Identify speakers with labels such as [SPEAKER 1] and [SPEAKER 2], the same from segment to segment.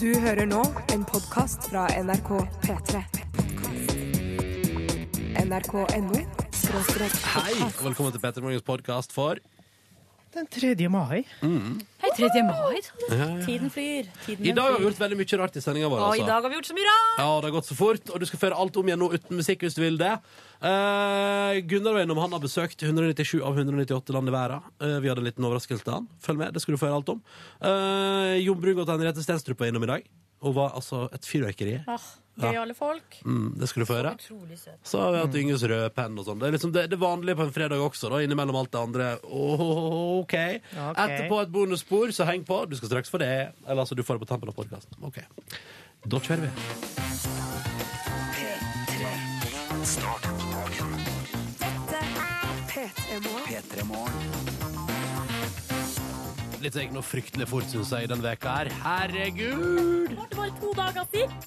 [SPEAKER 1] Du hører nå en podkast fra NRK P3. NRK.no
[SPEAKER 2] Hei, og velkommen til Petter Morgens podkast for
[SPEAKER 3] Den 3. mai.
[SPEAKER 4] Hei, 3. mai. sa du?
[SPEAKER 2] ja, ja.
[SPEAKER 4] Tiden flyr. Tiden
[SPEAKER 2] I dag har vi
[SPEAKER 4] flyr.
[SPEAKER 2] gjort veldig mye rart i sendinga vår.
[SPEAKER 4] Og i
[SPEAKER 2] Altså.
[SPEAKER 4] dag har vi gjort så mye rart!
[SPEAKER 2] Ja, og det har gått så fort, og du skal føre alt om igjen nå uten musikk hvis du vil det. Eh, Gunnar var innom, han har besøkt 197 av 198 land i verden. Eh, vi hadde en liten overraskelse til han. Følg med, det skal du få høre alt om. Eh, Jon Brungot og Henriette Stenstrup var innom i dag, og var altså et fyrverkeri.
[SPEAKER 4] Ah, Gøyale folk.
[SPEAKER 2] Mm, det skal du få høre.
[SPEAKER 4] Utrolig søt.
[SPEAKER 2] Så har vi hatt Ynges røde penn og sånn. Det er liksom det, det vanlige på en fredag også, da, innimellom alt det andre. Åh, OK. Etterpå et bonusspor, så heng på. Du skal straks få det. Eller altså, du får det på tampen av podkasten. OK. Da kjører vi. Litt sånn noe fryktelig fort, syns jeg, den veka her. Herregud!
[SPEAKER 4] Det var to dager siden.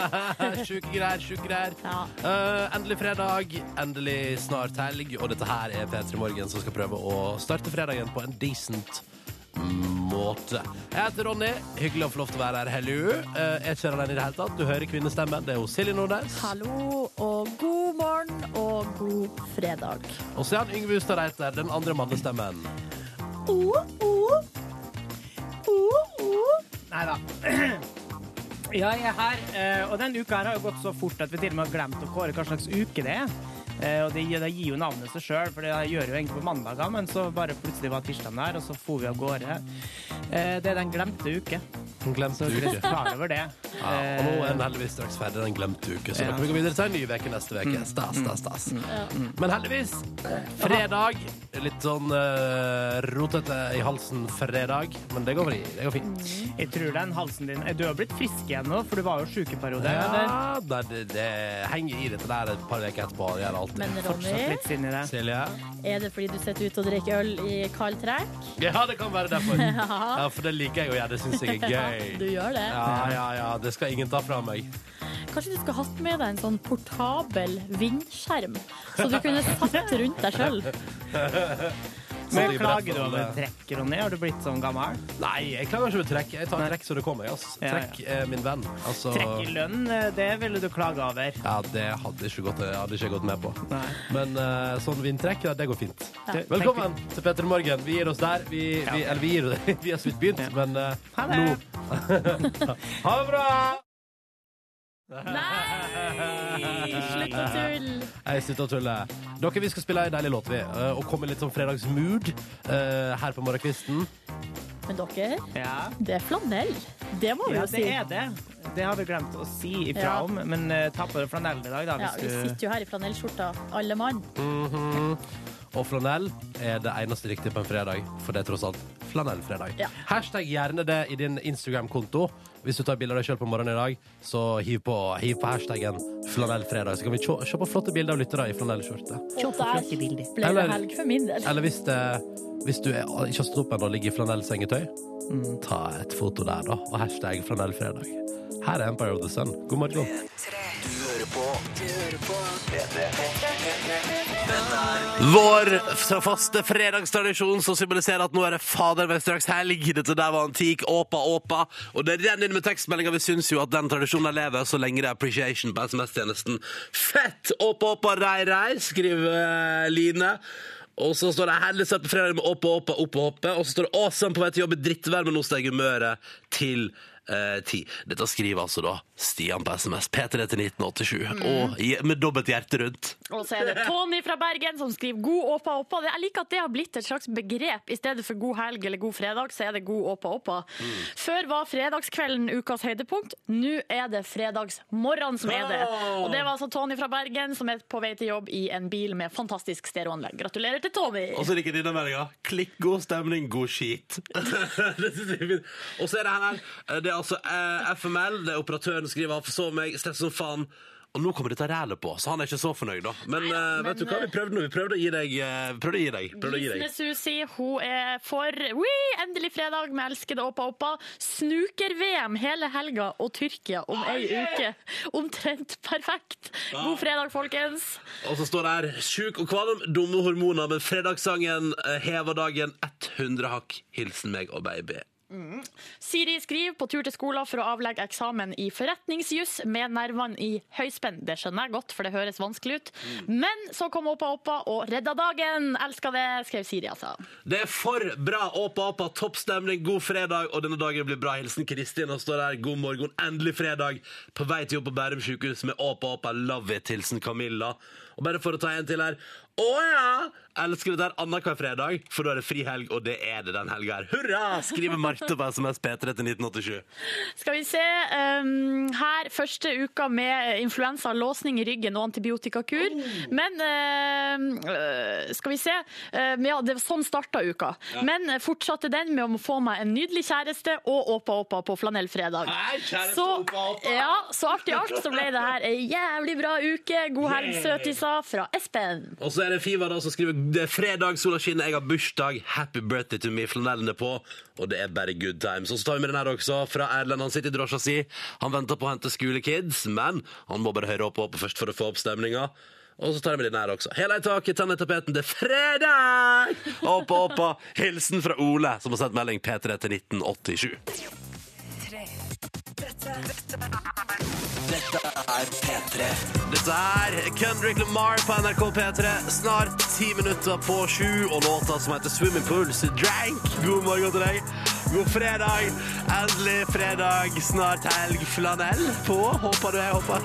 [SPEAKER 2] sjuke greier, sjuke greier.
[SPEAKER 4] Ja.
[SPEAKER 2] Eh, endelig fredag, endelig snart helg, og dette her er P3 Morgen som skal prøve å starte fredagen på en decent måte. Jeg heter Ronny. Hyggelig å få lov til å være her. Hello. Eh, jeg kjører den i det hele tatt. Du hører kvinnestemmen. Det er jo Silje Nordnes.
[SPEAKER 4] Hallo og god morgen og god fredag.
[SPEAKER 2] Og så er han Yngve Ustad Reiter, den andre mannestemmen.
[SPEAKER 4] Oh, oh. Oh, oh.
[SPEAKER 3] Nei da. Jeg er her, eh, og denne uka her har jo gått så fort at vi til og med har glemt å kåre hva slags uke det er. Eh, Og det, det gir jo navnet seg sjøl, for det gjør jo egentlig på mandager, men så bare plutselig var tirsdagen der, og så for vi av gårde. Eh, Det er den glemte uke.
[SPEAKER 2] Den
[SPEAKER 3] Så
[SPEAKER 2] glemte
[SPEAKER 3] dere er
[SPEAKER 2] uke.
[SPEAKER 3] klar over det. Eh.
[SPEAKER 2] Ja, og nå er den heldigvis straks ferdig, den glemte uke. Så da
[SPEAKER 3] Ja.
[SPEAKER 2] kan vi gå videre til en ny uke neste uke. Stas, stas, stas.
[SPEAKER 3] Mm.
[SPEAKER 2] Men heldigvis, fredag Litt sånn eh, rotete i halsen fredag, men det går, fri, det går fint.
[SPEAKER 3] Mm. Jeg tror den halsen din eh, Du har blitt frisk igjen nå, for du var jo sjuk i perioder. eller?
[SPEAKER 2] Ja, det, det, det henger i dette der et par uker etterpå. Det gjør det alltid.
[SPEAKER 4] Men
[SPEAKER 3] Satt
[SPEAKER 4] Ronny,
[SPEAKER 3] litt sinn i det.
[SPEAKER 2] Silje?
[SPEAKER 4] er det fordi du sitter ute og drikker øl i kaldt trekk?
[SPEAKER 2] Ja, det kan være derfor. Ja, For det liker jeg å gjøre. Det syns jeg er
[SPEAKER 4] Du
[SPEAKER 2] gøy.
[SPEAKER 4] gjør det.
[SPEAKER 2] Ja, ja, ja. Det skal ingen ta fra meg.
[SPEAKER 4] Kanskje du skulle hatt med deg en sånn portabel vindskjerm, så du kunne satt rundt deg sjøl.
[SPEAKER 3] Men klager du over trekk, Ronny? Har du blitt sånn gammel?
[SPEAKER 2] eh, Nei, jeg klager ikke over trekk. Jeg tar
[SPEAKER 3] Nei.
[SPEAKER 2] trekk så det kommer. Altså.
[SPEAKER 3] Ja, ja.
[SPEAKER 2] Trekk er min venn. Altså,
[SPEAKER 3] Trekk i lønn, eh, det ville du klage over.
[SPEAKER 2] Ja, det hadde ikke gått, eh, hadde ikke jeg gått med på.
[SPEAKER 3] Nei.
[SPEAKER 2] Men eh, sånn vindtrekk, ja, det går fint.
[SPEAKER 3] Du,
[SPEAKER 2] Velkommen til Petter Morgen. Vi gir oss der. Vi, vi, eller vi gir Vi har så vidt begynt,
[SPEAKER 3] Ja.
[SPEAKER 2] men eh,
[SPEAKER 3] Ha
[SPEAKER 2] nå
[SPEAKER 3] det.
[SPEAKER 2] Ha det bra!
[SPEAKER 4] Nei, slutt å tulle!
[SPEAKER 2] Jeg slutter å tulle. Dere, vi skal spille ei deilig låt, vi. eh, og komme litt sånn fredagsmood eh, her på morgenkvisten.
[SPEAKER 4] Men dere,
[SPEAKER 3] Ja.
[SPEAKER 4] det er flanell. Det må vi
[SPEAKER 3] ja,
[SPEAKER 4] jo si.
[SPEAKER 3] det er det. Det har vi glemt å si ifra
[SPEAKER 4] Ja.
[SPEAKER 3] om, men uh, ta på deg flanellen i dag, da,
[SPEAKER 4] Ja,
[SPEAKER 3] hvis
[SPEAKER 4] vi
[SPEAKER 3] du
[SPEAKER 4] sitter jo her i flanellskjorta, alle mann.
[SPEAKER 2] Mhm. Og flanell er det eneste riktige på en fredag, for det er tross alt flanellfredag.
[SPEAKER 4] Ja.
[SPEAKER 2] Hashtag gjerne det i din Instagram-konto. Hvis du tar bilder av deg sjøl på morgenen i dag, så hiv på, hiv på hashtaggen flanellfredag. Så kan vi se, se på flotte bilder av lyttere i flanellskjorte.
[SPEAKER 4] Og der ble det
[SPEAKER 2] Eller-
[SPEAKER 4] helg for min del.
[SPEAKER 2] Eller hvis, det, hvis du er, ikke har stått opp ennå og ligger i flanellsengetøy, ta et foto der, da, og hashtag flanellfredag. Her er Empire of the Sun. God morgen. Vår fra faste fredagstradisjon som symboliserer at nå er det fader meg straks helg. Dette der var antikk. Åpa, åpa. Og det renner inn med tekstmeldinger. Vi syns jo at den tradisjonen der lever så lenge det er appreciation på SMS-tjenesten. Fett! Åpa, åpa, rei, rei, skriver eh, Line. Og så står det 'Hellig start på fredag med åpa, åpa, oppe, hoppe'. Og så står det 'Awesome på vei til jobb i drittvær, men nå steg humøret til eh, 10'. Dette skriver altså da Stian på SMS. P3 til 1987. Og i- med dobbelt hjerte rundt.
[SPEAKER 4] Og så er det Tony fra Bergen som skriver 'god åpa åpa'. Det- Jeg liker at det har blitt et slags begrep. I stedet for 'god helg' eller 'god fredag', så er det 'god åpa åpa'. Før var fredagskvelden ukas høydepunkt. Nå er det fredagsmorgen som er det. Og det var altså Tony fra Bergen som er på vei til jobb i en bil med fantastisk stereoanlegg. Gratulerer til Tony!
[SPEAKER 2] Og så liker jeg denne meldinga. Klikk, god stemning, god skit. det synes jeg er fint. eh, Og så er det her, her. Det er altså eh, FML, det er operatøren som skriver 'forsov meg, stress som faen'. Og nå kommer dette rælet på, så han er ikke så fornøyd, da. Men,
[SPEAKER 4] Neida,
[SPEAKER 2] eh, vet
[SPEAKER 4] men,
[SPEAKER 2] du hva, vi prøvde nå. Vi prøvde å gi deg eh, Prøvde å gi deg. Prøvde å gi deg.
[SPEAKER 4] Gisne Susi hun er for Wii, endelig fredag med elskede Åpa Åpa. Snuker-VM hele helga og Tyrkia om ei uke. Omtrent perfekt.
[SPEAKER 2] Ah.
[SPEAKER 4] God fredag, folkens.
[SPEAKER 2] Og så står det her Sjuk og kvalm, dumme hormoner, men fredagssangen eh, hever dagen 100 hakk. Hilsen meg og baby.
[SPEAKER 4] Mm. Siri skriver på tur til skolen for å avlegge eksamen i forretningsjuss med nervene i høyspenn. Det skjønner jeg godt, for det høres vanskelig ut.
[SPEAKER 2] Mm.
[SPEAKER 4] Men så kom Åpa Åpa og redda dagen. Elsker det, skrev Siri, altså.
[SPEAKER 2] Det er for bra! Åpa, åpa, topp stemning, god fredag, og denne dagen blir bra. Hilsen Kristin og står der. God morgen, endelig fredag. På vei til jobb på Bærum sykehus med Åpa, åpa, love it. Hilsen Camilla. Og bare for å ta en til her. Å ja! Elsker det der annenhver fredag, for da er det frihelg, og det er det den helga her. Hurra! Skriver Marte på SMS P3 til 1987.
[SPEAKER 4] Skal vi se. ehm, her første uka med eh, influensa, låsning i ryggen og antibiotikakur.
[SPEAKER 2] Oh.
[SPEAKER 4] Men ehm, øh, Skal vi se. Ehm, ja, det var sånn starta uka. Men eh, fortsatte den med å få meg en nydelig kjæreste og Åpa Åpa på flanellfredag.
[SPEAKER 2] Nei, kjæreste,
[SPEAKER 4] Så,
[SPEAKER 2] Åpa Åpa!
[SPEAKER 4] ja, så artig alt så ble det her ei jævlig bra uke. God helg, søtiser fra Espen.
[SPEAKER 2] Og så er det Fiva da som skriver Det er fredag, sola skinner, jeg har bursdag Happy birthday to me, flanellen er på Og det er bare good times Og så tar vi med den her også fra Erlend Han sitter i drosja si Han venter på å hente skolekids Men han må bare høre opp og opp først for å få opp stemninga og så tar jeg med denne her også. Hele i taket, tenn i tapeten, det er fredag! Oppa, oppa, hilsen fra Ole, som har sendt melding P3 til 1987. Dette er Kendrick Lamar på NRK P3. Snart ti minutter på sju, og låta som heter 'Swimming Pools Drank'. God morgen til deg. God fredag. Endelig fredag, snart helg. Flanell på, håper du jeg håper.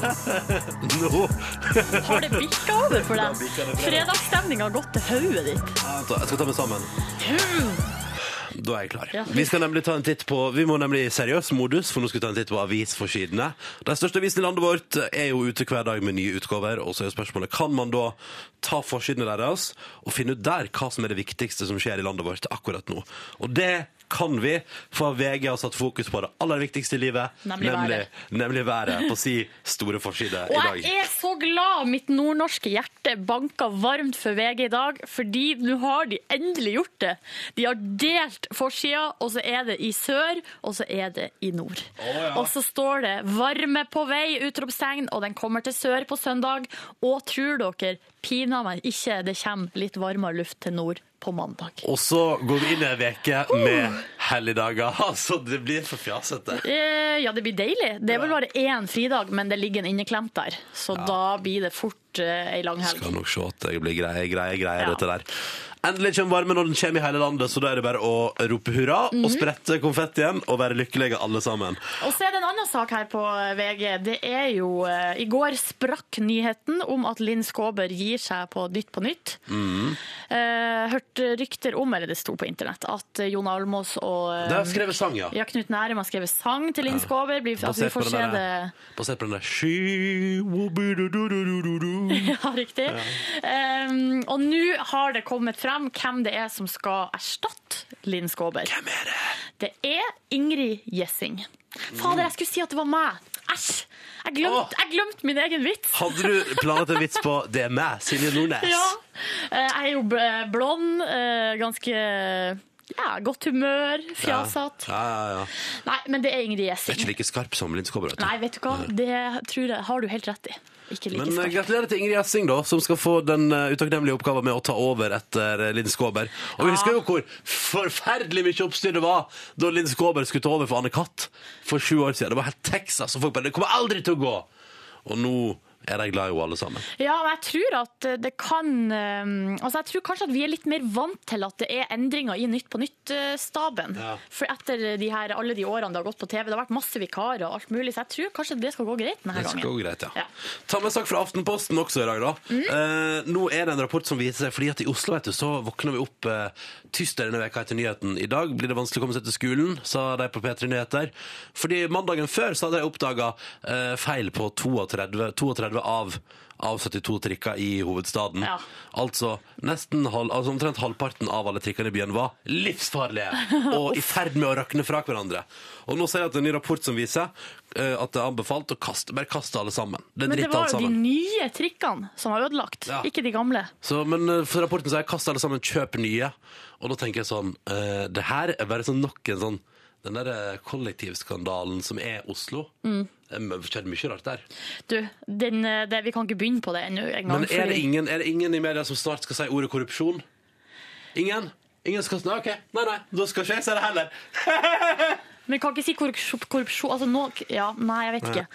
[SPEAKER 2] Nå.
[SPEAKER 4] Har det bikka over for
[SPEAKER 2] Det har bikket over for
[SPEAKER 4] deg?
[SPEAKER 2] meg.
[SPEAKER 4] Fredagsstemninga har gått til hodet ditt.
[SPEAKER 2] Vent da, Jeg skal ta meg sammen. Da er jeg klar.
[SPEAKER 4] Ja.
[SPEAKER 2] Vi skal nemlig ta en titt på Vi må nemlig i seriøs modus, for nå skal vi ta en titt på avisforsidene. De største avisene i landet vårt er jo ute hver dag med nye utgaver, og så er jo spørsmålet kan man da ta forsidene deres og finne ut der hva som er det viktigste som skjer i landet vårt akkurat nå. Og det kan vi, for VG har satt fokus på det aller viktigste i livet,
[SPEAKER 4] Nemlig
[SPEAKER 2] nemlig,
[SPEAKER 4] været.
[SPEAKER 2] nemlig været, på si store forside i
[SPEAKER 4] Og
[SPEAKER 2] dag.
[SPEAKER 4] jeg er så glad mitt nordnorske hjerte banka varmt for VG i dag, fordi nå har de endelig gjort det. De har delt forsida, og så er det i sør, og så er det i nord. Og så står det 'Varme på vei', utropstegn, og den kommer til sør på søndag. Og tror dere pina meg ikke det kommer litt varmere luft til nord på mandag.
[SPEAKER 2] Og så går vi inn i ei uke med helligdager. Altså, det blir for fjasete.
[SPEAKER 4] Eh, ja, det blir deilig. Det er vel bare én fridag, men det ligger en inneklemt der. Så da blir det fort eh, ei lang helg.
[SPEAKER 2] Skal nok se at det blir greie, greie, greie
[SPEAKER 4] Ja.
[SPEAKER 2] dette der. Endelig kommer varmen, og den kommer i hele landet, så da er det bare å rope hurra
[SPEAKER 4] Mhm.
[SPEAKER 2] og sprette konfettien og være lykkelige alle sammen.
[SPEAKER 4] Og så er det en annen sak her på VG. Det er jo eh, I går sprakk nyheten om at Linn Skåber gir seg på Nytt på nytt.
[SPEAKER 2] Mm.
[SPEAKER 4] Eh, hørte rykter om, eller det sto på internett, at Jon Almås og eh,
[SPEAKER 2] Det har jeg skrevet sang, ja.
[SPEAKER 4] ja, Knut Nærum har skrevet sang til Linn Skåber. Blir, altså, vi
[SPEAKER 2] Basert på
[SPEAKER 4] får
[SPEAKER 2] den
[SPEAKER 4] se
[SPEAKER 2] der-
[SPEAKER 4] det
[SPEAKER 2] Basert på den der She will be do do do do do do.
[SPEAKER 4] Ja, riktig. Ehm, og nå har det kommet frem hvem det er som skal erstatte Linn Skåber. Hvem er det? Det er Ingrid Gjessing. Fader, jeg skulle si at det var meg. Æsj! Jeg
[SPEAKER 2] Åh.
[SPEAKER 4] glemte jeg glemte min egen vits.
[SPEAKER 2] Hadde du planlagt en vits på Det er meg, Silje Nordnes?
[SPEAKER 4] Ja. Eh, Jeg er jo bl- blond, eh, ganske ja, godt humør, fjasete.
[SPEAKER 2] Ja, ja, ja.
[SPEAKER 4] Nei, men det er Ingrid
[SPEAKER 2] Det er ikke
[SPEAKER 4] Gjessing.
[SPEAKER 2] like skarp som Linn Skåber. vet du.
[SPEAKER 4] Nei, vet du hva, det tror jeg har du helt rett i. Ikke like
[SPEAKER 2] Men eh,
[SPEAKER 4] skarp.
[SPEAKER 2] gratulerer til Ingrid Gjessing, da, som skal få den uh, utakknemlige oppgaven med å ta over etter eh, Linn Skåber. Og vi husker jo hvor forferdelig mye oppstyr det var da Linn Skåber skulle ta over for Anne Katt for sju år siden. Det var helt Texas, og folk bare Det kommer aldri til å gå! Og nå er de glad i henne, alle sammen.
[SPEAKER 4] Ja, men jeg tror at det kan eh, Altså, jeg tror kanskje at vi er litt mer vant til at det er endringer i Nytt på Nytt-staben.
[SPEAKER 2] Ja.
[SPEAKER 4] For etter de her, alle de årene det har gått på TV, det har vært masse vikarer og alt mulig, så jeg tror kanskje det skal gå greit denne
[SPEAKER 2] Det skal gå
[SPEAKER 4] gangen.
[SPEAKER 2] greit, ja.
[SPEAKER 4] Ja.
[SPEAKER 2] Ta med en sak fra Aftenposten også i dag, da. Eh, nå er det en rapport som viser seg, fordi at i Oslo vet du, så våkner vi opp uh, tyst denne veka etter nyheten. I dag blir det vanskelig å komme seg til skolen, sa de på eh, P3 Nyheter. Fordi mandagen før så hadde de oppdaga feil på 32, 32 halve av, av 72 trikker i hovedstaden.
[SPEAKER 4] Ja.
[SPEAKER 2] Altså, nesten halv, altså omtrent halvparten av alle trikkene i byen var livsfarlige og i ferd med å rakne fra hverandre. Og nå ser jeg at det er en ny rapport som viser eh, at det er anbefalt å kaste, bare kaste alle sammen. Det
[SPEAKER 4] Men det
[SPEAKER 2] driter alle
[SPEAKER 4] var jo de
[SPEAKER 2] sammen.
[SPEAKER 4] nye trikkene som var ødelagt,
[SPEAKER 2] Ja.
[SPEAKER 4] ikke de gamle.
[SPEAKER 2] Så, men eh, for rapporten sier jeg kast alle sammen, kjøp nye. Og da tenker jeg sånn eh, Det her er bare sånn nok en sånn Den der eh, kollektivskandalen som er Oslo. Det har skjedd mye rart der.
[SPEAKER 4] Mm. Du, den, eh, det, vi kan ikke begynne på det ennå engang.
[SPEAKER 2] Men er det,
[SPEAKER 4] fordi-
[SPEAKER 2] ingen, er det ingen i media som snart skal si ordet korrupsjon? Ingen? Ingen skal snakke? OK, nei, nei, da skal ikke jeg si det heller.
[SPEAKER 4] Men kan ikke si korrupsjon, korrupsjon altså nå, ja, Nei, jeg vet ikke.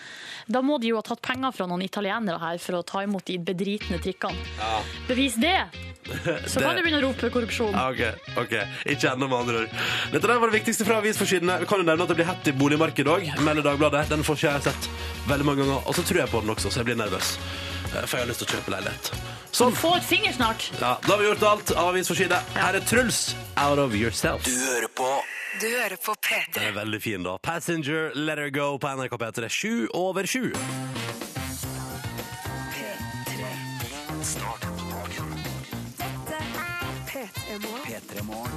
[SPEAKER 4] Da må de jo ha tatt penger fra noen italienere her for å ta imot de bedritne trikkene. Bevis det! Så kan
[SPEAKER 2] Det-
[SPEAKER 4] du begynne å rope korrupsjon.
[SPEAKER 2] Ja, Ok, ok, ikke enda med andre ord Dette der var det viktigste fra avisforsidene Vi kan jo nevne at det blir hett i boligmarkedet også Melder Dagbladet, den får ikke jeg sett veldig mange ganger Og så tror jeg på den også, så jeg blir nervøs Eh, For jeg har lyst til å kjøpe leilighet Sånn,
[SPEAKER 4] Få et finger snart!
[SPEAKER 2] ja, da har vi gjort alt av avisforside Her er Truls, Out of Yourself
[SPEAKER 1] Du hører på P3.
[SPEAKER 2] Den er veldig fin da Passenger, Let Her Go på NRK P3 7 over 7
[SPEAKER 1] P3 Morgen.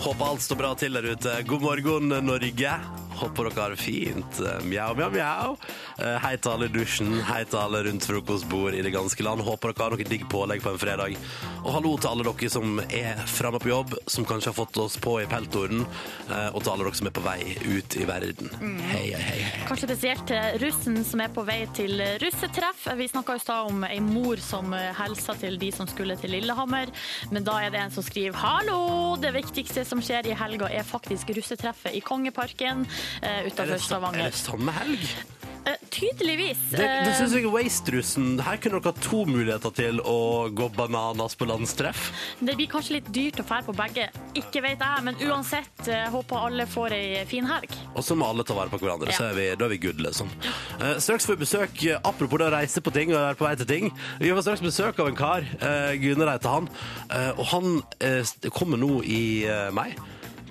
[SPEAKER 2] Håper alt står bra til der ute. God morgen, Norge. Håper dere har det fint. Mjau, mjau, mjau. Eh, Hei til alle i dusjen, hei til alle rundt frokostbord i det ganske land. Håper dere har noe digg pålegg på en fredag. Og hallo til alle dere som er framme på jobb, som kanskje har fått oss på i peltoren. eh, Og til alle dere som er på vei ut i verden. Hei, hei, hei. hei.
[SPEAKER 4] Kanskje spesielt til russen som er på vei til russetreff. Vi snakka i stad om ei mor som helsa til de som skulle til Lillehammer. Men da er det en som skriver 'Hallo! Det viktigste som skjer i helga, er faktisk russetreffet i Kongeparken eh,
[SPEAKER 2] Er
[SPEAKER 4] utenfor
[SPEAKER 2] det, sa- er
[SPEAKER 4] Stavanger'.
[SPEAKER 2] det samme helg?
[SPEAKER 4] Eh, Tydeligvis.
[SPEAKER 2] Det, det
[SPEAKER 4] eh,
[SPEAKER 2] syns jeg er waste-russen. Her kunne dere hatt to muligheter til å gå bananas på landstreff.
[SPEAKER 4] Det blir kanskje litt dyrt å fære på begge. Ikke vet jeg, men uansett eh, håper alle får ei fin helg.
[SPEAKER 2] Og så må alle ta vare på hverandre,
[SPEAKER 4] Ja.
[SPEAKER 2] så er vi, da er vi good, liksom. Eh, straks får vi besøk, eh, apropos det å reise på ting og være på vei til ting. Vi får straks besøk av en kar, uh, Gunnar heter han, eh, og han eh, kommer nå i eh, mai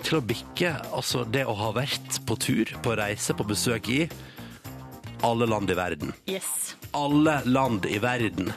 [SPEAKER 2] til å bikke altså det å ha vært på tur, på reise, på besøk i alle land i verden.
[SPEAKER 4] Yes.
[SPEAKER 2] Alle land i verden.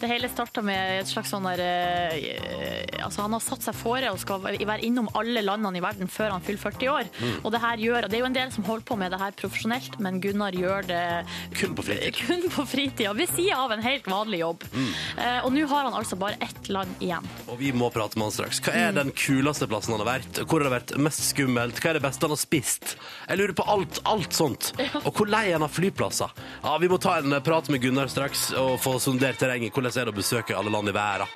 [SPEAKER 4] Det hele starta med et slags sånn der eh, Altså, han har satt seg fore og skal være innom alle landene i verden før han fyller 40 år.
[SPEAKER 2] Mm.
[SPEAKER 4] Og det her gjør Det er jo en del som holder på med det her profesjonelt, men Gunnar gjør det
[SPEAKER 2] Kun på fritid.
[SPEAKER 4] kun på fritida, ved sida av en helt vanlig jobb.
[SPEAKER 2] Mm.
[SPEAKER 4] Eh, og nå har han altså bare ett land igjen.
[SPEAKER 2] Og vi må prate med han straks. Hva er den kuleste plassen han har vært? Hvor har det vært mest skummelt? Hva er det beste han har spist? Jeg lurer på alt, alt sånt. Og hvor lei han av flyplasser. Ja, vi må ta en eh, prat med Gunnar straks og få sondert terrenget. Hvordan er det å besøke alle land i verden?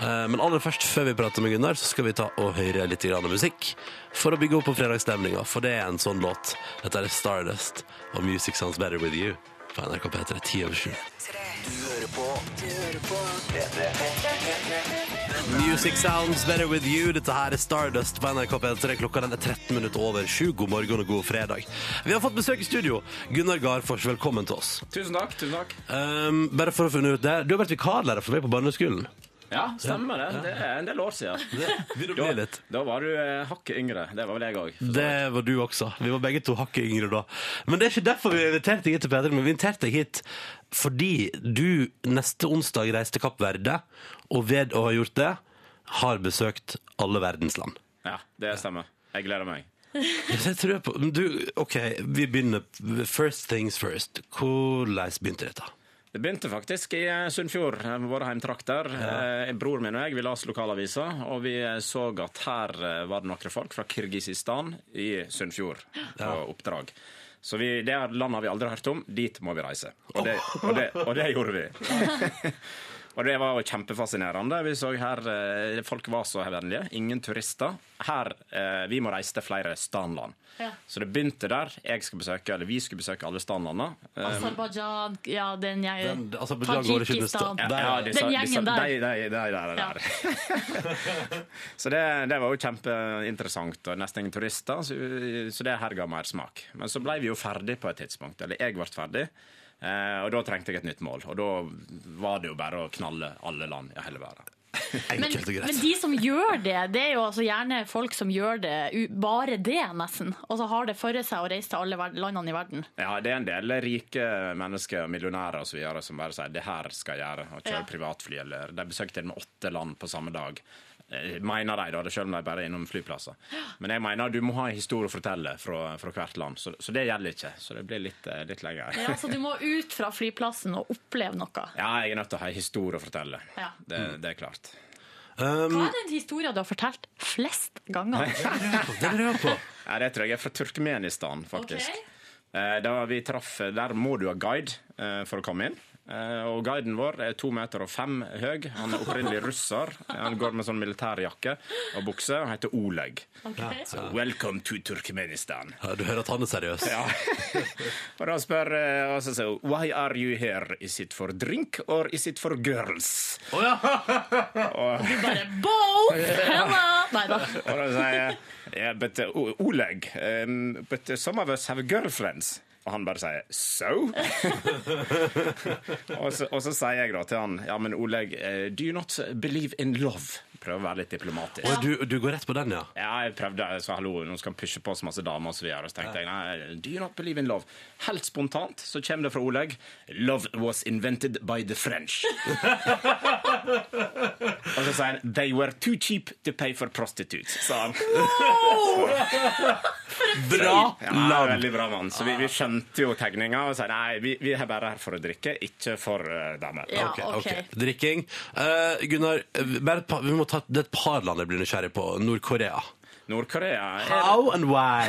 [SPEAKER 2] Eh, Men aller først, før vi prater med Gunnar, så skal vi ta og høre litt grann musikk. For å bygge opp på fredagsstemninga, for det er en sånn låt. Dette er Stardust, og Music Sounds Better With You på NRK P3 10 over 7. Music sounds better with you. Dette her er Stardust på NRK P3. Klokka den er 13 minutter over sju. God morgen og god fredag. Vi har fått besøk i studio. Gunnar Garfors, velkommen til oss.
[SPEAKER 5] Tusen takk. tusen takk.
[SPEAKER 2] Um, bare for å finne ut det. Du har vært vikarlærer for meg på barneskolen.
[SPEAKER 5] Ja, stemmer det. Det er en del år siden.
[SPEAKER 2] Vil du
[SPEAKER 5] Da,
[SPEAKER 2] bli litt?
[SPEAKER 5] da var du eh, hakket yngre. Det var vel jeg òg.
[SPEAKER 2] Det var du også. Vi var begge to hakket yngre da. Men det er ikke derfor vi inviterte deg hit til P3. Men vi inviterte deg hit fordi du neste onsdag reiser til Kapp Verde, og ved å ha gjort det, har besøkt alle verdens land.
[SPEAKER 5] Ja, det stemmer. Jeg gleder meg.
[SPEAKER 2] Jeg tror jeg på, men du, ok, vi begynner First things first Hvordan begynte dette?
[SPEAKER 5] Det begynte faktisk i eh, Sunnfjord, eh, våre heimtrakter. Eh, Broren min og jeg vi leste lokalavisa, og vi eh, så at her eh, var det noen folk fra Kirgisistan i Sunnfjord på oppdrag. Så vi, det er landet vi aldri har hørt om. Dit må vi reise. Og det, og det, og det gjorde vi. Og det var jo kjempefascinerende. Vi så her, eh, Folk var så vennlige. Ingen turister. Her, eh, Vi må reise til flere stanland.
[SPEAKER 4] Ja.
[SPEAKER 5] Så det begynte der. Jeg skal besøke, eller Vi skulle besøke alle stanlandene. Eh,
[SPEAKER 4] Aserbajdsjan, ja, den jeg
[SPEAKER 2] Den- Aserbajdsjan går ikke under sta-
[SPEAKER 4] Tadsjikistan.
[SPEAKER 2] Der,
[SPEAKER 5] ja,
[SPEAKER 2] ja.
[SPEAKER 5] de sa- de
[SPEAKER 4] Den
[SPEAKER 5] sa-
[SPEAKER 4] gjengen der.
[SPEAKER 5] De, de, de, der,
[SPEAKER 4] Ja.
[SPEAKER 5] der. så det, det var jo kjempeinteressant, og nesten ingen turister, så, så det her ga mersmak. Men så ble vi jo ferdig på et tidspunkt, eller jeg ble ferdig, eh, og da trengte jeg et nytt mål. Og da var det jo bare å knalle alle land i hele verden.
[SPEAKER 4] Men,
[SPEAKER 2] Enkelt og greit.
[SPEAKER 4] men de som gjør det, det er jo altså gjerne folk som gjør det u- bare det, nesten. Og så har det for seg å reise til alle ver- landene i verden.
[SPEAKER 5] Ja, det er en del rike mennesker, millionærer osv. som bare sier 'det her skal jeg gjøre', og kjører
[SPEAKER 4] Ja.
[SPEAKER 5] privatfly. Eller de besøker til og med åtte land på samme dag. Eh, Mener de, da, det selv om de bare er innom flyplasser. Men jeg mener du må ha en historie å fortelle fra, fra hvert land, så, så det gjelder ikke. Så det blir litt, eh, litt lenger.
[SPEAKER 4] Ja, så du må ut fra flyplassen og oppleve noe.
[SPEAKER 5] Ja, jeg er nødt til å ha en historie å fortelle.
[SPEAKER 4] Ja.
[SPEAKER 5] Det, det er klart.
[SPEAKER 4] Mm.
[SPEAKER 5] Um,
[SPEAKER 4] Hva er den historien du har fortalt flest ganger?
[SPEAKER 2] Det lurer jeg på.
[SPEAKER 5] Ja, det tror jeg er fra Turkmenistan, faktisk.
[SPEAKER 4] Ok.
[SPEAKER 5] Eh, Da vi traff, der må du ha guide eh, for å komme inn. Eh, Og guiden vår er to meter og fem høy. Han er opprinnelig russer. Han går med sånn militærjakke og bukse og heter Oleg.
[SPEAKER 4] Ok.
[SPEAKER 5] Så welcome to Turkmenistan.
[SPEAKER 2] Ja, Du hører at han er seriøs.
[SPEAKER 5] Ja. og da spør eh, og så sier hun, Why are you here? Is it for drink or is it for girls?
[SPEAKER 2] Å, ja.
[SPEAKER 4] Du bare Bo! Hello! Nei da.
[SPEAKER 5] Og da sier jeg yeah, but, uh, O- Oleg, um, but uh, some of us have girlfriends. Og han bare sier so? og, så, og så sier jeg da til han ja, men Oleg, eh, do you not believe in love? Prøv å være litt diplomatisk.
[SPEAKER 2] Å, Du, du går rett på den, ja.
[SPEAKER 5] Ja, jeg prøvde, jeg sa hallo, nå skal han pushe på oss masse damer og så videre. Og så tenkte jeg, nei, do you not believe in love? Helt spontant så kommer det fra Oleg, love was invented by the French. og så sier han, they were too cheap to pay for prostitutes, sa han.
[SPEAKER 2] Bra
[SPEAKER 5] Ja,
[SPEAKER 2] land! Ah.
[SPEAKER 5] veldig bra mann. Så vi, vi skjønte jo tegninga og sa nei, vi, vi er bare her for å drikke, ikke for eh, damer.
[SPEAKER 4] Ja,
[SPEAKER 2] Ok,
[SPEAKER 4] ok.
[SPEAKER 2] ok. Drikking. Eh, Gunnar, eh, bare et par, vi må ta, det er et par land jeg blir nysgjerrig på. Nord-Korea.
[SPEAKER 5] Nord-Korea er-
[SPEAKER 2] How and why?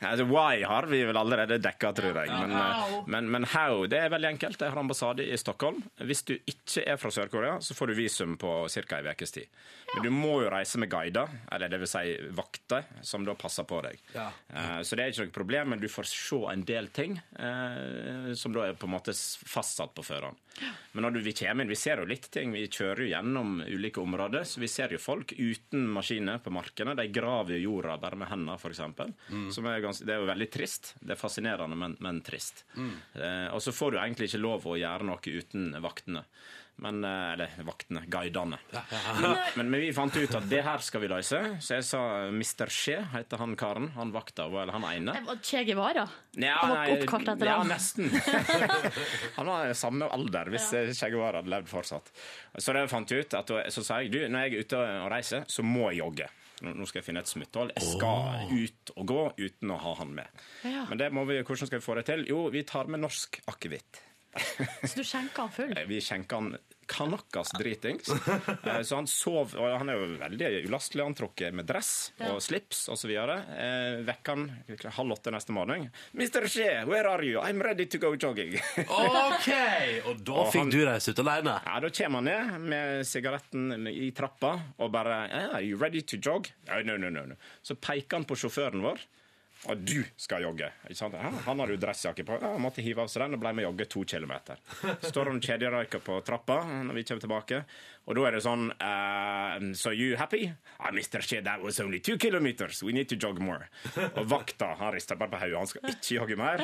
[SPEAKER 5] altså, Why har vi vel allerede dekka, tror jeg. Men, eh,
[SPEAKER 4] How?
[SPEAKER 5] men, men how? Det er veldig enkelt. Jeg har ambassade i Stockholm. Hvis du ikke er fra Sør-Korea, så får du visum på ca. ei ukes tid. Men du må jo reise med guider, eller det vil si vakter, som da passer på deg. Eh, Så det er ikke noe problem, men du får se en del ting eh, som da er på en måte s- fastsatt på førhånd. Men når du, vi kommer inn, vi ser jo litt ting. Vi kjører jo gjennom ulike områder, så vi ser jo folk uten maskiner på markene. De graver jo jorda bare med hendene, f.eks. Mm. Det er jo veldig trist. Det er fascinerende, men, men trist. Eh, og så får du egentlig ikke lov å gjøre noe uten vaktene. Men, eh, eller vaktene, guidene.
[SPEAKER 2] eh,
[SPEAKER 5] Men, men vi fant ut at det her skal vi løse, så jeg sa Mr. Skje heter han karen. Han vakta, eller han ene.
[SPEAKER 4] Eh, Og Che Guevara.
[SPEAKER 5] Ja,
[SPEAKER 4] Han var
[SPEAKER 5] nei,
[SPEAKER 4] oppkalt etter
[SPEAKER 5] ja,
[SPEAKER 4] han.
[SPEAKER 5] nesten. han var samme alder hvis ja. Skjeggevare hadde levd fortsatt. Så det fant jeg ut at, så sa jeg du, når jeg er ute og reiser, så må jeg jogge. Nå nå skal jeg finne et smutthold. Jeg skal ut og gå uten å ha han med.
[SPEAKER 4] Ja.
[SPEAKER 5] Men det må vi, hvordan skal vi få det til? Jo, vi tar med norsk akevitt.
[SPEAKER 4] Så du skjenka han full?
[SPEAKER 5] Eh, Vi skjenka han kanakkas dritings. Eh, Så han sov og Han er jo veldig ulastelig antrukket med dress og slips osv. Vekka han halv åtte neste morgen. 'Mr. Shea, where are you? I'm ready to go jogging'.
[SPEAKER 2] OK! Og da
[SPEAKER 5] Og han-
[SPEAKER 2] fikk du reise ut alene.
[SPEAKER 5] Ja, Da kommer han ned med sigaretten i trappa og bare «Eh, 'Are you ready to jog?' «No, no, no, no, no. Så peker han på sjåføren vår. Og du skal jogge. Ikke sant? «Hæ? Han hadde jo dressjakke på. Ja, han måtte hive av seg den og ble med å jogge to kilometer. Står han og kjederøyker på trappa når vi kommer tilbake, og da er det sånn «Eh, So you happy? Ah, Mr. Shea, that was only two kilometers. We need to jog more. Og vakta han rister bare på hodet. Han skal ikke jogge mer.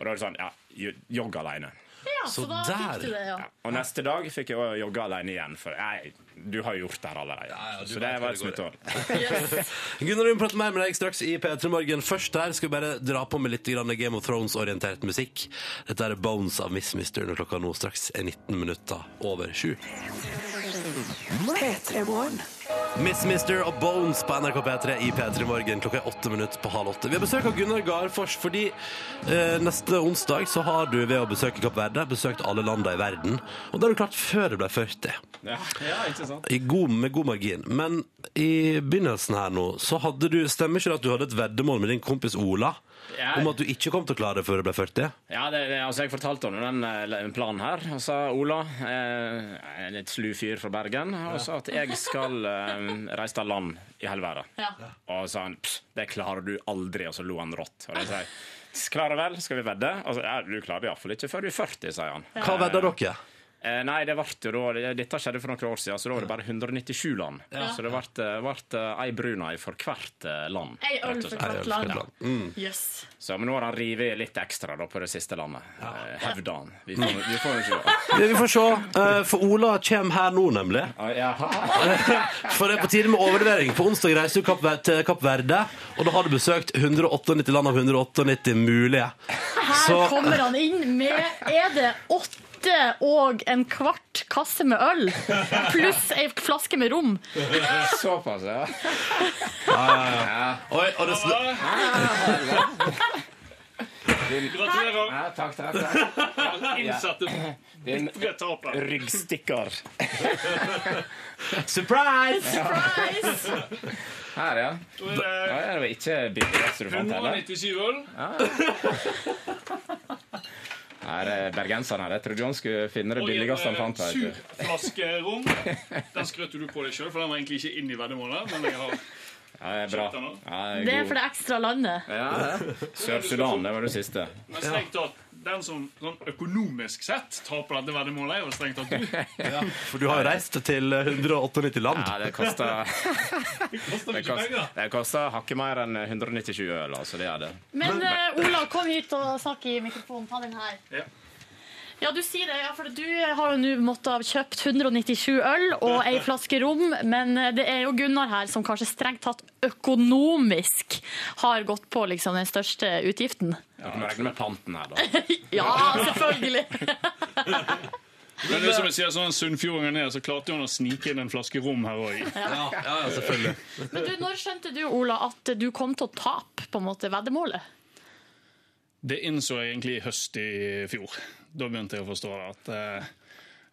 [SPEAKER 5] Og da er det sånn Ja, jogg aleine.
[SPEAKER 4] Ja,
[SPEAKER 2] så
[SPEAKER 4] så da
[SPEAKER 2] der.
[SPEAKER 4] fikk du det, ja.
[SPEAKER 5] Ja. Og neste dag fikk jeg også jogge alene igjen, for nei, du har gjort det her allerede.
[SPEAKER 2] ja, du
[SPEAKER 5] så det
[SPEAKER 2] vet
[SPEAKER 5] var
[SPEAKER 2] hvor
[SPEAKER 5] et
[SPEAKER 2] det går,
[SPEAKER 5] smutthull.
[SPEAKER 2] Gunnar, vi må prate mer med deg straks i P3 Morgen. Først der skal vi bare dra på med litt grann Game of Thrones-orientert musikk. Dette er Bones av Miss Mister når klokka nå straks er 19 minutter over sju.
[SPEAKER 1] P3 Morgen.
[SPEAKER 2] Miss Mister og Bones på NRK P3 i P3 Morgen. Klokka er åtte minutter på halv åtte. Vi har besøk av Gunnar Garfors fordi eh, neste onsdag så har du ved å besøke Kapp Verde besøkt alle landene i verden. Og det har du klart før du ble 40.
[SPEAKER 5] Ja, ja, ikke sant?
[SPEAKER 2] I god, med god margin. Men i begynnelsen her nå, så hadde du Stemmer ikke det at du hadde et veddemål med din kompis Ola
[SPEAKER 5] Ja.
[SPEAKER 2] om at du ikke kom til å klare det før du ble 40?
[SPEAKER 5] Ja, det, det- altså Jeg fortalte om den eh, planen her. Og sa Ola, eh, en litt slu fyr fra Bergen, og sa at jeg skal eh, reise til land i hele verden.
[SPEAKER 4] Ja.
[SPEAKER 5] Og sa han pss, det klarer du aldri, og så lo han rått. Og da sa jeg klarer vel, skal vi vedde? Og så, ja, du klarer det iallfall ikke før du er 40, sier han.
[SPEAKER 2] Hva vedda dere?
[SPEAKER 5] Eh, nei, det vart jo da, Dette skjedde for noen år siden, så da var det bare 197 land. Så det vart, eh, vart eh, ei brunei for hvert eh, land.
[SPEAKER 4] Ei øl
[SPEAKER 5] rett og
[SPEAKER 4] for
[SPEAKER 5] slett.
[SPEAKER 4] hvert
[SPEAKER 2] Ja.
[SPEAKER 4] land.
[SPEAKER 6] Mm.
[SPEAKER 4] Yes.
[SPEAKER 5] Så, men nå har han revet litt ekstra da, på det siste landet. Eh, Hevda han. Vi får, vi får jo se.
[SPEAKER 2] Det vi får se. eh, For Ola kommer her nå, nemlig.
[SPEAKER 5] Ah, jaha.
[SPEAKER 2] For det er på tide med overlevering. På onsdag reiser du Kapp Ver- til Kapp Verde, og da har du besøkt 198 land av 198 mulige.
[SPEAKER 4] Her
[SPEAKER 2] Så-
[SPEAKER 4] kommer han inn med Er det åtte og en kvart kasse med øl pluss ei flaske med rom?
[SPEAKER 5] Såpass, ja.
[SPEAKER 2] Oi, og det, sn-
[SPEAKER 7] Gratulerer.
[SPEAKER 5] ja takk, takk, takk.
[SPEAKER 7] Innsatte
[SPEAKER 5] Din
[SPEAKER 7] taper.
[SPEAKER 5] ryggstikker.
[SPEAKER 2] surprise!
[SPEAKER 4] Surprise!
[SPEAKER 5] Her, ja.
[SPEAKER 7] Nå er
[SPEAKER 5] Ja,
[SPEAKER 7] det
[SPEAKER 5] ja, det var ikke billigst du fant heller.
[SPEAKER 7] 197 øl.
[SPEAKER 5] Her er bergenserne her. Jeg trodde han skulle finne det
[SPEAKER 7] Og
[SPEAKER 5] billigste han
[SPEAKER 7] en
[SPEAKER 5] fant. her, vet
[SPEAKER 7] sur
[SPEAKER 5] du.
[SPEAKER 7] flaske rom. Den skrøt du på deg sjøl, for den var egentlig ikke inne i veddemålet. Men jeg har
[SPEAKER 5] Ja, det er bra.
[SPEAKER 7] Kjøpte han også?
[SPEAKER 5] Ja,
[SPEAKER 4] Det er
[SPEAKER 5] god.
[SPEAKER 4] for det ekstra landet.
[SPEAKER 5] Ja. Sør-Sudan, det var det siste.
[SPEAKER 7] men strengt tatt den som sånn økonomisk sett taper dette veddemålet, er jo strengt tatt du.
[SPEAKER 2] For du har jo reist til 198 land.
[SPEAKER 5] Ja, det kosta
[SPEAKER 7] Det koster
[SPEAKER 5] det
[SPEAKER 7] mye
[SPEAKER 5] kosta-
[SPEAKER 7] penger.
[SPEAKER 5] det kosta hakket mer enn 197 øl, altså. Det er det.
[SPEAKER 4] Men eh, Ola, kom hit og snakk i mikrofonen. Ta den her.
[SPEAKER 7] Ja.
[SPEAKER 4] Ja, du sier det, ja, for du har jo nå måttet ha kjøpt 197 øl og ei flaske rom, men eh, det er jo Gunnar her som kanskje strengt tatt økonomisk har gått på liksom den største utgiften.
[SPEAKER 5] Du må regne med panten her, da.
[SPEAKER 4] Ja, selvfølgelig!
[SPEAKER 7] Men det er som jeg sier, sånn Sunnfjordingen er, så klarte hun å snike inn en flaske rom her òg.
[SPEAKER 2] Ja, ja, selvfølgelig.
[SPEAKER 4] Men du, når skjønte du, Ola, at du kom til å tape på en måte veddemålet?
[SPEAKER 7] Det innså jeg egentlig i høst i fjor. Da begynte jeg å forstå det. at... eh,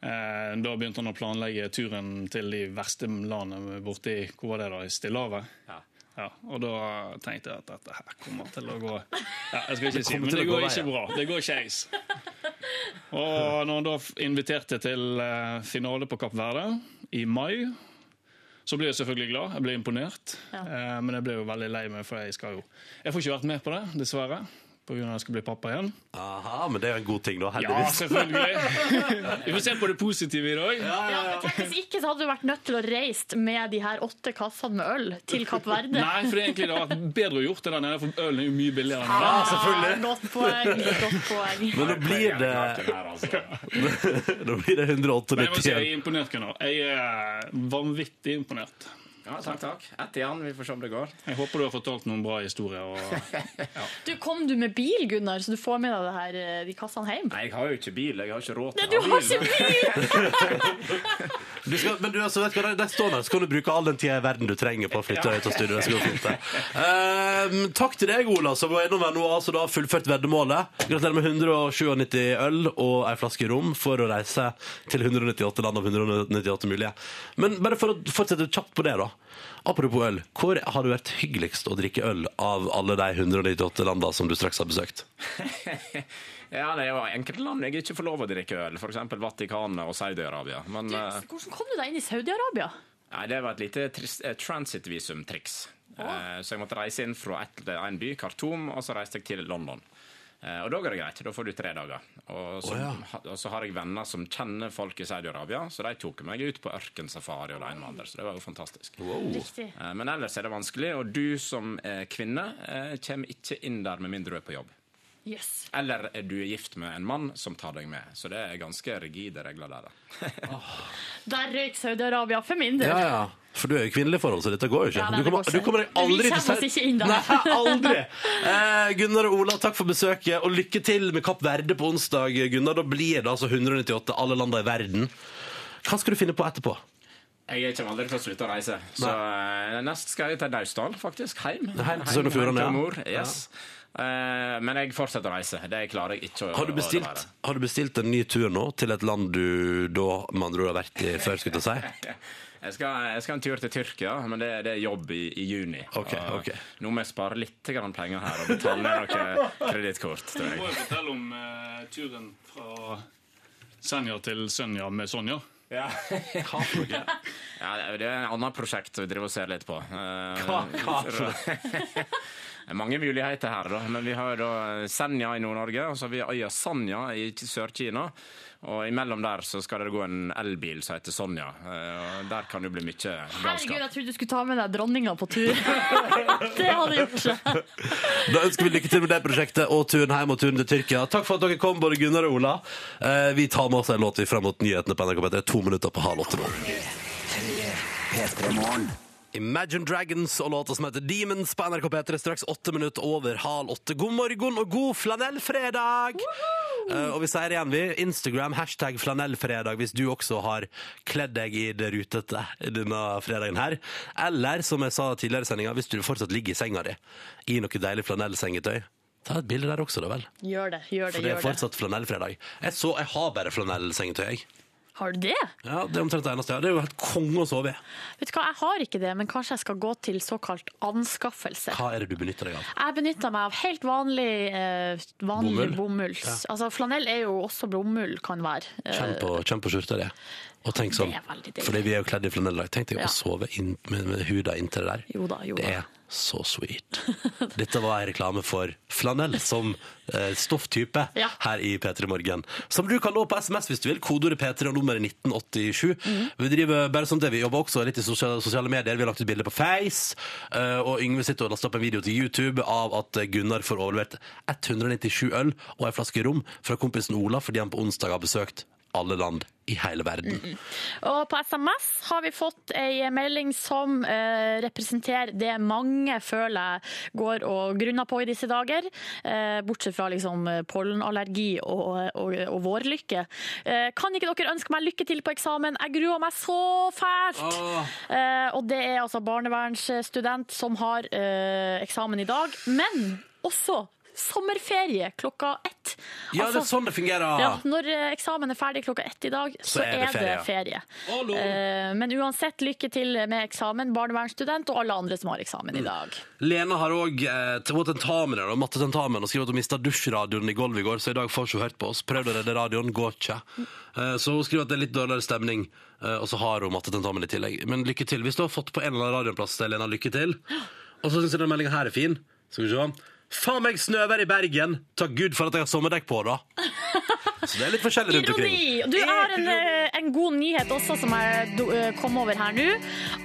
[SPEAKER 7] Eh, da begynte han å planlegge turen til de verste landene borti Hvor var det, da? I Stillehavet?
[SPEAKER 5] Ja.
[SPEAKER 7] Ja, og da tenkte jeg at dette her kommer til å gå ja, Jeg skal ikke si,
[SPEAKER 2] kommer
[SPEAKER 7] men
[SPEAKER 2] til
[SPEAKER 7] det
[SPEAKER 2] å gå
[SPEAKER 7] går
[SPEAKER 2] vei,
[SPEAKER 7] ikke bra. Det går skeis. Og når han da f- inviterte til eh, finale på Kapp Verde i mai, så ble jeg selvfølgelig glad. Jeg ble imponert. Eh, Men jeg ble jo veldig lei meg, for jeg skal jo Jeg får ikke vært med på det, dessverre. Pga. at jeg skal bli pappa igjen.
[SPEAKER 2] Aha, men det er jo en god ting, da.
[SPEAKER 7] Ja,
[SPEAKER 2] Heldigvis.
[SPEAKER 7] selvfølgelig! Vi får se på det positive i dag.
[SPEAKER 4] Ja, men tenk Hvis ikke så hadde du vært nødt til å reise med de her åtte kassene med øl til Kapp Verde.
[SPEAKER 7] Nei, for det er egentlig det har vært bedre å gjort det der nede, for ølen er jo mye billigere. enn
[SPEAKER 2] Ja, selvfølgelig.
[SPEAKER 4] Godt poeng. Godt poeng.
[SPEAKER 2] Men da blir det altså
[SPEAKER 5] Den her, altså.
[SPEAKER 2] Da blir det
[SPEAKER 7] Men altså, jeg må
[SPEAKER 2] 198
[SPEAKER 7] si jeg
[SPEAKER 2] igjen.
[SPEAKER 7] er imponert, Gunnar. Jeg er vanvittig imponert.
[SPEAKER 5] Ja, takk, takk. Ett igjen. Vi får se om det går.
[SPEAKER 7] Jeg håper du har fortalt noen bra historier. Og...
[SPEAKER 4] Du Kom du med bil, Gunnar, så du får med deg det her, eh, de kassene hjem?
[SPEAKER 5] Nei, jeg har jo ikke bil. Jeg har ikke råd
[SPEAKER 4] Nei,
[SPEAKER 5] til
[SPEAKER 4] du
[SPEAKER 5] å ha
[SPEAKER 4] har
[SPEAKER 5] bil.
[SPEAKER 4] ikke bil!
[SPEAKER 2] Du skal, men du, altså, vet du hva, det står der, så kan du bruke all den tida i verden du trenger på å flytte deg ut av studio. Det skal gå fint, det. Ehm, takk til deg, Ola, som var innom her nå altså, da har fullført veddemålet. Gratulerer med 197 øl og ei flaske rom for å reise til 198 land av 198 mulige. Men bare for å fortsette kjapt på det, da. Apropos øl. Hvor har det vært hyggeligst å drikke øl av alle de 198 landa som du straks har besøkt?
[SPEAKER 5] Ja, det er jo enkelte land jeg ikke får lov å drikke øl. F.eks. Vatikanet og Saudi-Arabia. Men
[SPEAKER 4] Du,
[SPEAKER 5] eh,
[SPEAKER 4] hvordan kom du deg inn i Saudi-Arabia?
[SPEAKER 5] nei, det var et lite trist- eh, transit-visum-triks. Eh, Så jeg måtte reise inn fra et, eh, en by, Khartoum, og så reiste jeg til London. Eh, Og da går det greit. Da får du tre dager. Og så,
[SPEAKER 2] Å, ja.
[SPEAKER 5] ha- og så har jeg venner som kjenner folk i Saudi-Arabia, så de tok meg ut på ørkensafari og det ene med andre. Så det var jo fantastisk.
[SPEAKER 4] Riktig.
[SPEAKER 5] Eh, Men ellers er det vanskelig, og du som eh, kvinne eh, kommer ikke inn der med mindre du er på jobb.
[SPEAKER 4] Yes.
[SPEAKER 5] Eller er du gift med en mann som tar deg med. Så det er ganske rigide regler der. da.
[SPEAKER 4] Der røyk Saudi-Arabia for min del.
[SPEAKER 2] Ja, ja. For du er jo i kvinnelig forhold, så dette går jo ikke.
[SPEAKER 4] Ja, nei,
[SPEAKER 2] du,
[SPEAKER 4] det
[SPEAKER 2] kommer,
[SPEAKER 4] går
[SPEAKER 2] du
[SPEAKER 4] ikke.
[SPEAKER 2] kommer deg
[SPEAKER 4] Vi
[SPEAKER 2] aldri
[SPEAKER 4] kommer oss ikke inn der.
[SPEAKER 2] Nei, aldri. Eh, Gunnar og Ola, takk for besøket, og lykke til med Kapp Verde på onsdag. Gunnar, da blir det altså 198 alle landa i verden. Hva skal du finne på etterpå?
[SPEAKER 5] Jeg kommer aldri til å slutte å reise. Så eh, nest skal jeg til Naustdal, faktisk. Heim.
[SPEAKER 2] Heim til Sogn og Fjordane,
[SPEAKER 5] til
[SPEAKER 2] ja.
[SPEAKER 5] mor. Yes. Eh, men jeg fortsetter å reise. Det klarer jeg ikke å
[SPEAKER 2] Har du,
[SPEAKER 5] å la
[SPEAKER 2] bestilt,
[SPEAKER 5] være.
[SPEAKER 2] har du bestilt en ny tur nå til et land du da med andre ord har vært i før? skulle jeg til å si?
[SPEAKER 5] Jeg skal, jeg skal en tur til Tyrkia, men det, det er jobb i, i juni.
[SPEAKER 2] Ok,
[SPEAKER 5] Og
[SPEAKER 2] ok.
[SPEAKER 5] Nå må jeg spare litt grann penger her og betale ned noe kredittkort. tror
[SPEAKER 7] Jeg må
[SPEAKER 5] jeg.
[SPEAKER 7] jo fortelle om eh, turen fra Senja til Sønja med Sonja.
[SPEAKER 5] Ja. Ja, det er et annet prosjekt vi driver og ser litt på. Eh,
[SPEAKER 2] Hva- hva for
[SPEAKER 5] Mange muligheter her, da. Men vi har da Senja i Nord-Norge, og så har vi øya Sanja i K- Sør-Kina. Og imellom der så skal det gå en elbil som heter Sonja. Eh, og Der kan det jo bli mye
[SPEAKER 4] Herregud, jeg
[SPEAKER 5] galskap.
[SPEAKER 4] trodde du skulle ta med deg dronninga på tur. det hadde gjort seg.
[SPEAKER 2] Da ønsker vi lykke til med det prosjektet og turen hjem og turen til Tyrkia. Takk for at dere kom, både Gunnar og Ola. Eh, vi tar med oss en låt vi fram mot nyhetene på NRK P3. To minutter på halv åtte nå. Imagine Dragons og låta som heter Demons på NRK P3 straks åtte minutter over halv åtte. God morgen og god flanellfredag! Eh, og vi sier igjen, vi, Instagram, hashtag flanellfredag hvis du også har kledd deg i det rutete denne fredagen her. Eller, som jeg sa tidligere i sendinga, hvis du fortsatt ligger i senga di i noe deilig flanellsengetøy. Ta et bilde der også, da vel.
[SPEAKER 4] Gjør det, gjør det.
[SPEAKER 2] For det er
[SPEAKER 4] gjør det.
[SPEAKER 2] fortsatt flanellfredag. Jeg, så, jeg har bare flanellsengetøy, jeg.
[SPEAKER 4] Har du det?
[SPEAKER 2] Ja, det er omtrent det eneste jeg har. Det er jo helt konge å sove i.
[SPEAKER 4] Vet du hva, Jeg har ikke det, men kanskje jeg skal gå til såkalt anskaffelse.
[SPEAKER 2] Hva er det du benytter deg av?
[SPEAKER 4] Jeg benytter meg av helt vanlig, eh, vanlig
[SPEAKER 2] Bomull?
[SPEAKER 4] bomulls. Altså, flanell er jo også bomull, kan være. Eh,
[SPEAKER 2] Kjenn på, kjenn på skjorta di. Og tenk sånn,
[SPEAKER 4] Det er veldig deilig.
[SPEAKER 2] fordi vi er jo kledd i flanell i dag. Tenk deg
[SPEAKER 4] Ja.
[SPEAKER 2] å sove inn, med, med huda inntil det der.
[SPEAKER 4] Jo da, jo
[SPEAKER 2] Det
[SPEAKER 4] da.
[SPEAKER 2] er så sweet. Dette var en reklame for flanell som eh, stofftype
[SPEAKER 4] Ja.
[SPEAKER 2] her i P3 Morgen. Som du kan nå på SMS hvis du vil. Kodeordet P3 og nummeret 1987.
[SPEAKER 4] Mhm.
[SPEAKER 2] Vi driver bare som det. Vi jobber også litt i sosiale, sosiale medier. Vi har lagt ut bilder på Face. eh, og Yngve sitter og laster opp en video til YouTube av at eh, Gunnar får overlevert 197 øl og ei flaske rom fra kompisen Ola fordi han på onsdag har besøkt alle land i hele verden.
[SPEAKER 4] Og på SMS har vi fått ei melding som eh, representerer det mange føler jeg går og grunner på i disse dager. Eh, bortsett fra liksom eh, pollenallergi og, og, og vårlykke. Eh, kan ikke dere ønske meg lykke til på eksamen? Jeg gruer meg så fælt! Eh, og det er altså barnevernsstudent som har eh, eksamen i dag. Men også sommerferie klokka ett.
[SPEAKER 2] Ja, det
[SPEAKER 4] Altså-
[SPEAKER 2] er sånn det fungerer.
[SPEAKER 4] ja, når eh, eksamen er ferdig klokka ett i dag, så, er det ferie.
[SPEAKER 2] Hallo.
[SPEAKER 4] Eh, Men uansett, lykke til med eksamen, barnevernsstudent og alle andre som har
[SPEAKER 2] Mm.
[SPEAKER 4] eksamen i dag.
[SPEAKER 2] Lena har òg eh, t- hun har tentamen og mattetentamen og skriver at hun mista dusjradioen i gulvet i går, så i dag får hun ikke hørt på oss. Prøvd å redde radioen, går ikke. Eh, så hun skriver at det er litt dårligere stemning, eh, og så har hun mattetentamen i tillegg. Men lykke til. Hvis du har fått på en eller annen radioplass, Lena, lykke til. Og så syns jeg denne meldinga her er fin. Skal vi se. Faen meg snøvær i Bergen! Takk Gud for at jeg har sommerdekk på, da. Så det er litt forskjellig rundt omkring.
[SPEAKER 4] Ironi! Du jeg har en, eh, en god nyhet også som jeg do- eh, kom over her nå.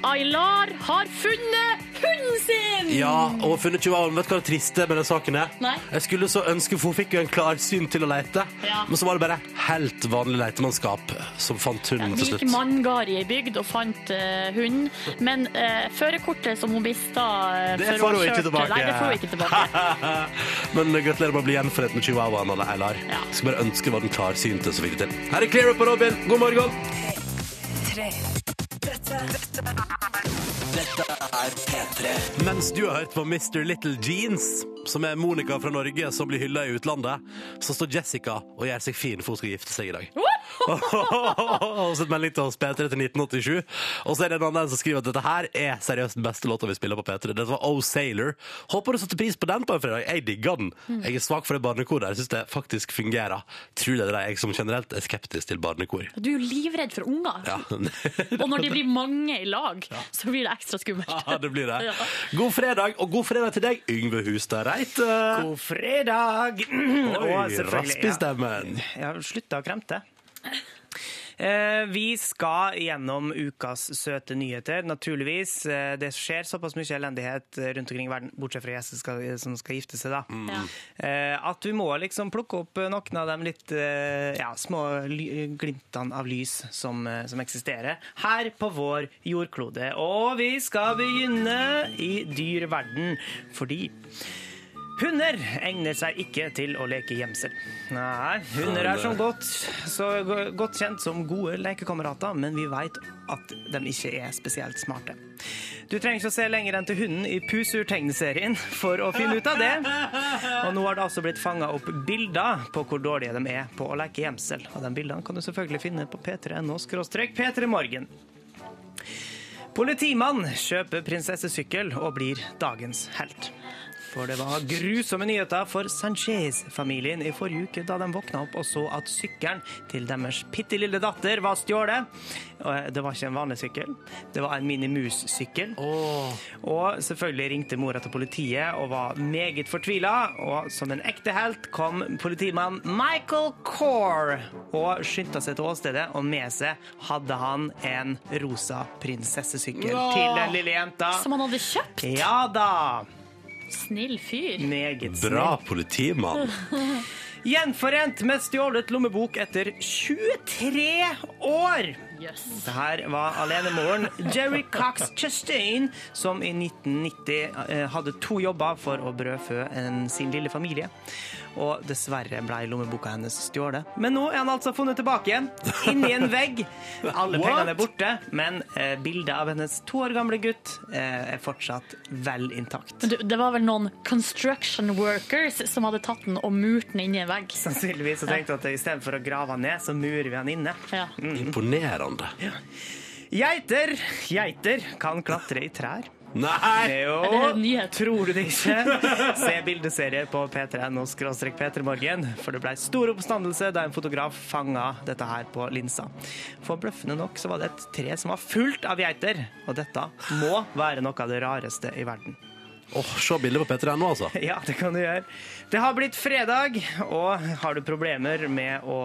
[SPEAKER 4] Aylar har funnet hunden sin!
[SPEAKER 2] Ja, og funnet tjuvalen. Vet du hva det triste med den saken er?
[SPEAKER 4] Nei.
[SPEAKER 2] Jeg skulle så ønske, for hun fikk jo en klar syn til å lete.
[SPEAKER 4] Ja.
[SPEAKER 2] Men så var det bare helt vanlig letemannskap som fant hunden
[SPEAKER 4] De
[SPEAKER 2] til
[SPEAKER 4] gikk
[SPEAKER 2] slutt.
[SPEAKER 4] manngard i ei bygd og fant eh, hunden, men eh, førerkortet som hun mista eh,
[SPEAKER 2] Det
[SPEAKER 4] før
[SPEAKER 2] får hun ikke
[SPEAKER 4] kjørte-
[SPEAKER 2] tilbake.
[SPEAKER 4] Nei, det får hun ikke tilbake.
[SPEAKER 2] Men gratulerer med å bli gjenforent med chihuahuaen Anne Eilar.
[SPEAKER 4] Ja.
[SPEAKER 2] Skal bare ønske det var den klarsynte som fikk det til. Her er Clear Up og Robin. God morgen. Mens du har hørt på Mr. Little Jeans, som er Monica fra Norge som blir hylla i utlandet, så står Jessica og gjør seg fin for hun skal gifte seg i dag. Og så et melding til oss P3 til 1987. Og så er det en annen som skriver at dette her er seriøst den beste låta vi spiller på P3. Dette var O Sailor. Håper du satte pris på den på en fredag. Jeg digger den. Jeg er svak for det barnekoret. Jeg syns det faktisk fungerer. Tror det er jeg som generelt er skeptisk til barnekor.
[SPEAKER 4] Du er jo livredd for unger.
[SPEAKER 2] Ja.
[SPEAKER 4] Og når de blir mange i lag, så blir det ekstra skummelt.
[SPEAKER 2] Ja, det blir det.
[SPEAKER 4] Ja.
[SPEAKER 2] God fredag, og god fredag til deg, Yngve Hustad Reite.
[SPEAKER 3] God fredag!
[SPEAKER 2] Oi,
[SPEAKER 3] Og selvfølgelig-
[SPEAKER 2] rasp i stemmen.
[SPEAKER 3] Ja, Jeg har slutta å kremte. Eh, Vi skal gjennom ukas søte nyheter, naturligvis. Eh, Det skjer såpass mye elendighet eh, rundt omkring i verden, bortsett fra gjester skal- som skal gifte seg, da.
[SPEAKER 4] Ja.
[SPEAKER 3] Eh, At vi må liksom plukke opp noen av de litt eh, ja, små ly- glimtene av lys som, eh, som eksisterer her på vår jordklode. Og vi skal begynne i dyrverden, fordi Hunder egner seg ikke til å leke gjemsel. Nei, hunder er som godt, så go- godt kjent som gode lekekamerater, men vi vet at de ikke er spesielt smarte. Du trenger ikke å se lenger enn til hunden i Pusur-tegneserien for å finne ut av det. Og nå har det altså blitt fanga opp bilder på hvor dårlige de er på å leke gjemsel. Og de bildene kan du selvfølgelig finne på p3.no skråstrek p3morgen. Politimann kjøper prinsessesykkel og blir dagens helt. For det var grusomme nyheter for Sanchez-familien i forrige uke da de våkna opp og så at sykkelen til deres bitte lille datter var stjålet. Og Det var ikke en vanlig sykkel, det var en Mini Mus-sykkel. Og selvfølgelig ringte mora til politiet og var meget fortvila. Og som en ekte helt kom politimann Michael Core og skyndte seg til åstedet, og med seg hadde han en rosa prinsessesykkel til den lille jenta.
[SPEAKER 4] Som han hadde kjøpt?
[SPEAKER 3] Ja da!
[SPEAKER 4] Snill fyr.
[SPEAKER 3] Meget
[SPEAKER 2] Bra
[SPEAKER 3] snill.
[SPEAKER 2] politimann.
[SPEAKER 3] Gjenforent med stjålet lommebok etter 23 år!
[SPEAKER 4] Yes.
[SPEAKER 3] Det her var alenemoren Jerry Cox Chastain, som i 1990 eh, hadde to jobber for å brødfø en, sin lille familie. Og dessverre ble lommeboka hennes stjålet. Men nå er han altså funnet tilbake igjen, inni en vegg. Alle pengene er borte, men eh, bildet av hennes to år gamle gutt eh, er fortsatt vel intakt.
[SPEAKER 4] Du, Det var vel noen construction workers som hadde tatt den og murt den inn i en vegg.
[SPEAKER 3] Sannsynligvis så tenkte jeg at istedenfor å grave han ned, så murer vi han inne. Mm.
[SPEAKER 4] Ja.
[SPEAKER 2] Imponerende.
[SPEAKER 3] Geiter, geiter kan klatre i trær.
[SPEAKER 2] Nei!
[SPEAKER 3] Jo,
[SPEAKER 4] Er det en nyhet?
[SPEAKER 3] tror du det ikke? Se bildeserier på p3.no p3morgen, for det ble stor oppstandelse da en fotograf fanga dette her på linsa. Forbløffende nok så var det et tre som var fullt av geiter, og dette må være noe av det rareste i verden.
[SPEAKER 2] Åh, se bildet på P3 nå, altså.
[SPEAKER 3] Ja, det kan du gjøre. Det har blitt fredag, og har du problemer med å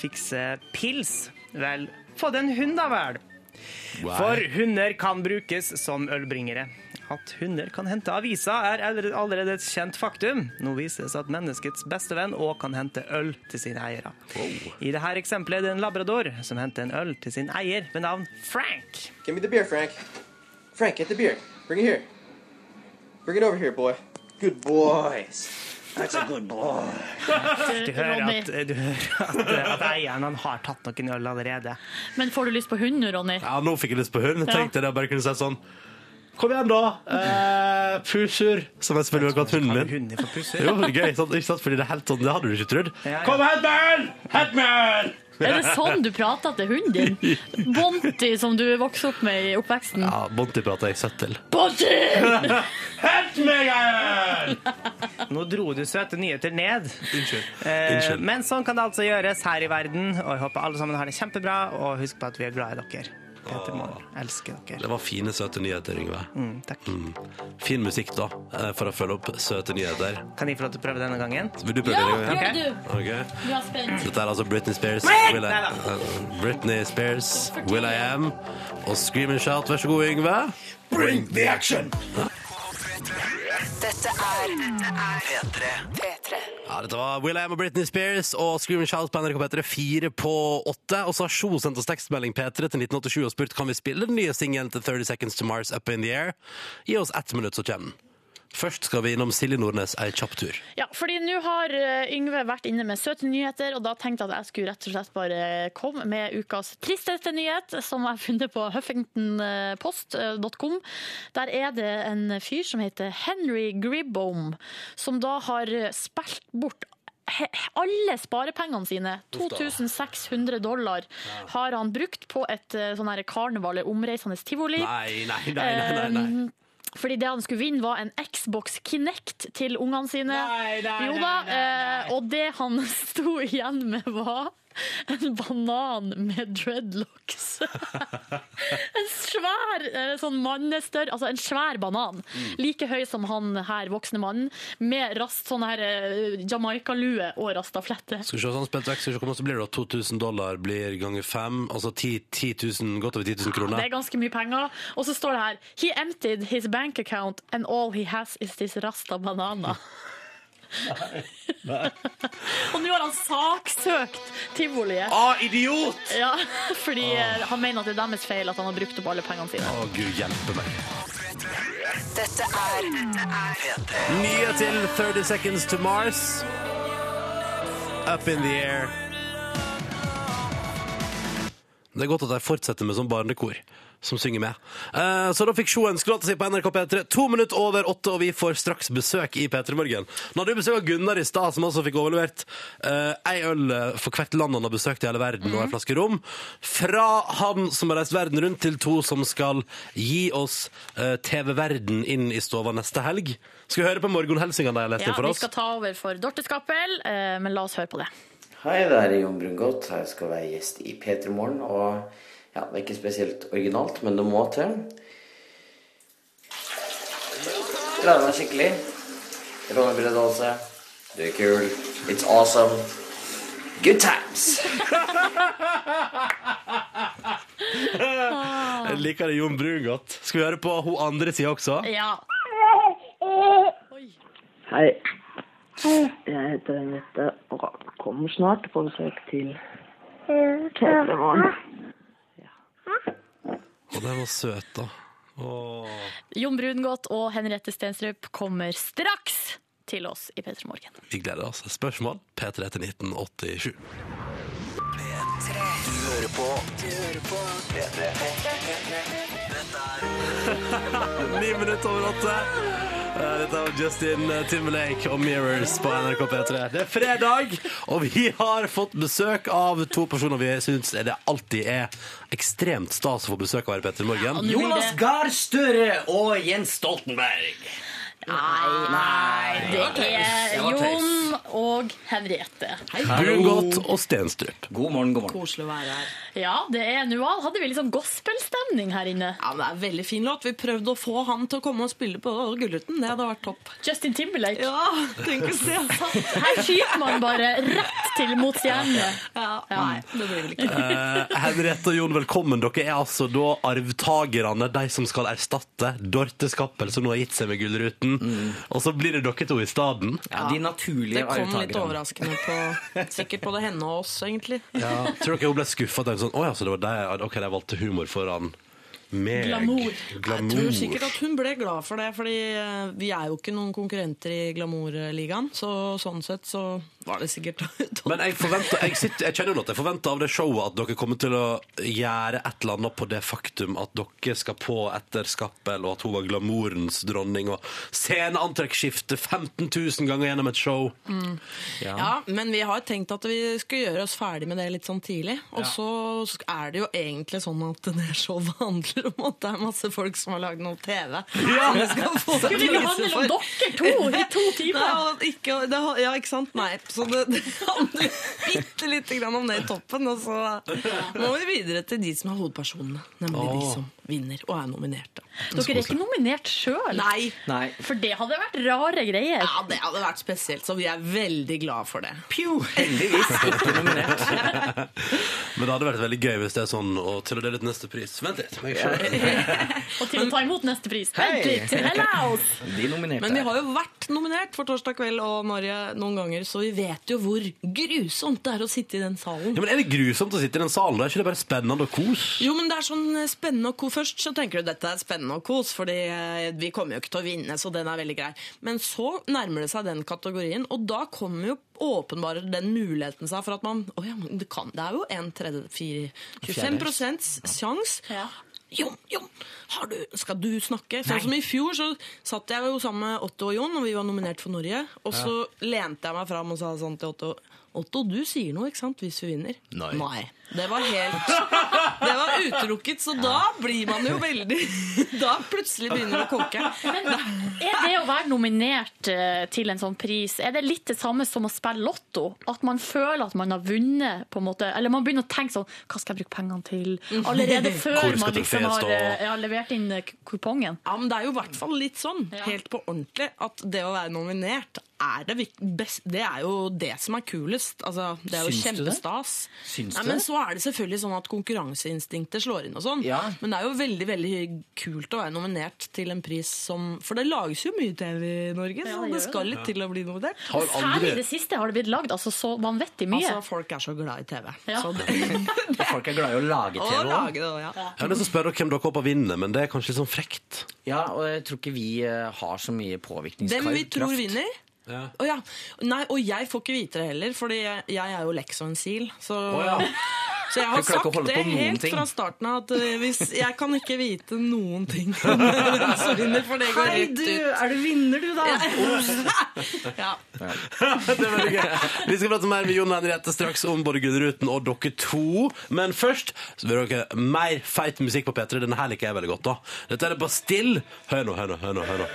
[SPEAKER 3] fikse pils, vel, få deg en hund da vel. For hunder kan brukes som ølbringere. At hunder kan hente avisa er allerede- allerede et kjent faktum. Nå viser det seg at menneskets beste venn òg kan hente øl til sine eiere. I dette eksempelet er det en labrador som henter en øl til sin eier ved navn Frank.
[SPEAKER 8] Give me the beer, Frank. Frank, get the beer. Bring it here. Bring it over here, boy. Good boys. That's a good boy.
[SPEAKER 3] Du hører
[SPEAKER 4] Ronny.
[SPEAKER 3] at, du hører at, at eieren han har tatt noen øl allerede.
[SPEAKER 4] Men får du lyst på hund nå, Ronny?
[SPEAKER 2] Ja, nå fikk jeg lyst på hund. Jeg tenkte jeg bare kunne si sånn Kom igjen, da! Eh, pusher! Som jeg selvfølgelig har kalt hunden
[SPEAKER 3] Kan
[SPEAKER 2] min.
[SPEAKER 3] hunder få pusse?
[SPEAKER 2] Det var gøy, sant? ikke sant? Fordi det er helt sånn, det hadde du ikke trodd.
[SPEAKER 3] Ja, ja.
[SPEAKER 2] Kom og hent meg øl! Hent meg øl!
[SPEAKER 4] Er det sånn du prater til hunden din? Bonti, som du vokste opp med i oppveksten.
[SPEAKER 2] Ja, Bonti prater jeg søtt til.
[SPEAKER 4] Bonti!
[SPEAKER 2] Hent meg øl!
[SPEAKER 3] Nå dro du søte nyheter ned.
[SPEAKER 2] Unnskyld.
[SPEAKER 3] Eh,
[SPEAKER 2] Unnskyld.
[SPEAKER 3] Men sånn kan det altså gjøres her i verden, og jeg håper alle sammen har det kjempebra. Og husk på at vi er glad i dere. Peter Morgen elsker dere.
[SPEAKER 2] Det var fine, søte nyheter, Yngve.
[SPEAKER 3] Mm, takk.
[SPEAKER 2] Fin musikk, da, eh, for å følge opp søte nyheter.
[SPEAKER 3] Kan jeg få lov til å prøve denne gangen?
[SPEAKER 2] Vil du prøve
[SPEAKER 4] Ja,
[SPEAKER 2] det?
[SPEAKER 4] gjør
[SPEAKER 2] Yngve?
[SPEAKER 4] det du!
[SPEAKER 2] Ok.
[SPEAKER 4] Du er spent.
[SPEAKER 2] Dette er altså Britney Spears.
[SPEAKER 3] Nei!
[SPEAKER 2] Will I,
[SPEAKER 3] Neida.
[SPEAKER 2] eh, Britney Spears, Will I Am og Scream and Shout. Vær så god, Yngve.
[SPEAKER 8] Bring the action.
[SPEAKER 9] Dette er P3. P3.
[SPEAKER 2] Ja, dette var Will I Am og Britney Spears og Screaming Shout på NRK P3 4 på 8. Og så har Sjo sendt oss tekstmelding P3 til 1987 og spurt kan vi spille den nye singelen til 30 Seconds to Mars Up in the Air. Gi oss ett minutt, så kommer den. Først skal vi innom Silje Nordnes ei kjapp tur.
[SPEAKER 4] Ja, fordi nå har eh, Yngve vært inne med søte nyheter, og da tenkte jeg at jeg skulle rett og slett bare komme med ukas tristeste nyhet, som jeg har funnet på huffingtonpost.com. Der er det en fyr som heter Henry Gribbom, som da har spilt bort he- alle sparepengene sine, 2600 dollar, har han brukt på et eh, sånn her karneval, omreisende tivoli. Eh,
[SPEAKER 2] Nei, nei, nei, nei. nei, nei.
[SPEAKER 4] Fordi det han skulle vinne var en Xbox Kinect til ungene sine.
[SPEAKER 3] Nei, nei,
[SPEAKER 4] jo da,
[SPEAKER 3] nei, nei, nei.
[SPEAKER 4] eh, Og det han sto igjen med var en banan med dreadlocks. en svær eh, sånn mannestørr, altså en svær banan.
[SPEAKER 3] Mm.
[SPEAKER 4] Like høy som han her voksne mannen, med rast sånn her eh, Jamaica-lue og rastaflette.
[SPEAKER 2] Skal vi se, sånn spilt vekk, skal vi se hvor mye det blir da 2000 dollar blir ganger 5, altså 10, 000, godt over 10 000
[SPEAKER 4] Det
[SPEAKER 2] kroner.
[SPEAKER 4] er ganske mye penger. Og så står det her He emptied his bank account and all he has is this rasta banana. og nå har han saksøkt tivoliet.
[SPEAKER 2] Ah, idiot!
[SPEAKER 4] Ja, fordi eh, han mener at det er deres feil at han har brukt opp alle pengene sine.
[SPEAKER 2] Å, Gud hjelpe meg.
[SPEAKER 9] Dette er P3.
[SPEAKER 2] Nye til 30 Seconds to Mars. Up in the air. Det er godt at de fortsetter med sånn barnekor. som synger med. Eh, så da fikk Sjo ønskelåta si på NRK P3 to minutter over åtte, og vi får straks besøk i P3 Morgen. Nå hadde vi besøk av Gunnar i stad, som altså fikk overlevert eh, ei øl for hvert land han har besøkt i hele verden, og
[SPEAKER 4] Mhm.
[SPEAKER 2] ei flaske rom. Fra han som har reist verden rundt, til to som skal gi oss eh, TV-verden inn i stova neste helg. Skal vi høre på morgenhelsingene de har lest
[SPEAKER 4] Ja,
[SPEAKER 2] inn for
[SPEAKER 4] vi
[SPEAKER 2] oss?
[SPEAKER 4] skal ta over for Dorte Skappel, eh, men la oss høre på det.
[SPEAKER 10] Hei, det er Jon Brungot. Jeg skal være gjest i P3 Morgen. Og ja, det er ikke spesielt originalt, men det må til. Gleder meg skikkelig. Ronny Brede Aase. Du er kul. It's awesome. Good times!
[SPEAKER 2] Jeg liker det Jon Brun godt. Skal vi høre på hun andre sida også?
[SPEAKER 4] Ja.
[SPEAKER 11] Hei. Jeg heter Henriette og kommer snart på besøk til Tøytremorgen.
[SPEAKER 2] Og den var søt, da. Åh.
[SPEAKER 4] Jon Brungot og Henriette Stenstrup kommer straks til oss i P3 Morgen.
[SPEAKER 2] Vi gleder oss. Spørsmål P3 til 1987. Ni minutter over åtte. Eh, Dette er Justin Timberlake og Mirrors på NRK P3. Det er fredag, og vi har fått besøk av to personer vi syns det alltid er ekstremt stas å få besøk av her i P3 Morgen.
[SPEAKER 4] Nå blir det-
[SPEAKER 12] Gahr Støre og Jens Stoltenberg.
[SPEAKER 4] Nei, det er
[SPEAKER 12] var tøys.
[SPEAKER 4] Jon og Henriette.
[SPEAKER 2] Brungot og Stenstrup.
[SPEAKER 12] God morgen, god morgen.
[SPEAKER 11] Koselig å være her.
[SPEAKER 4] Ja, det er Noal. Hadde vi litt sånn gospelstemning her inne?
[SPEAKER 11] Ja, men Det er en veldig fin låt. Vi prøvde å få han til å komme og spille på Gullruten. Det hadde vært topp.
[SPEAKER 4] Justin Timberlake.
[SPEAKER 11] Ja, tenk å se.
[SPEAKER 4] Her skyter man bare rett til mot stjernene.
[SPEAKER 11] Ja, nei, det blir vel ikke.
[SPEAKER 2] Eh, Henriette og Jon, velkommen. Dere er altså da arvtakerne, de som skal erstatte Dorte Skappel, som nå har gitt seg med Gullruten. Og så blir det dere to i staden.
[SPEAKER 12] Mm. Ja, de naturlige
[SPEAKER 11] Det kom litt
[SPEAKER 12] arvtakerne.
[SPEAKER 11] overraskende på Sikkert både henne og oss, egentlig.
[SPEAKER 2] Tror dere hun ble skuffa? Sånn, «Å ja, så det var deg. Ok, de valgte humor foran meg.
[SPEAKER 4] Glamour.
[SPEAKER 11] Jeg
[SPEAKER 2] Glamour.
[SPEAKER 11] tror sikkert at hun ble glad for det, fordi eh, vi er jo ikke noen konkurrenter i Glamour-ligaen. Så sånn sett så var det sikkert
[SPEAKER 2] Men jeg, forventer, jeg, sitter, jeg kjenner jo at jeg forventer av det showet at dere kommer til å gjøre et eller annet på det faktum at dere skal på etter Skappel, og at hun var glamourens dronning, og sceneantrekksskifte 15 000 ganger gjennom et show.
[SPEAKER 11] mm. Ja, men vi har tenkt at vi skulle gjøre oss ferdig med det litt sånn tidlig. Og så sk- er det jo egentlig sånn at det showet handler om at det er masse folk som har lagd noe TV. Ja! Som vi skal få
[SPEAKER 4] Skulle det
[SPEAKER 11] priser
[SPEAKER 4] handle
[SPEAKER 11] for.
[SPEAKER 4] om dere to i to
[SPEAKER 11] Nei,
[SPEAKER 4] timer?
[SPEAKER 11] og ikke, det, har- ja, ikke sant? Nei, så det, det handler bitte lite grann om det i toppen, og så må vi videre til de som er hovedpersonene. Nemlig de som vinner og er nominerte.
[SPEAKER 4] Dere er ikke nominert sjøl.
[SPEAKER 11] Nei!
[SPEAKER 12] Nei.
[SPEAKER 4] For det hadde vært rare greier.
[SPEAKER 11] Ja, det hadde vært spesielt, så vi er veldig glad for det.
[SPEAKER 12] Pjo, heldigvis ikke nominert.
[SPEAKER 2] Men det hadde vært veldig gøy hvis det er sånn og til å dele ut neste pris. Vent litt. må jeg se.
[SPEAKER 4] Og til å ta imot neste pris.
[SPEAKER 12] Hei!
[SPEAKER 4] Vent litt. Hello!
[SPEAKER 12] De nominerte.
[SPEAKER 11] Men vi har jo vært nominert for Torsdag kveld og Norge noen ganger, så vi vet jo hvor grusomt det er å sitte i den salen.
[SPEAKER 2] Ja, men er det grusomt å sitte i den salen? Er ikke det bare spennende og kos?
[SPEAKER 11] Jo, men det er sånn eh, spennende og kos. Først så tenker du dette er spennende og kos, fordi eh, vi kommer jo ikke til å vinne, så den er veldig grei. Men så nærmer det seg den kategorien, og da kommer jo åpenbare den muligheten seg for at man Å ja, men det kan Det er jo en tredje, fire 25 sjanse.
[SPEAKER 4] Ja.
[SPEAKER 11] Jon, Jon, har du, skal du snakke? Sånn som I fjor så satt jeg jo sammen med Otto og Jon, og vi var nominert for Norge. Og så lente jeg meg fram og sa sånn til Otto Otto, du sier noe, ikke sant, hvis vi vinner?
[SPEAKER 12] Nei.
[SPEAKER 11] Det var helt Det var utelukket, så da blir man jo veldig Da plutselig begynner det å koke.
[SPEAKER 4] Men er det å være nominert eh, til en sånn pris, er det litt det samme som å spille lotto? At man føler at man har vunnet, på en måte? Eller man begynner å tenke sånn Hva skal jeg bruke pengene til? Allerede
[SPEAKER 2] Hvor
[SPEAKER 4] før
[SPEAKER 2] skal
[SPEAKER 4] man liksom
[SPEAKER 2] trofeet
[SPEAKER 4] har
[SPEAKER 2] stå?
[SPEAKER 4] eh, ja, levert inn eh, kupongen.
[SPEAKER 11] Ja, men Det er jo i hvert fall litt sånn, helt på ordentlig, at det å være nominert er det, vik- best, det er jo det som er kulest. Altså, det er jo
[SPEAKER 12] Syns du det?
[SPEAKER 11] kjempestas.
[SPEAKER 12] Syns
[SPEAKER 11] Nei,
[SPEAKER 12] du
[SPEAKER 11] men
[SPEAKER 12] det?
[SPEAKER 11] så er det selvfølgelig sånn at konkurranseinstinktet slår inn og sånn.
[SPEAKER 12] Ja.
[SPEAKER 11] Men det er jo veldig veldig kult å være nominert til en pris som For det lages jo mye TV i Norge,
[SPEAKER 4] Ja,
[SPEAKER 11] så
[SPEAKER 4] det
[SPEAKER 11] det
[SPEAKER 4] gjør
[SPEAKER 11] skal litt til å bli nominert.
[SPEAKER 2] Har
[SPEAKER 4] Særlig i det siste har det blitt lagd altså, så vanvittig mye.
[SPEAKER 11] Altså, folk er så glad i TV.
[SPEAKER 4] Ja.
[SPEAKER 11] Så det,
[SPEAKER 12] Folk er glad i å lage
[SPEAKER 11] og
[SPEAKER 12] TV
[SPEAKER 11] lage
[SPEAKER 12] òg.
[SPEAKER 11] det, ja.
[SPEAKER 2] Jeg har lyst til å spørre dere hvem dere håper vinner, men det er kanskje litt sånn frekt.
[SPEAKER 12] Ja, og jeg tror ikke vi eh, har så mye påvirkningskraft.
[SPEAKER 11] Dem vi tror vinner. Å ja. Nei, og jeg får ikke vite det heller, Fordi jeg jeg er jo leksoensil. Så
[SPEAKER 12] Å ja.
[SPEAKER 11] Så jeg har
[SPEAKER 12] Du klarer ikke å
[SPEAKER 11] sagt
[SPEAKER 12] holde
[SPEAKER 11] det
[SPEAKER 12] på noen
[SPEAKER 11] helt
[SPEAKER 12] ting.
[SPEAKER 11] fra starten av at eh, hvis, jeg kan ikke vite noen ting om Rensorvinner, for det går
[SPEAKER 12] Hei,
[SPEAKER 11] rett
[SPEAKER 12] du,
[SPEAKER 11] ut.
[SPEAKER 12] er du vinner, du, da?
[SPEAKER 11] ja.
[SPEAKER 2] det er veldig gøy. Vi skal prate mer med Jon og Henriette straks om både Gullruten og dere to. Men først så vil dere mer feit musikk på P3. Denne her liker jeg veldig godt. da. Dette er Bastille. Hør nå, hør nå, hør nå. hør nå.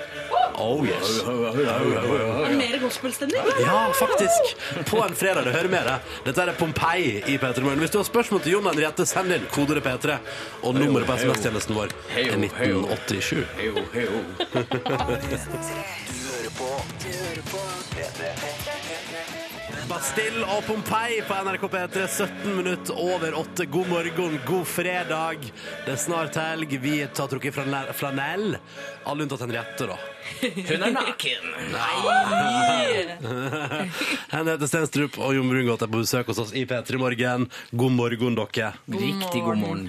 [SPEAKER 2] Oh yes.
[SPEAKER 11] Er det mer gospelstemning?
[SPEAKER 2] Ja, faktisk. På en fredag. Det hører med det. Dette er Pompeii i P3 Morgen. Hvis du har spørsmål til Jon og Henriette, send inn kodere P3. Og nummeret på SMS-tjenesten vår er 1987. Bastille og Pompeii på NRK P3, 17 minutter over 8. God morgen, god fredag. Det er snart helg. Vi har trukket flanell. flanell. Alle unntatt Henriette, da.
[SPEAKER 12] Hun er naken.
[SPEAKER 2] Nei! Henriette Stenstrup og Jon Brungot er på besøk hos oss i P3 Morgen. God morgen, dere.
[SPEAKER 12] Riktig god morgen.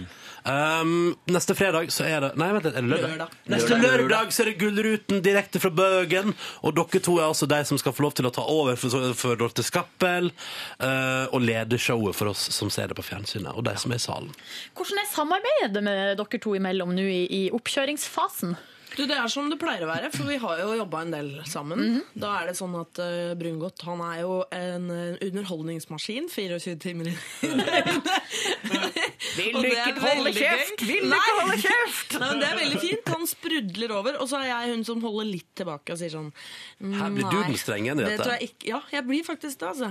[SPEAKER 2] Um, neste fredag så er det Nei, vent litt, er det lørdag?
[SPEAKER 12] Lørdag.
[SPEAKER 2] Neste
[SPEAKER 12] Lørdag.
[SPEAKER 2] lørdag så er det Gullruten direkte fra Bøgen. Og dere to er altså de som skal få lov til å ta over for, for Dorte Skappel eh, og lede showet for oss som ser det på fjernsynet, og de som er i salen.
[SPEAKER 4] Hvordan er samarbeidet med dere to imellom nå i, i oppkjøringsfasen?
[SPEAKER 11] Du, Det er som det pleier å være, for vi har jo jobba en del sammen.
[SPEAKER 12] Mhm.
[SPEAKER 11] Da er det sånn at uh, Brungot han er jo en eh, underholdningsmaskin 24 timer i
[SPEAKER 12] Vil
[SPEAKER 11] Og
[SPEAKER 12] du
[SPEAKER 11] det er
[SPEAKER 12] ikke holde
[SPEAKER 11] veldig
[SPEAKER 12] kjeft?
[SPEAKER 11] gøy.
[SPEAKER 12] Vil du
[SPEAKER 11] Nei.
[SPEAKER 12] ikke holde kjeft?
[SPEAKER 11] Nei, men Det er veldig fint. Han sprudler over, og så er jeg hun som holder litt tilbake og sier sånn
[SPEAKER 12] Her blir du
[SPEAKER 11] «Nei,
[SPEAKER 12] den strenge, Henriette.»
[SPEAKER 11] Det tror jeg ikke. Ja, jeg blir faktisk det, altså.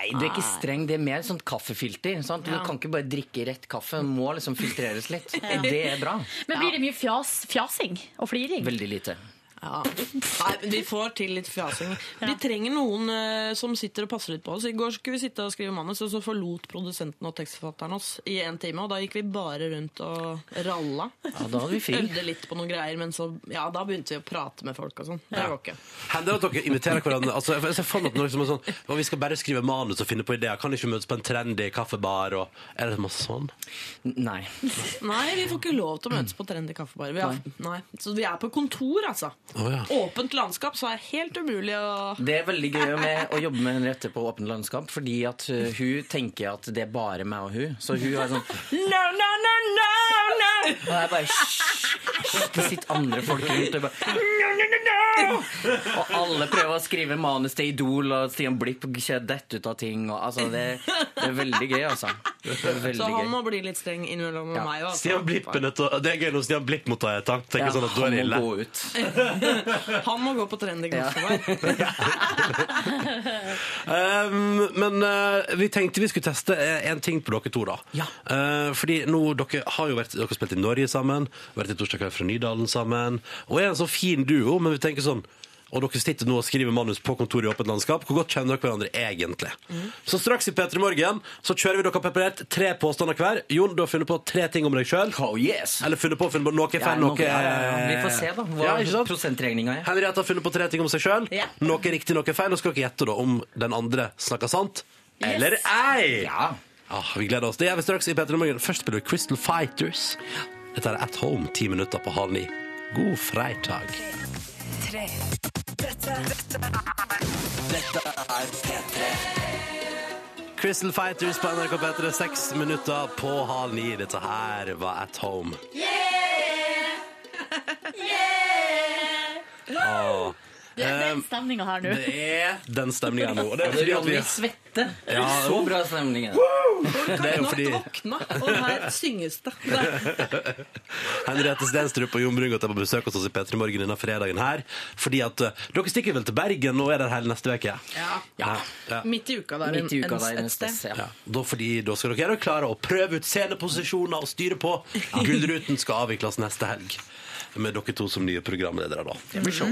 [SPEAKER 12] Nei, du er ikke streng. Det er mer sånn kaffefilter. Sant? Du
[SPEAKER 11] Ja.
[SPEAKER 12] kan ikke bare drikke rett kaffe. Den må liksom filtreres litt.
[SPEAKER 4] Ja.
[SPEAKER 12] Det er bra.
[SPEAKER 4] Men blir det mye fjas, fjasing og fliring?
[SPEAKER 12] Veldig lite.
[SPEAKER 11] Ja. Nei, men vi får til litt fjasing. Vi trenger noen eh, som sitter og passer litt på oss. I går skulle vi sitte og skrive manus, og så forlot produsenten og tekstforfatteren oss i en time. Og da gikk vi bare rundt og ralla.
[SPEAKER 12] Ja, da hadde vi fri.
[SPEAKER 11] Øvde litt på noen greier, men så Ja, da begynte vi å prate med folk og sånn. Det går ikke.
[SPEAKER 2] Hender det at dere inviterer hverandre altså, jeg ser for meg at noen som er sånn «Å, Vi skal bare skrive manus og finne på ideer. Kan ikke møtes på en trendy kaffebar og Er det masse sånn?
[SPEAKER 12] Nei.
[SPEAKER 11] Nei, vi får ikke lov til å møtes på trendy kaffebar. Vi har, nei. Så vi er på kontor, altså.
[SPEAKER 12] Å, ja.
[SPEAKER 11] Åpent landskap, så er det helt umulig å
[SPEAKER 12] Det er veldig gøy med å jobbe med Henriette på Åpent landskap, fordi at uh, hun tenker at det er bare meg og hun. Så hun er sånn No, no, no, no, no! Og jeg bare «Hysj, hysj», Det sitter andre folk rundt og bare No, no, no, no! Og alle prøver å skrive manus til Idol, og Stian Blipp ser dette ut av ting. Og, altså, det, det er veldig gøy, altså. Det er
[SPEAKER 11] Så
[SPEAKER 12] veldig
[SPEAKER 11] han
[SPEAKER 12] gøy.
[SPEAKER 11] må bli litt streng innimellom med
[SPEAKER 12] Ja.
[SPEAKER 11] meg. også.
[SPEAKER 2] Stian Blipp er nødt til å Det er gøy når Stian Blipp må ta et tak. Tenker
[SPEAKER 12] Ja,
[SPEAKER 2] sånn at da er det
[SPEAKER 12] han
[SPEAKER 2] ille.
[SPEAKER 12] må gå ut.
[SPEAKER 11] Han må gå på trendy kaffebar.
[SPEAKER 2] Um, men eh, vi tenkte vi skulle teste eh, en ting på dere to, da. Eh, fordi nå, dere har jo vært, dere har spilt i Norge sammen, vært i Torsdag kveld fra Nydalen sammen, og er en sånn fin duo, men vi tenker sånn og dere sitter nå og skriver manus på kontoret i Åpent landskap. Hvor godt kjenner dere hverandre egentlig?
[SPEAKER 12] Mm.
[SPEAKER 2] Så straks i P3 Morgen så kjører vi dere har preparert tre påstander hver. Jon, du har funnet på tre ting om deg sjøl. Eller funnet på, funnet på noe er
[SPEAKER 12] Oh, Ja,
[SPEAKER 2] fan,
[SPEAKER 12] nå-
[SPEAKER 2] noe
[SPEAKER 12] ja, ja, ja. Vi får se, da, hva
[SPEAKER 2] Ja, ikke sant?
[SPEAKER 12] prosentregninga er.
[SPEAKER 2] Henriette har funnet på tre ting om seg sjøl. Noe er riktig, noe er feil. Nå skal dere gjette da om den andre snakker sant eller ei. Ah,
[SPEAKER 12] Ja.
[SPEAKER 2] vi gleder oss. Det gjør vi straks i P3 Morgen. Først spiller vi Crystal Fighters. Dette er At Home, ti minutter på halv ni. God fredag.
[SPEAKER 9] Tre. Dette, dette er Dette er P3.
[SPEAKER 2] Crystal Fighters på NRK P3, seks minutter på halv ni. Dette her var At Home. Åh.
[SPEAKER 4] Det er
[SPEAKER 2] Em,
[SPEAKER 4] den stemninga her nå.
[SPEAKER 2] Ah. Ehm, Det er den stemninga nå. Og det er
[SPEAKER 12] Det
[SPEAKER 2] fordi
[SPEAKER 12] gjør
[SPEAKER 2] at vi
[SPEAKER 12] vi svette.
[SPEAKER 2] Ja.
[SPEAKER 12] Så bra stemning. er det.
[SPEAKER 2] Det er jo fordi
[SPEAKER 11] Våkna, og her synges det.
[SPEAKER 2] Henriette Stenstrup og Jon Brungot er på besøk hos oss i P3 Morgen denne fredagen her. Fordi at eh, dere stikker vel til Bergen og er der hele neste uke?
[SPEAKER 11] Ja.
[SPEAKER 2] ja.
[SPEAKER 11] Midt i uka der,
[SPEAKER 12] Midt i uka der, en
[SPEAKER 11] et sted.
[SPEAKER 12] sted,
[SPEAKER 2] Ja, da, fordi, da skal dere klare å prøve ut sceneposisjoner og styre på. Gullruten skal avvikles neste helg. Med dere to som nye programledere, da. Det blir
[SPEAKER 12] Mm.
[SPEAKER 2] show.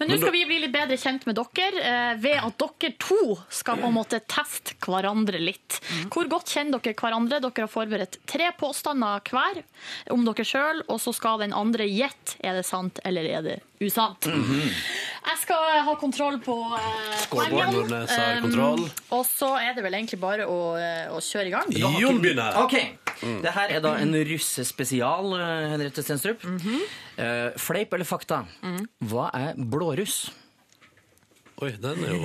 [SPEAKER 4] Men nå skal vi bli litt bedre kjent med dere eh, ved at dere to skal på en måte teste hverandre litt.
[SPEAKER 2] Mm.
[SPEAKER 4] Hvor godt kjenner dere hverandre? Dere har forberedt tre påstander hver om dere sjøl, og så skal den andre gjette er det sant eller er det usant.
[SPEAKER 2] Mm.
[SPEAKER 4] Jeg skal ha kontroll på eh,
[SPEAKER 2] Skålborg,
[SPEAKER 4] poengene.
[SPEAKER 2] Nordnes har
[SPEAKER 4] Um,
[SPEAKER 2] kontroll.
[SPEAKER 4] Og så er det vel egentlig bare å, eh, å kjøre i gang.
[SPEAKER 2] Jon begynner.
[SPEAKER 12] Ok.
[SPEAKER 11] Mm.
[SPEAKER 12] Det her er da en russespesial, eh, Henriette Stenstrup.
[SPEAKER 11] Mhm.
[SPEAKER 4] Mm.
[SPEAKER 12] Eh, fleip eller fakta? Hva er blåruss?
[SPEAKER 2] Oi, den er jo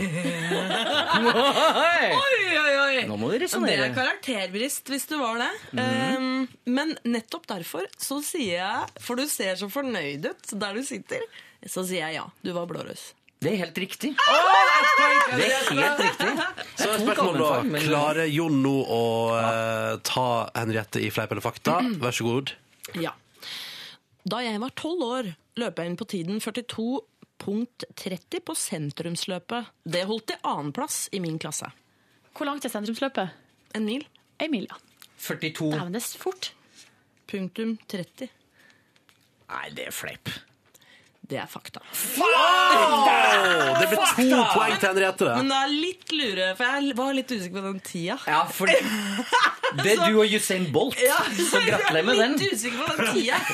[SPEAKER 11] Oi, oi, oi!
[SPEAKER 12] Nå må du resonere.
[SPEAKER 11] Det er karakterbrist, hvis det var det.
[SPEAKER 12] Mhm.
[SPEAKER 11] Um, men nettopp derfor så sier jeg For du ser så fornøyd ut der du sitter. Så sier jeg ja. Du var blåruss.
[SPEAKER 12] Det er helt riktig.
[SPEAKER 11] Det er helt
[SPEAKER 12] riktig.
[SPEAKER 2] Så er spørsmålet da Klarer Jon nå å eh, ta Henriette i fleip eller fakta? Vær så god.
[SPEAKER 11] Ja. Da jeg var tolv år, løp jeg inn på tiden 42.30 på sentrumsløpet. Det holdt til annenplass i min klasse.
[SPEAKER 4] Hvor langt er sentrumsløpet?
[SPEAKER 11] En mil.
[SPEAKER 4] En mil, ja.
[SPEAKER 12] 42.
[SPEAKER 4] Nei, men det er fort.
[SPEAKER 11] Punktum 30.
[SPEAKER 12] Nei, det er fleip.
[SPEAKER 11] Det er fakta.
[SPEAKER 2] Wow! Det ble to
[SPEAKER 11] Fakta!
[SPEAKER 2] poeng til Henriette, det.
[SPEAKER 11] Men det er litt lure, for jeg var litt usikker på den tida.
[SPEAKER 12] Ja, for Det er du og Usain Bolt, så gratulerer med den.
[SPEAKER 11] Litt usikker på den tida.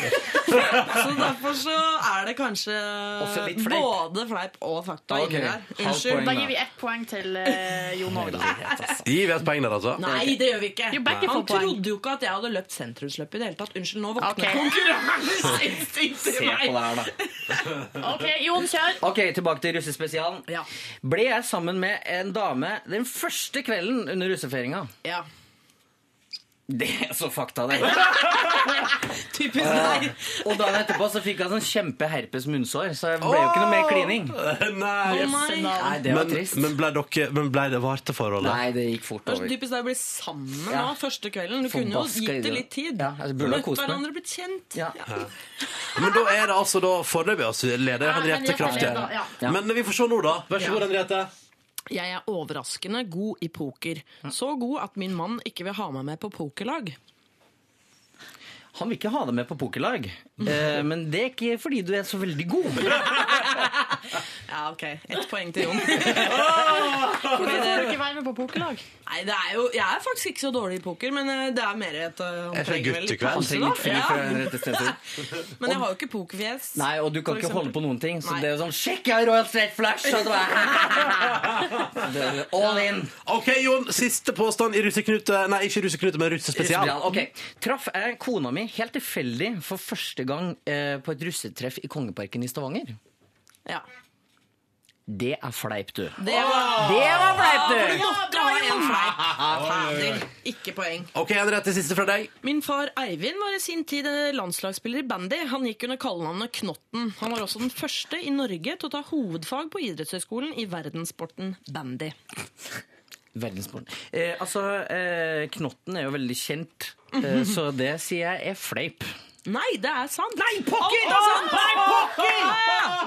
[SPEAKER 11] Så derfor så er det kanskje
[SPEAKER 12] Også litt fleip.
[SPEAKER 11] både fleip og fakta
[SPEAKER 2] Ok,
[SPEAKER 11] inni der.
[SPEAKER 2] halvt
[SPEAKER 11] Unnskyld.
[SPEAKER 2] poeng,
[SPEAKER 4] Da gir vi ett poeng til eh, Jon Åge, da.
[SPEAKER 12] altså.
[SPEAKER 2] Gir vi et poeng der, altså?
[SPEAKER 11] Nei, det gjør vi ikke.
[SPEAKER 4] Jo, begge får
[SPEAKER 11] Han
[SPEAKER 4] poeng.
[SPEAKER 11] trodde jo ikke at jeg hadde løpt sentrumsløpet i det hele tatt. Unnskyld, nå
[SPEAKER 4] Ok.
[SPEAKER 11] våkner konkurranseinstinktet i meg.
[SPEAKER 12] her, da.
[SPEAKER 4] OK, Jon, kjør.
[SPEAKER 12] Ok, Tilbake til russespesialen. Ble jeg sammen med en dame den første kvelden under russefeiringa?
[SPEAKER 11] Ja.
[SPEAKER 12] Det er så fakta, det.
[SPEAKER 11] Typisk
[SPEAKER 12] deg. og dagen etterpå så fikk jeg sånn kjempeherpes munnsår, så det ble jo ikke noe mer klining.
[SPEAKER 2] Nei.
[SPEAKER 11] Å, nei.
[SPEAKER 12] nei, det var
[SPEAKER 2] Men,
[SPEAKER 12] trist.
[SPEAKER 2] men ble, dere, men ble det varte forholdet?
[SPEAKER 12] Nei, det gikk fort
[SPEAKER 11] Det er så
[SPEAKER 12] over.
[SPEAKER 11] typisk deg å bli sammen
[SPEAKER 12] Ja.
[SPEAKER 11] nå første kvelden. Du kunne jo
[SPEAKER 12] Forbaska
[SPEAKER 11] gitt det
[SPEAKER 12] idiot.
[SPEAKER 11] litt tid.
[SPEAKER 12] Ja, jeg burde ha
[SPEAKER 11] Møtt
[SPEAKER 12] kost meg.
[SPEAKER 11] hverandre, blitt kjent. Ja.
[SPEAKER 2] Men da er det altså da foreløpig altså, leder
[SPEAKER 11] Ja,
[SPEAKER 2] Henriette
[SPEAKER 11] Henriette
[SPEAKER 2] kraftig.
[SPEAKER 11] leder, ja.
[SPEAKER 12] Ja.
[SPEAKER 2] Men vi får se nå, da. Vær så
[SPEAKER 11] Ja.
[SPEAKER 2] god, Henriette.
[SPEAKER 11] Jeg er overraskende god i poker. Så god at min mann ikke vil ha meg med på pokerlag.
[SPEAKER 12] Han vil ikke ha deg med på pokerlag, eh, men det er ikke fordi du er så veldig god.
[SPEAKER 11] Ja, ok. Ett poeng til Jon.
[SPEAKER 4] Hvorfor får du ikke være med på pokerlag?
[SPEAKER 11] eh, Nei, det er jo, Jeg er faktisk ikke så dårlig i poker, men eh, det er mer et eh, Han
[SPEAKER 12] Jeg er så
[SPEAKER 11] trenger
[SPEAKER 12] gutt
[SPEAKER 11] vel
[SPEAKER 12] i
[SPEAKER 11] litt
[SPEAKER 12] kveld.
[SPEAKER 11] pause,
[SPEAKER 12] Han trenger litt fri
[SPEAKER 11] da.
[SPEAKER 12] fra
[SPEAKER 11] Ja.
[SPEAKER 12] den rette stemmen.
[SPEAKER 11] Men jeg har jo ikke pokerfjes.
[SPEAKER 12] Nei, og du kan
[SPEAKER 11] for
[SPEAKER 12] ikke holde
[SPEAKER 11] eksempel.
[SPEAKER 12] på noen ting, så
[SPEAKER 11] Nei.
[SPEAKER 12] det er jo sånn Sjekk, jeg har Royal Straight Flash! Og det bare, det er all in.
[SPEAKER 2] OK, Jon. Siste påstand i russeknute Nei, ikke russeknute, men russespesial.
[SPEAKER 12] Spesial. Ok. Traff jeg kona mi helt tilfeldig for første gang eh, på et russetreff i Kongeparken i Stavanger?
[SPEAKER 11] Ja.
[SPEAKER 12] Det er fleip, du.
[SPEAKER 11] Det var,
[SPEAKER 12] Det var fleip,
[SPEAKER 11] Ja, for
[SPEAKER 12] du!
[SPEAKER 11] du måtte ha en fleip!
[SPEAKER 12] Oi, oi, oi.
[SPEAKER 11] Fader. Ikke poeng.
[SPEAKER 2] OK, Henriette, siste fra deg.
[SPEAKER 11] Min far Eivind var i sin tid eh, landslagsspiller i bandy. Han gikk under kallenavnet Knotten. Han var også den første i Norge til å ta hovedfag på idrettshøyskolen i verdenssporten bandy.
[SPEAKER 12] Verdensborn. Eh, altså, eh, Knotten er jo veldig kjent, eh, så det sier jeg er fleip.
[SPEAKER 11] Mhm. Nei, det er sant! Nei,
[SPEAKER 12] pokker! Nei, pokker!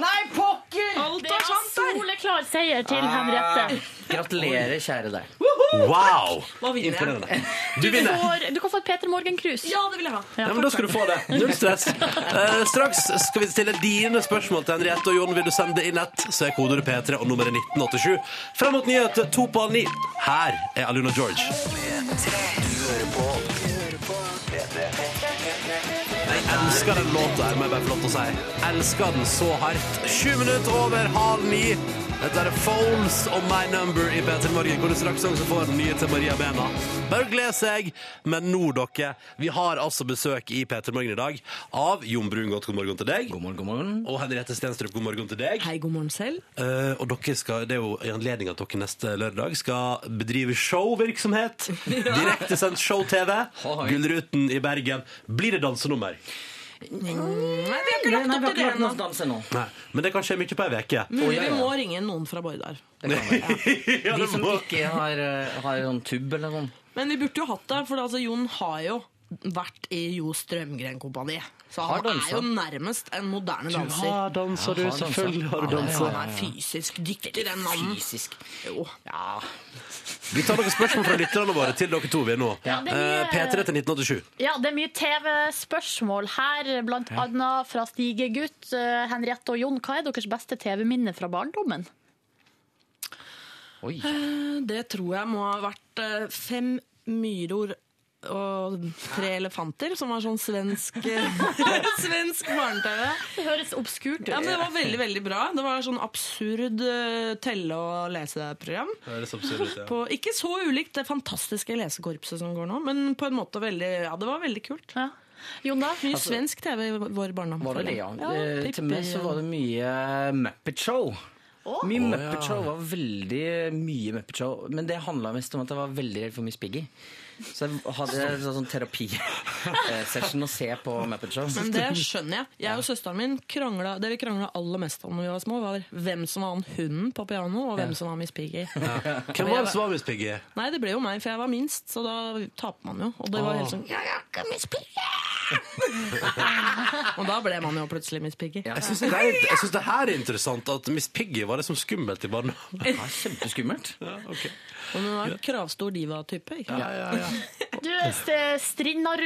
[SPEAKER 12] Nei, pokker!
[SPEAKER 11] Alt
[SPEAKER 4] Det
[SPEAKER 11] er Ah.
[SPEAKER 4] er
[SPEAKER 11] sant der!
[SPEAKER 4] soleklar seier til Henriette.
[SPEAKER 12] Gratulerer, kjære deg.
[SPEAKER 2] Wow!
[SPEAKER 11] Hva vinner jeg?
[SPEAKER 2] Imponerende.
[SPEAKER 4] Du,
[SPEAKER 2] Du vinner.
[SPEAKER 4] får, du kan få et Peter Morgen-krus.
[SPEAKER 11] Ja, det vil jeg ha.
[SPEAKER 2] Ja, men Da skal du få det. Null stress. Eh, straks skal vi stille dine spørsmål til Henriette og Jon. Vil du sende det inn ett, så er kodet P3 og nummeret 1987. Frem mot nyheter, to på halv ni. Her er Aluna George. Jeg elsker den låta, her, må jeg bare få lov til å si. Elsker den så hardt. Sju minutter over halv ni. Dette er Foles og My Number i P3 Morgen, hvor du straks også får den nye til Maria Bena. Bare gled seg. Men nå, dere, vi har altså besøk i P3 Morgen i dag av Jon Brungot. God morgen til deg.
[SPEAKER 12] God morgen, god morgen.
[SPEAKER 2] Og Henriette Stenstrup, god morgen til deg.
[SPEAKER 11] Hei, god morgen selv.
[SPEAKER 2] Eh, og dere skal, det er jo i anledning at dere neste lørdag skal bedrive showvirksomhet. Direktesendt show-TV.
[SPEAKER 12] Hoi.
[SPEAKER 2] Gullruten i Bergen. Blir det dansenummer?
[SPEAKER 11] Nei, vi har ikke lagt opp til
[SPEAKER 12] Nei, vi har ikke
[SPEAKER 11] det
[SPEAKER 12] lagt
[SPEAKER 11] ennå.
[SPEAKER 12] noen danse nå.
[SPEAKER 2] Nei, men det kan skje mye på ei uke.
[SPEAKER 11] Mulig
[SPEAKER 12] Å, ja,
[SPEAKER 11] vi
[SPEAKER 12] ja.
[SPEAKER 11] må ringe noen fra Bordar.
[SPEAKER 2] Ja,
[SPEAKER 12] De
[SPEAKER 2] det
[SPEAKER 12] som
[SPEAKER 2] må-
[SPEAKER 12] ikke har, eh, har sånn tubb eller sånn.
[SPEAKER 11] Men vi burde jo hatt det, for altså, Jon har jo vært i Jo Strømgren Kompani. Så
[SPEAKER 12] Har
[SPEAKER 11] han
[SPEAKER 12] danset.
[SPEAKER 11] er jo nærmest en moderne danser.
[SPEAKER 2] dansa, du. Selvfølgelig har du
[SPEAKER 11] Ja, Han er fysisk dyktig, den mannen.
[SPEAKER 12] Fysisk.
[SPEAKER 11] Jo.
[SPEAKER 12] Ja.
[SPEAKER 2] Vi tar noen spørsmål fra lytterne våre til dere to. vi er nå.
[SPEAKER 4] det
[SPEAKER 2] Eh,
[SPEAKER 4] er mye-
[SPEAKER 2] P3 til 1987.
[SPEAKER 4] Ja, det er mye TV-spørsmål her, blant annet fra Stigegutt, eh, Henriette og Jon. Hva er deres beste TV-minne fra barndommen?
[SPEAKER 12] Oi.
[SPEAKER 11] Eh, Det tror jeg må ha vært eh, fem myror og tre elefanter, som var sånn svensk, svensk barne-TV.
[SPEAKER 4] Det høres obskurt ut.
[SPEAKER 11] Ja, men det var veldig, veldig bra. Det var sånn absurd eh, telle- og leseprogram. På, ikke så ulikt det fantastiske lesekorpset som går nå, men på en måte veldig Ja, det var veldig kult.
[SPEAKER 4] Ja. Jon, da?
[SPEAKER 11] Mye svensk TV i vår barndom.
[SPEAKER 12] Altså, Var det det, ja?
[SPEAKER 11] Ja,
[SPEAKER 12] Eh, Til meg så
[SPEAKER 11] Pippi.
[SPEAKER 12] var det mye Muppet Show. Mye
[SPEAKER 2] Å,
[SPEAKER 12] Muppet
[SPEAKER 2] ja.
[SPEAKER 12] Show var veldig mye Muppet Show, men det handla mest om at jeg var veldig redd for Miss Piggy. Så jeg hadde en sånn terapisession å se på Muppet Show.
[SPEAKER 11] Men det skjønner jeg. Jeg og søsteren min krangla, det vi krangla aller mest om da vi var små, var hvem som var han hunden på piano, og hvem
[SPEAKER 2] Ja.
[SPEAKER 11] som var Miss Piggy.
[SPEAKER 2] Hvem var det som var Miss Piggy?
[SPEAKER 11] Nei, det ble jo meg, for jeg var minst, så da taper man jo. Og det var
[SPEAKER 2] Ah.
[SPEAKER 11] helt sånn «Jeg er ikke Miss Piggy!» Og da ble man jo plutselig Miss Piggy.
[SPEAKER 2] Jeg syns det, er- jeg synes det her er interessant at Miss Piggy var det som skummelt i barndommen.
[SPEAKER 12] Kjempeskummelt.
[SPEAKER 2] Ja, ok.
[SPEAKER 11] Og hun var kravstor diva-type. ikke sant?
[SPEAKER 4] Du, St-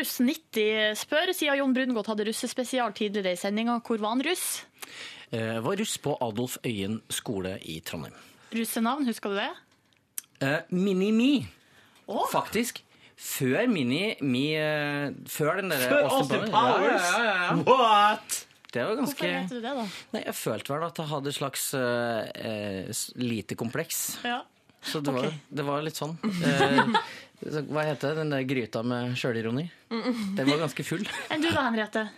[SPEAKER 4] Strindaruss90 spør, siden Jon Brungot hadde russespesial tidligere i sendinga, hvor var han russ?
[SPEAKER 12] Jeg Eh, var russ på Adolf Øyen skole i Trondheim.
[SPEAKER 4] Russenavn, husker du det?
[SPEAKER 12] Eh, Mini-Me, faktisk. Før Mini-Me eh, Før den der
[SPEAKER 9] Før Austin Powers?
[SPEAKER 12] Ja, ja, ja, ja.
[SPEAKER 2] What?
[SPEAKER 12] Det var ganske
[SPEAKER 4] Hvorfor heter du det, da?
[SPEAKER 12] Nei, Jeg følte vel at jeg hadde et slags eh, eh, s- lite kompleks.
[SPEAKER 4] Ja.
[SPEAKER 12] Så det var,
[SPEAKER 4] Ok.
[SPEAKER 12] det var litt sånn. Eh, så hva heter det? den der gryta med sjølironi? Den var ganske full.
[SPEAKER 4] Enn du da, Henriette?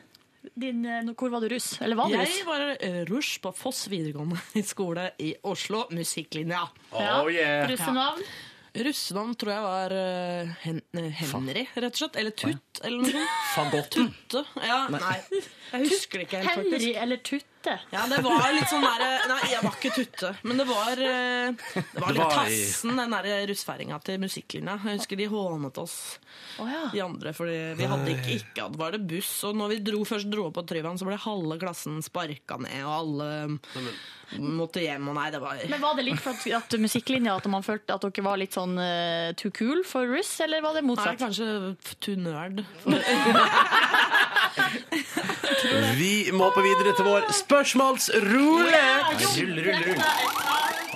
[SPEAKER 4] Din, eh, hvor var du russ? Eller var du russ?
[SPEAKER 11] Jeg var eh, rush på Foss videregående i skole i Oslo, musikklinja.
[SPEAKER 4] Oh, yeah. Russenavn?
[SPEAKER 11] Ja. Russenavn tror jeg var eh, Hen eh, Henry, rett og slett. Eller Tutt, eller noe sånt.
[SPEAKER 12] Fagotten.
[SPEAKER 11] Tutte. Ja,
[SPEAKER 12] Nei.
[SPEAKER 11] nei. Jeg husker det ikke helt, faktisk.
[SPEAKER 4] Henry eller Tutte?
[SPEAKER 11] Ja, det var litt sånn der Nei, jeg var ikke tutte, men det var eh, Det var
[SPEAKER 4] Det
[SPEAKER 11] litt
[SPEAKER 4] var i-
[SPEAKER 11] tassen, den der russfeiringa til musikklinja. Jeg husker de hånet oss, de andre, fordi vi hadde ikke, ikke hatt Var det buss? Og når vi dro, først dro opp på Tryvann, så ble halve klassen sparka ned, og alle mm, måtte hjem, og nei, det var
[SPEAKER 4] Men Var det litt for at, at musikklinja at man følte at dere var litt sånn eh, too cool for russ, eller var det
[SPEAKER 11] Nei,
[SPEAKER 4] motsatt?
[SPEAKER 11] kanskje too nerd.
[SPEAKER 2] Vi må hoppe videre til vår spørsmålsrulett.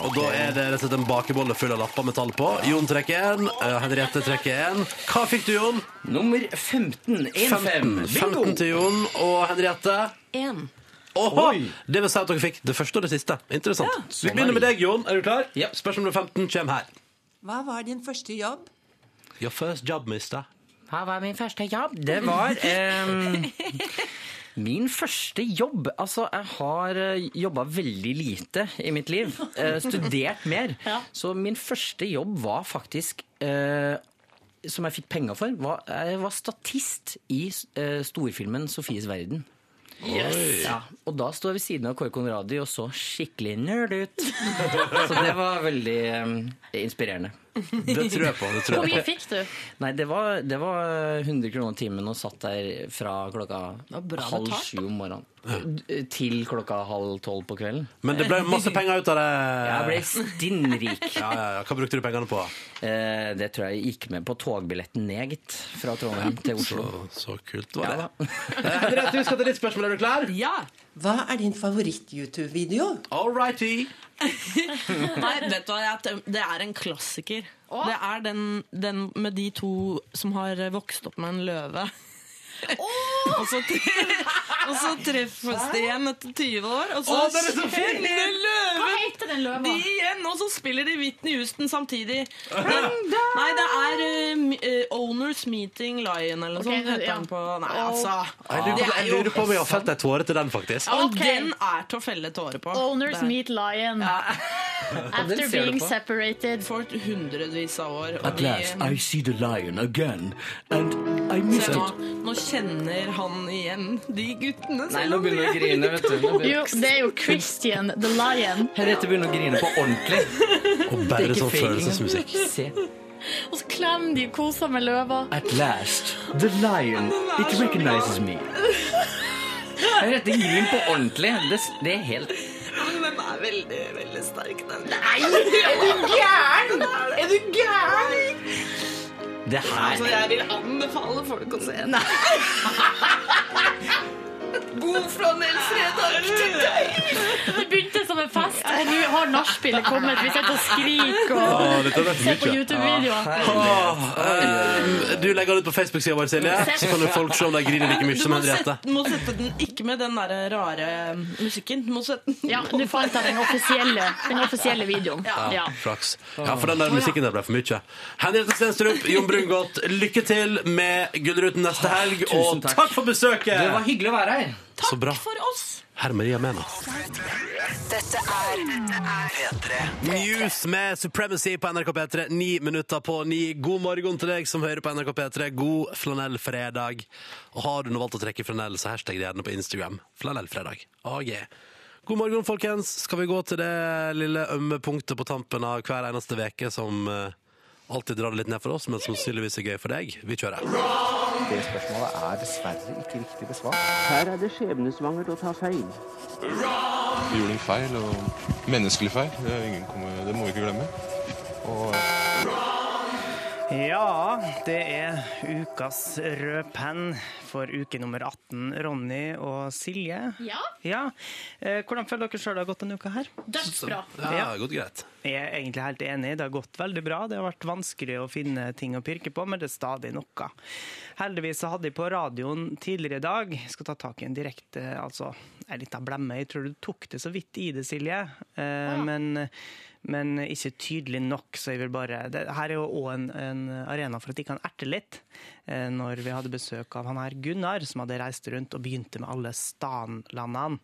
[SPEAKER 2] Og da er det rett og slett en bakebolle full av lapper med tall på. Jon trekker én, eh, Henriette trekker én. Hva fikk du, Jon?
[SPEAKER 12] Nummer 15.
[SPEAKER 2] 15, 15 til Jon og Henriette.
[SPEAKER 11] Én.
[SPEAKER 2] Oho! Det vil si at dere fikk det første og det siste. Interessant. Vi begynner med deg, Jon. Er du klar? Spørsmål nummer 15 kommer her.
[SPEAKER 13] Hva var din første jobb?
[SPEAKER 2] Your first job, mister.
[SPEAKER 12] Hva var min første jobb? Det var em, Min første jobb Altså, jeg har jobba veldig lite i mitt liv. Eh, studert mer. Så min første jobb var faktisk eh, Som jeg fikk penger for. Var, jeg var statist i eh, storfilmen 'Sofies verden'.
[SPEAKER 9] Yes.
[SPEAKER 12] Ja, og da sto jeg ved siden av Kåre Conradi og så skikkelig nerd ut. Så det var veldig em, inspirerende.
[SPEAKER 2] Det tror jeg på. det tror
[SPEAKER 4] Hvor mye
[SPEAKER 12] jeg på.
[SPEAKER 4] fikk du?
[SPEAKER 12] Nei, det var, det var 100 kroner timen og satt der fra klokka
[SPEAKER 4] bra
[SPEAKER 12] halv
[SPEAKER 4] betalt,
[SPEAKER 12] sju om morgenen d- til klokka halv tolv på kvelden.
[SPEAKER 2] Men det ble masse penger ut av det.
[SPEAKER 12] Jeg ble stinnrik.
[SPEAKER 2] Ja, ja, ja. Hva brukte du pengene på?
[SPEAKER 12] Eh, det tror jeg gikk med på togbilletten ned, gitt. Fra Trondheim til Oslo.
[SPEAKER 2] Så, kult var
[SPEAKER 12] det.
[SPEAKER 2] Henriette, vi skal til ditt spørsmål. Er du klar?
[SPEAKER 11] Ja.
[SPEAKER 13] Hva er din favoritt-YouTube-video?
[SPEAKER 2] All righty.
[SPEAKER 11] Nei, vet du hva, jeg tem- det er en klassiker. Det er den, den med de to som har vokst opp med en løve. og, så tre- og så treffes de igjen etter 20 år, og så
[SPEAKER 9] Å, den er så fin!
[SPEAKER 11] kjenner løven
[SPEAKER 9] Hva heter den løva?
[SPEAKER 11] De igjen, og så spiller de Whitney Houston samtidig. Det, nei, det er eh, mi- eh, Owners Meeting Lion eller noe
[SPEAKER 4] Ok,
[SPEAKER 11] sånt heter
[SPEAKER 4] ja.
[SPEAKER 11] den på Nei,
[SPEAKER 4] Oh.
[SPEAKER 11] altså.
[SPEAKER 2] Jeg lurer, på, jeg lurer på om jeg har felt ei tåre til den, faktisk.
[SPEAKER 11] Og den er til å felle tårer på.
[SPEAKER 4] Owners
[SPEAKER 11] Der.
[SPEAKER 4] meet lion. After being separated.
[SPEAKER 11] For hundrevis av år. og
[SPEAKER 12] At
[SPEAKER 11] de-
[SPEAKER 12] last I see the lion again, and I miss
[SPEAKER 11] Se
[SPEAKER 12] it.
[SPEAKER 11] nå, nå kjenner han igjen de guttene.
[SPEAKER 12] Nei,
[SPEAKER 11] selv
[SPEAKER 12] nå
[SPEAKER 11] om
[SPEAKER 12] begynner
[SPEAKER 11] de
[SPEAKER 12] jeg å grine,
[SPEAKER 11] er
[SPEAKER 12] vet du. Nå begynner
[SPEAKER 4] Jo, det er jo Christian the lion.
[SPEAKER 12] Henriette begynner å grine på ordentlig.
[SPEAKER 2] Og
[SPEAKER 12] Det er
[SPEAKER 2] bare
[SPEAKER 12] ikke
[SPEAKER 2] sånn
[SPEAKER 12] fake
[SPEAKER 2] følelsesmusikk.
[SPEAKER 12] Se.
[SPEAKER 4] Og så klemmer de og koser med løva.
[SPEAKER 12] At last, the lion, it recognizes me. Henriette griner på ordentlig. Det, det er helt
[SPEAKER 11] Men den er veldig, veldig sterk, den.
[SPEAKER 9] Nei, er du gæren? Er du gæren?
[SPEAKER 12] Det her
[SPEAKER 11] Altså, jeg vil anbefale folk å se den. God flanellfredag til deg!
[SPEAKER 4] Det begynte som en fest, og nå har nachspielet kommet. Vi sitter og skriker
[SPEAKER 2] Å, dette
[SPEAKER 4] og
[SPEAKER 2] er
[SPEAKER 4] ser på
[SPEAKER 2] mye.
[SPEAKER 4] YouTube-videoer.
[SPEAKER 2] Åh, Ah, eh, du legger det ut på Facebook-sida vår, Silje. Så kan jo folk se om de griner like mye
[SPEAKER 11] Du
[SPEAKER 2] som
[SPEAKER 11] må
[SPEAKER 2] Henriette.
[SPEAKER 11] sette, må sette den ikke med den der rare um, musikken. Du må sette den
[SPEAKER 4] Ja, nå fant jeg den offisielle, den offisielle videoen. Ja.
[SPEAKER 2] Ja, flaks. Ja, for den der musikken der ble for mye. Henriette Stenstrup, Jon Brungot, lykke til med Gullruten neste helg,
[SPEAKER 12] Tusen
[SPEAKER 2] og
[SPEAKER 12] takk.
[SPEAKER 2] takk for besøket!
[SPEAKER 12] Det var hyggelig å være her.
[SPEAKER 2] Så bra.
[SPEAKER 11] for oss!
[SPEAKER 2] Hermeria Mena.
[SPEAKER 9] Dette er P3.
[SPEAKER 2] Muse med Supremacy på NRK P3, ni minutter på ni. God morgen til deg som hører på NRK P3. God flanellfredag. Og har du nå valgt å trekke flanell, så hashtag det gjerne på Instagram. Flanellfredag. Oh, yeah. God morgen, folkens. Skal vi gå til det lille ømme punktet på tampen av hver eneste veke som eh, alltid drar det litt ned for oss, men som sannsynligvis er gøy for deg? Vi kjører.
[SPEAKER 14] Det spørsmålet er dessverre ikke riktig besvart.
[SPEAKER 15] Her er det skjebnesvangert å ta feil.
[SPEAKER 16] Vi gjorde en feil, og menneskelig feil. Det, er ingen kommer, det må vi ikke glemme. Og
[SPEAKER 3] Ja, det er ukas rød penn for uke nummer 18. Ronny og Silje.
[SPEAKER 4] Ja.
[SPEAKER 3] Eh, Hvordan føler dere sjøl det har gått denne uka her?
[SPEAKER 4] Dødsbra.
[SPEAKER 2] Ja, det har gått greit.
[SPEAKER 3] Jeg er egentlig helt enig. Det har gått veldig bra. Det har vært vanskelig å finne ting å pirke på, men det er stadig noe. Heldigvis så hadde jeg på radioen tidligere i dag Jeg skal ta tak i en direkte, altså en liten blemme. Jeg tror du tok det så vidt i det, Silje. Eh, men, men ikke tydelig nok, så jeg vil bare det, Her er jo òg en, en arena for at de kan erte litt. Eh, når vi hadde besøk av han her Gunnar, som hadde reist rundt og begynte med alle stanlandene.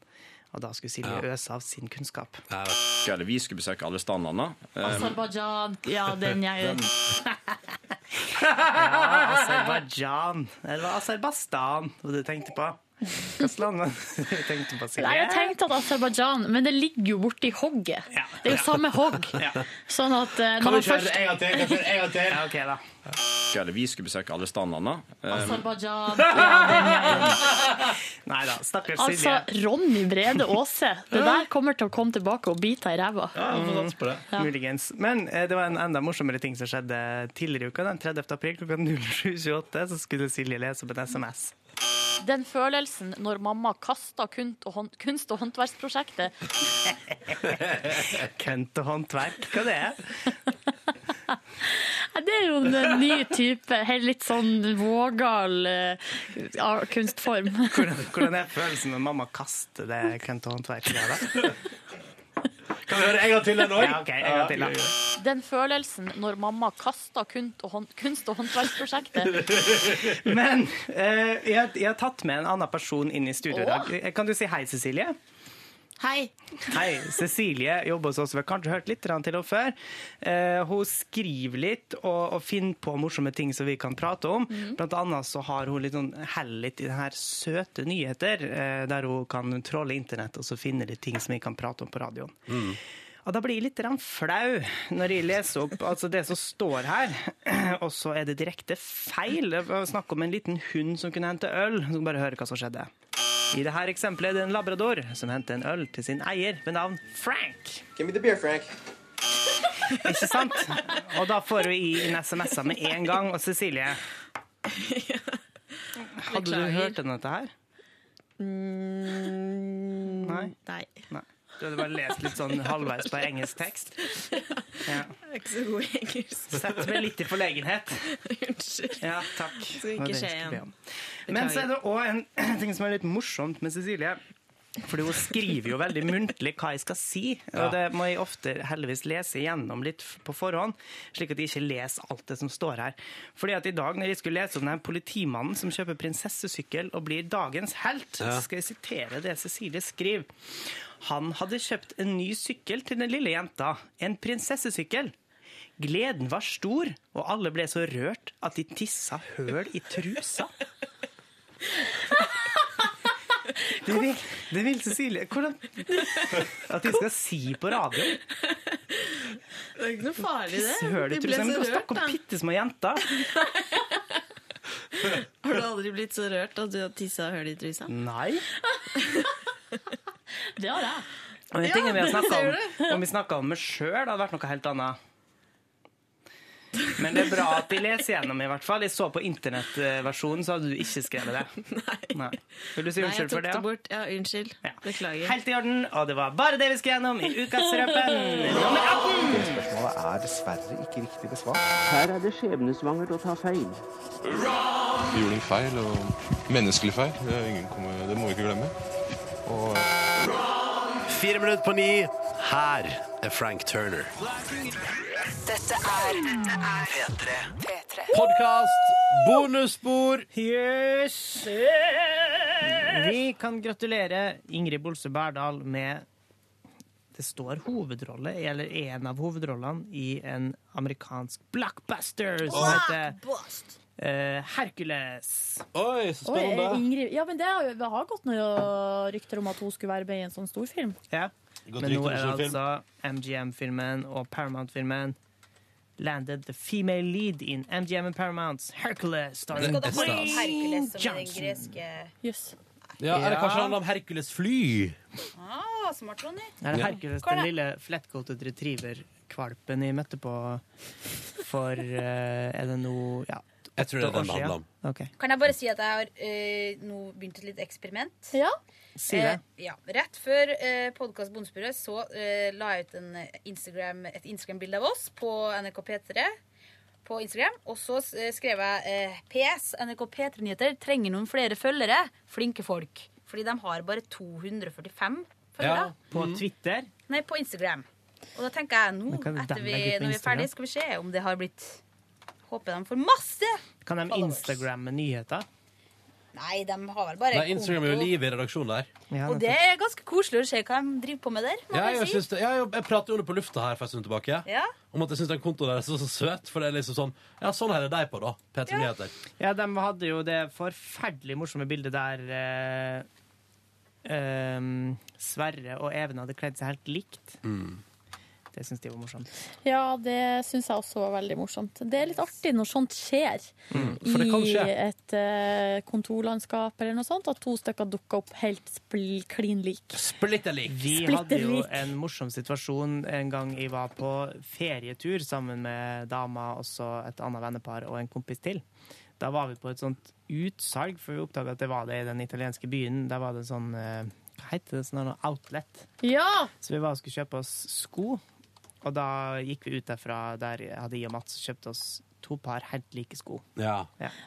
[SPEAKER 3] Og da skulle Silje
[SPEAKER 5] Ja.
[SPEAKER 3] øse av sin kunnskap.
[SPEAKER 5] Hva er det vi skulle besøke alle standene?
[SPEAKER 4] Eh, Altså, Aserbajdsjan. Ja, den jeg
[SPEAKER 3] Ja, Aserbajdsjan. Eller Aserbajdsjan, hva du tenkte på. Hvilket land var det du tenkte på, Silje?
[SPEAKER 4] Nei, jeg tenkte at Aserbajdsjan, men det ligger jo borti hogget. Det er jo samme hogg. Sånn at eh, når man først
[SPEAKER 3] Ja, ok da.
[SPEAKER 5] Hva er det vi skulle besøke alle Eh, standene?
[SPEAKER 4] Altså, Aserbajdsjan. Ja, den jeg
[SPEAKER 3] Nei da, stakkars
[SPEAKER 4] Altså, Ronny Brede Aase. Det der kommer til å komme tilbake og bite i ræva. Ja.
[SPEAKER 3] Muligens. Men eh, det var en enda morsommere ting som skjedde tidligere i uka. Den 30. april klokka 07.28 så skulle Silje lese opp en SMS.
[SPEAKER 4] Den følelsen når mamma kasta kunst- og hånd- kunst- og håndverksprosjektet
[SPEAKER 3] Kønt og håndverk, hva det er?
[SPEAKER 4] Nei, Det er jo en ny type, helt litt sånn vågal eh, ar- kunstform.
[SPEAKER 3] Hvordan, hvordan er følelsen når mamma kaster det kønt og håndverk? da? Kan vi høre en gang til den òg? Ja, ok, en gang til, da.
[SPEAKER 4] Den følelsen når mamma kasta kunst- og hånd- kunst- og håndverksprosjektet.
[SPEAKER 3] Men eh, jeg, har- jeg har tatt med en annen person inn i studio i dag. Eh, Kan du si hei, Cecilie?
[SPEAKER 4] Hei.
[SPEAKER 3] Hei, Cecilie jobber hos oss. Vi har kanskje hørt litt grann til henne før. Eh, hun skriver litt og, og finner på morsomme ting som vi kan prate om. Blant annet så har hun litt sånn hell litt i den her søte nyheter, eh, der hun kan tråle internett og så finne litt ting som vi kan prate om på radioen.
[SPEAKER 14] Mm.
[SPEAKER 3] Og da blir jeg litt grann flau når jeg leser opp altså det som står her, og så er det direkte feil. Det var snakk om en liten hund som kunne hente øl. Så kan vi bare høre hva som skjedde. I dette eksempelet er det en labrador som henter en øl til sin eier ved navn Frank.
[SPEAKER 8] Give me the beer, Frank.
[SPEAKER 3] Ikke sant? Og da får vi i en SMS med en gang. Og Cecilie, hadde du
[SPEAKER 4] Beklager.
[SPEAKER 3] hørt om dette her?
[SPEAKER 6] Mm,
[SPEAKER 3] Nei.
[SPEAKER 4] Nei.
[SPEAKER 3] Du hadde bare lest litt sånn halvveis på engelsk tekst? Ja.
[SPEAKER 6] Jeg er ikke så god i engelsk.
[SPEAKER 3] Sett meg litt i forlegenhet.
[SPEAKER 6] Unnskyld.
[SPEAKER 3] Ja, takk.
[SPEAKER 6] Skal
[SPEAKER 3] Det var det
[SPEAKER 6] ikke
[SPEAKER 3] jeg
[SPEAKER 6] skje
[SPEAKER 3] skulle
[SPEAKER 6] igjen.
[SPEAKER 3] be om. Men så er det òg en ting som er litt morsomt med Cecilie. Fordi hun skriver jo veldig muntlig hva jeg skal si,
[SPEAKER 12] Ja.
[SPEAKER 3] og det må jeg ofte heldigvis lese igjennom litt f- på forhånd, slik at jeg ikke leser alt det som står her. Fordi at i dag, når jeg skulle lese om den her politimannen som kjøper prinsessesykkel og blir dagens helt,
[SPEAKER 12] Ja.
[SPEAKER 3] så skal jeg sitere det Cecilie skriver. Han hadde kjøpt en ny sykkel til den lille jenta, en prinsessesykkel. Gleden var stor, og alle ble så rørt at de tissa høl i trusa. Det vil, det vil Cecilie Hvordan At de skal si på radio
[SPEAKER 6] Det er ikke noe farlig, det.
[SPEAKER 3] Søren,
[SPEAKER 6] De
[SPEAKER 3] tror
[SPEAKER 6] ble
[SPEAKER 3] jeg vi
[SPEAKER 6] så
[SPEAKER 3] kan
[SPEAKER 6] rørt,
[SPEAKER 3] snakke om
[SPEAKER 6] da.
[SPEAKER 3] pittesmå jenter.
[SPEAKER 6] Har du aldri blitt så rørt at du har tissa hull i trusa?
[SPEAKER 3] Nei.
[SPEAKER 4] Det har jeg.
[SPEAKER 3] Og en ting er vi har
[SPEAKER 6] Ja,
[SPEAKER 3] snakket
[SPEAKER 6] ser
[SPEAKER 3] om, om vi snakket om meg sjøl, hadde vært noe helt annet. Men det er bra at de leser gjennom, i hvert fall. Jeg så på internettversjonen, så hadde du ikke skrevet det. Nei. Vil du si
[SPEAKER 6] Nei, jeg
[SPEAKER 3] unnskyld
[SPEAKER 6] tok
[SPEAKER 3] for det?
[SPEAKER 6] det
[SPEAKER 3] da?
[SPEAKER 6] bort. Ja, unnskyld. Beklager.
[SPEAKER 3] Helt i orden, og det var bare det vi skulle gjennom i Ukas Røpen nummer 18!
[SPEAKER 14] Det spørsmålet er dessverre ikke riktig besvart.
[SPEAKER 15] Her er det skjebnesvangert å ta feil.
[SPEAKER 16] vi gjorde en feil, og menneskelig feil. Det, er ingen kommer, det må vi ikke glemme. Og
[SPEAKER 2] Fire minutter på ni. Her er Frank Turner.
[SPEAKER 9] Dette er P3. P3.
[SPEAKER 2] Podkast, bonusspor
[SPEAKER 3] Yes! Vi kan gratulere Ingrid Bolse Berdal med Det står hovedrolle, eller en av hovedrollene, i en amerikansk blockbuster som heter eh, Hercules.
[SPEAKER 2] Oi,
[SPEAKER 4] Oi, eh, Ingrid Ja, men det har, jo- det har gått noen rykter om at hun skulle være med i en sånn storfilm.
[SPEAKER 3] Ja.
[SPEAKER 4] Godt
[SPEAKER 3] Men nå
[SPEAKER 4] rykte om
[SPEAKER 3] er det
[SPEAKER 4] storfilm.
[SPEAKER 3] altså MGM-filmen og Paramount-filmen Landed the female lead in MGM and Paramounts Hercules starring
[SPEAKER 17] Skal dere ha
[SPEAKER 3] Dwayne
[SPEAKER 17] Hercules som i den
[SPEAKER 3] Johnson.
[SPEAKER 17] greske
[SPEAKER 2] Ja, eller
[SPEAKER 3] Ja.
[SPEAKER 2] kanskje det handler om Hercules fly?
[SPEAKER 17] ah, Smart, Ronny.
[SPEAKER 3] Er det Hercules,
[SPEAKER 17] Hvor er
[SPEAKER 3] den
[SPEAKER 17] det?
[SPEAKER 3] lille flettkotet retriever-kvalpen jeg møtte på for eh, Er det nå ja,
[SPEAKER 2] Jeg tror det
[SPEAKER 3] åtte
[SPEAKER 2] er
[SPEAKER 3] år
[SPEAKER 2] den det
[SPEAKER 3] siden?
[SPEAKER 2] handler om.
[SPEAKER 3] Ok.
[SPEAKER 17] Kan jeg bare si at jeg har eh, nå begynt et lite eksperiment?
[SPEAKER 4] Ja.
[SPEAKER 3] Si det.
[SPEAKER 17] Eh, ja. Rett før eh, podkast Bondesporet så eh, la jeg ut en Instagram, et Instagram-bilde av oss på NRK P3 på Instagram. Og så eh, skrev jeg eh, PS NRK P3-nyheter trenger noen flere følgere. Flinke folk. Fordi de har bare 245 følgere.
[SPEAKER 3] På
[SPEAKER 2] Mm.
[SPEAKER 3] Twitter.
[SPEAKER 17] Nei, på Instagram. Og da tenker jeg nå,
[SPEAKER 3] Men kan de
[SPEAKER 17] etter vi,
[SPEAKER 3] legge ut på
[SPEAKER 17] når vi er
[SPEAKER 3] Instagram?
[SPEAKER 17] ferdig, skal vi se om det har blitt Håper de får masse!
[SPEAKER 3] Kan de Instagramme nyheter?
[SPEAKER 17] Nei, de har vel bare
[SPEAKER 2] Nei, Instagram er jo
[SPEAKER 17] konto.
[SPEAKER 2] livet i redaksjonen der.
[SPEAKER 17] Og det er ganske koselig å se hva de driver på med der. Må
[SPEAKER 2] Ja,
[SPEAKER 17] jeg
[SPEAKER 2] jeg,
[SPEAKER 17] si.
[SPEAKER 2] synes det, ja, jeg, jeg prater jo om det på lufta her for en stund tilbake.
[SPEAKER 17] Ja.
[SPEAKER 2] Om at jeg syns den kontoen der er så, så søt. For det er liksom sånn Ja, sånn her er deg på, da. P3 Nyheter.
[SPEAKER 3] Ja, de hadde jo det forferdelig morsomme bildet der eh, ehm, Sverre og Even hadde kledd seg helt likt.
[SPEAKER 2] Mm.
[SPEAKER 3] Det syns de var morsomt.
[SPEAKER 4] Ja, det syns jeg også var veldig morsomt. Det er litt artig når sånt skjer
[SPEAKER 2] Mm.
[SPEAKER 3] Mm. for det kan
[SPEAKER 4] i
[SPEAKER 3] skje.
[SPEAKER 4] et eh, kontorlandskap eller noe sånt, at to stykker dukker opp helt spl klin lik.
[SPEAKER 2] Splitter lik.
[SPEAKER 3] Vi hadde
[SPEAKER 4] Splitter
[SPEAKER 3] jo
[SPEAKER 4] lik.
[SPEAKER 3] en morsom situasjon en gang jeg var på ferietur sammen med dama, også et annet vennepar og en kompis til. Da var vi på et sånt utsalg, for vi oppdaga at det var det i den italienske byen. Der var det en sånn eh, Hva heter det? Sånn her noe outlet.
[SPEAKER 4] Ja!
[SPEAKER 3] Så vi var og skulle kjøpe oss sko, og da gikk vi ut derfra. Der hadde jeg og Mats kjøpt oss to par helt like sko.
[SPEAKER 2] Ja.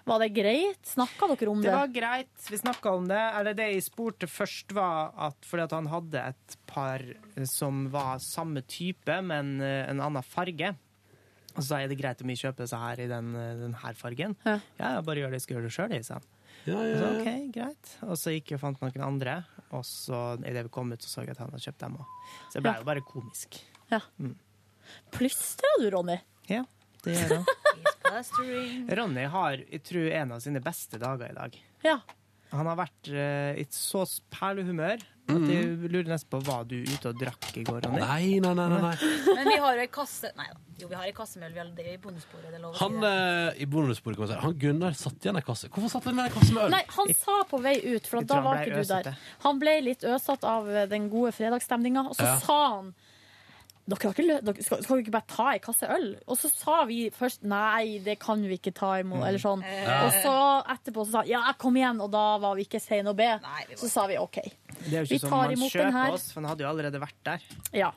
[SPEAKER 4] Var det greit? Snakka dere om det?
[SPEAKER 3] Det var greit. Vi snakka om det. Eller det jeg spurte først, var at fordi at han hadde et par eh, som var samme type, men eh, en annen farge. Og så sa jeg er det greit om vi kjøper disse her i den, eh, den her fargen. Ja. ja, bare gjør det, jeg skal gjøre det sjøl, sa han. Og så, ok, greit. Og så gikk jeg og fant noen andre, og så idet vi kom ut, så så jeg at han hadde kjøpt dem òg. Så det ble
[SPEAKER 4] Ja.
[SPEAKER 3] jo bare komisk.
[SPEAKER 4] Ja. Plystra du, Ronny?
[SPEAKER 3] Mm. Ja, det gjør han.
[SPEAKER 17] Plastering.
[SPEAKER 3] Ronny har, jeg tror, en av sine beste dager i dag.
[SPEAKER 4] Ja.
[SPEAKER 3] Han har vært eh, i et så perlehumør at jeg lurer nesten på var du ute og drakk i går, Ronny.
[SPEAKER 2] Mhm. Nei, nei, nei, nei, nei.
[SPEAKER 17] Men vi har jo ei kasse Nei da. Jo, vi har ei kasse med øl. Vi har det i bondesporet. Det er lov å si
[SPEAKER 2] Han
[SPEAKER 17] det.
[SPEAKER 2] eh, i bonusbordet kan man si Han Gunnar satt igjen ei kasse. Hvorfor satt han igjen ei kasse med øl?
[SPEAKER 4] Nei, han sa på vei ut, for
[SPEAKER 2] Jeg tror
[SPEAKER 4] at da
[SPEAKER 2] han
[SPEAKER 4] var
[SPEAKER 2] ble
[SPEAKER 4] ikke du
[SPEAKER 2] øsete.
[SPEAKER 4] der. Han ble litt øsatt av eh, den gode fredagsstemninga, og så
[SPEAKER 2] Ja.
[SPEAKER 4] sa han dere har ikke lø dere skal, skal vi ikke bare ta ei kasse øl? Og så sa vi først nei, det kan vi ikke ta imot, eller sånn.
[SPEAKER 17] Mm.
[SPEAKER 3] Ja.
[SPEAKER 4] Og så etterpå så sa han ja, kom igjen, og da var vi ikke sein å be. Så sa vi OK.
[SPEAKER 3] Det er jo
[SPEAKER 4] Vi
[SPEAKER 3] ikke sånn
[SPEAKER 4] tar
[SPEAKER 3] man
[SPEAKER 4] imot den her.
[SPEAKER 3] kjøper oss, for han hadde jo allerede vært der.
[SPEAKER 4] Ja.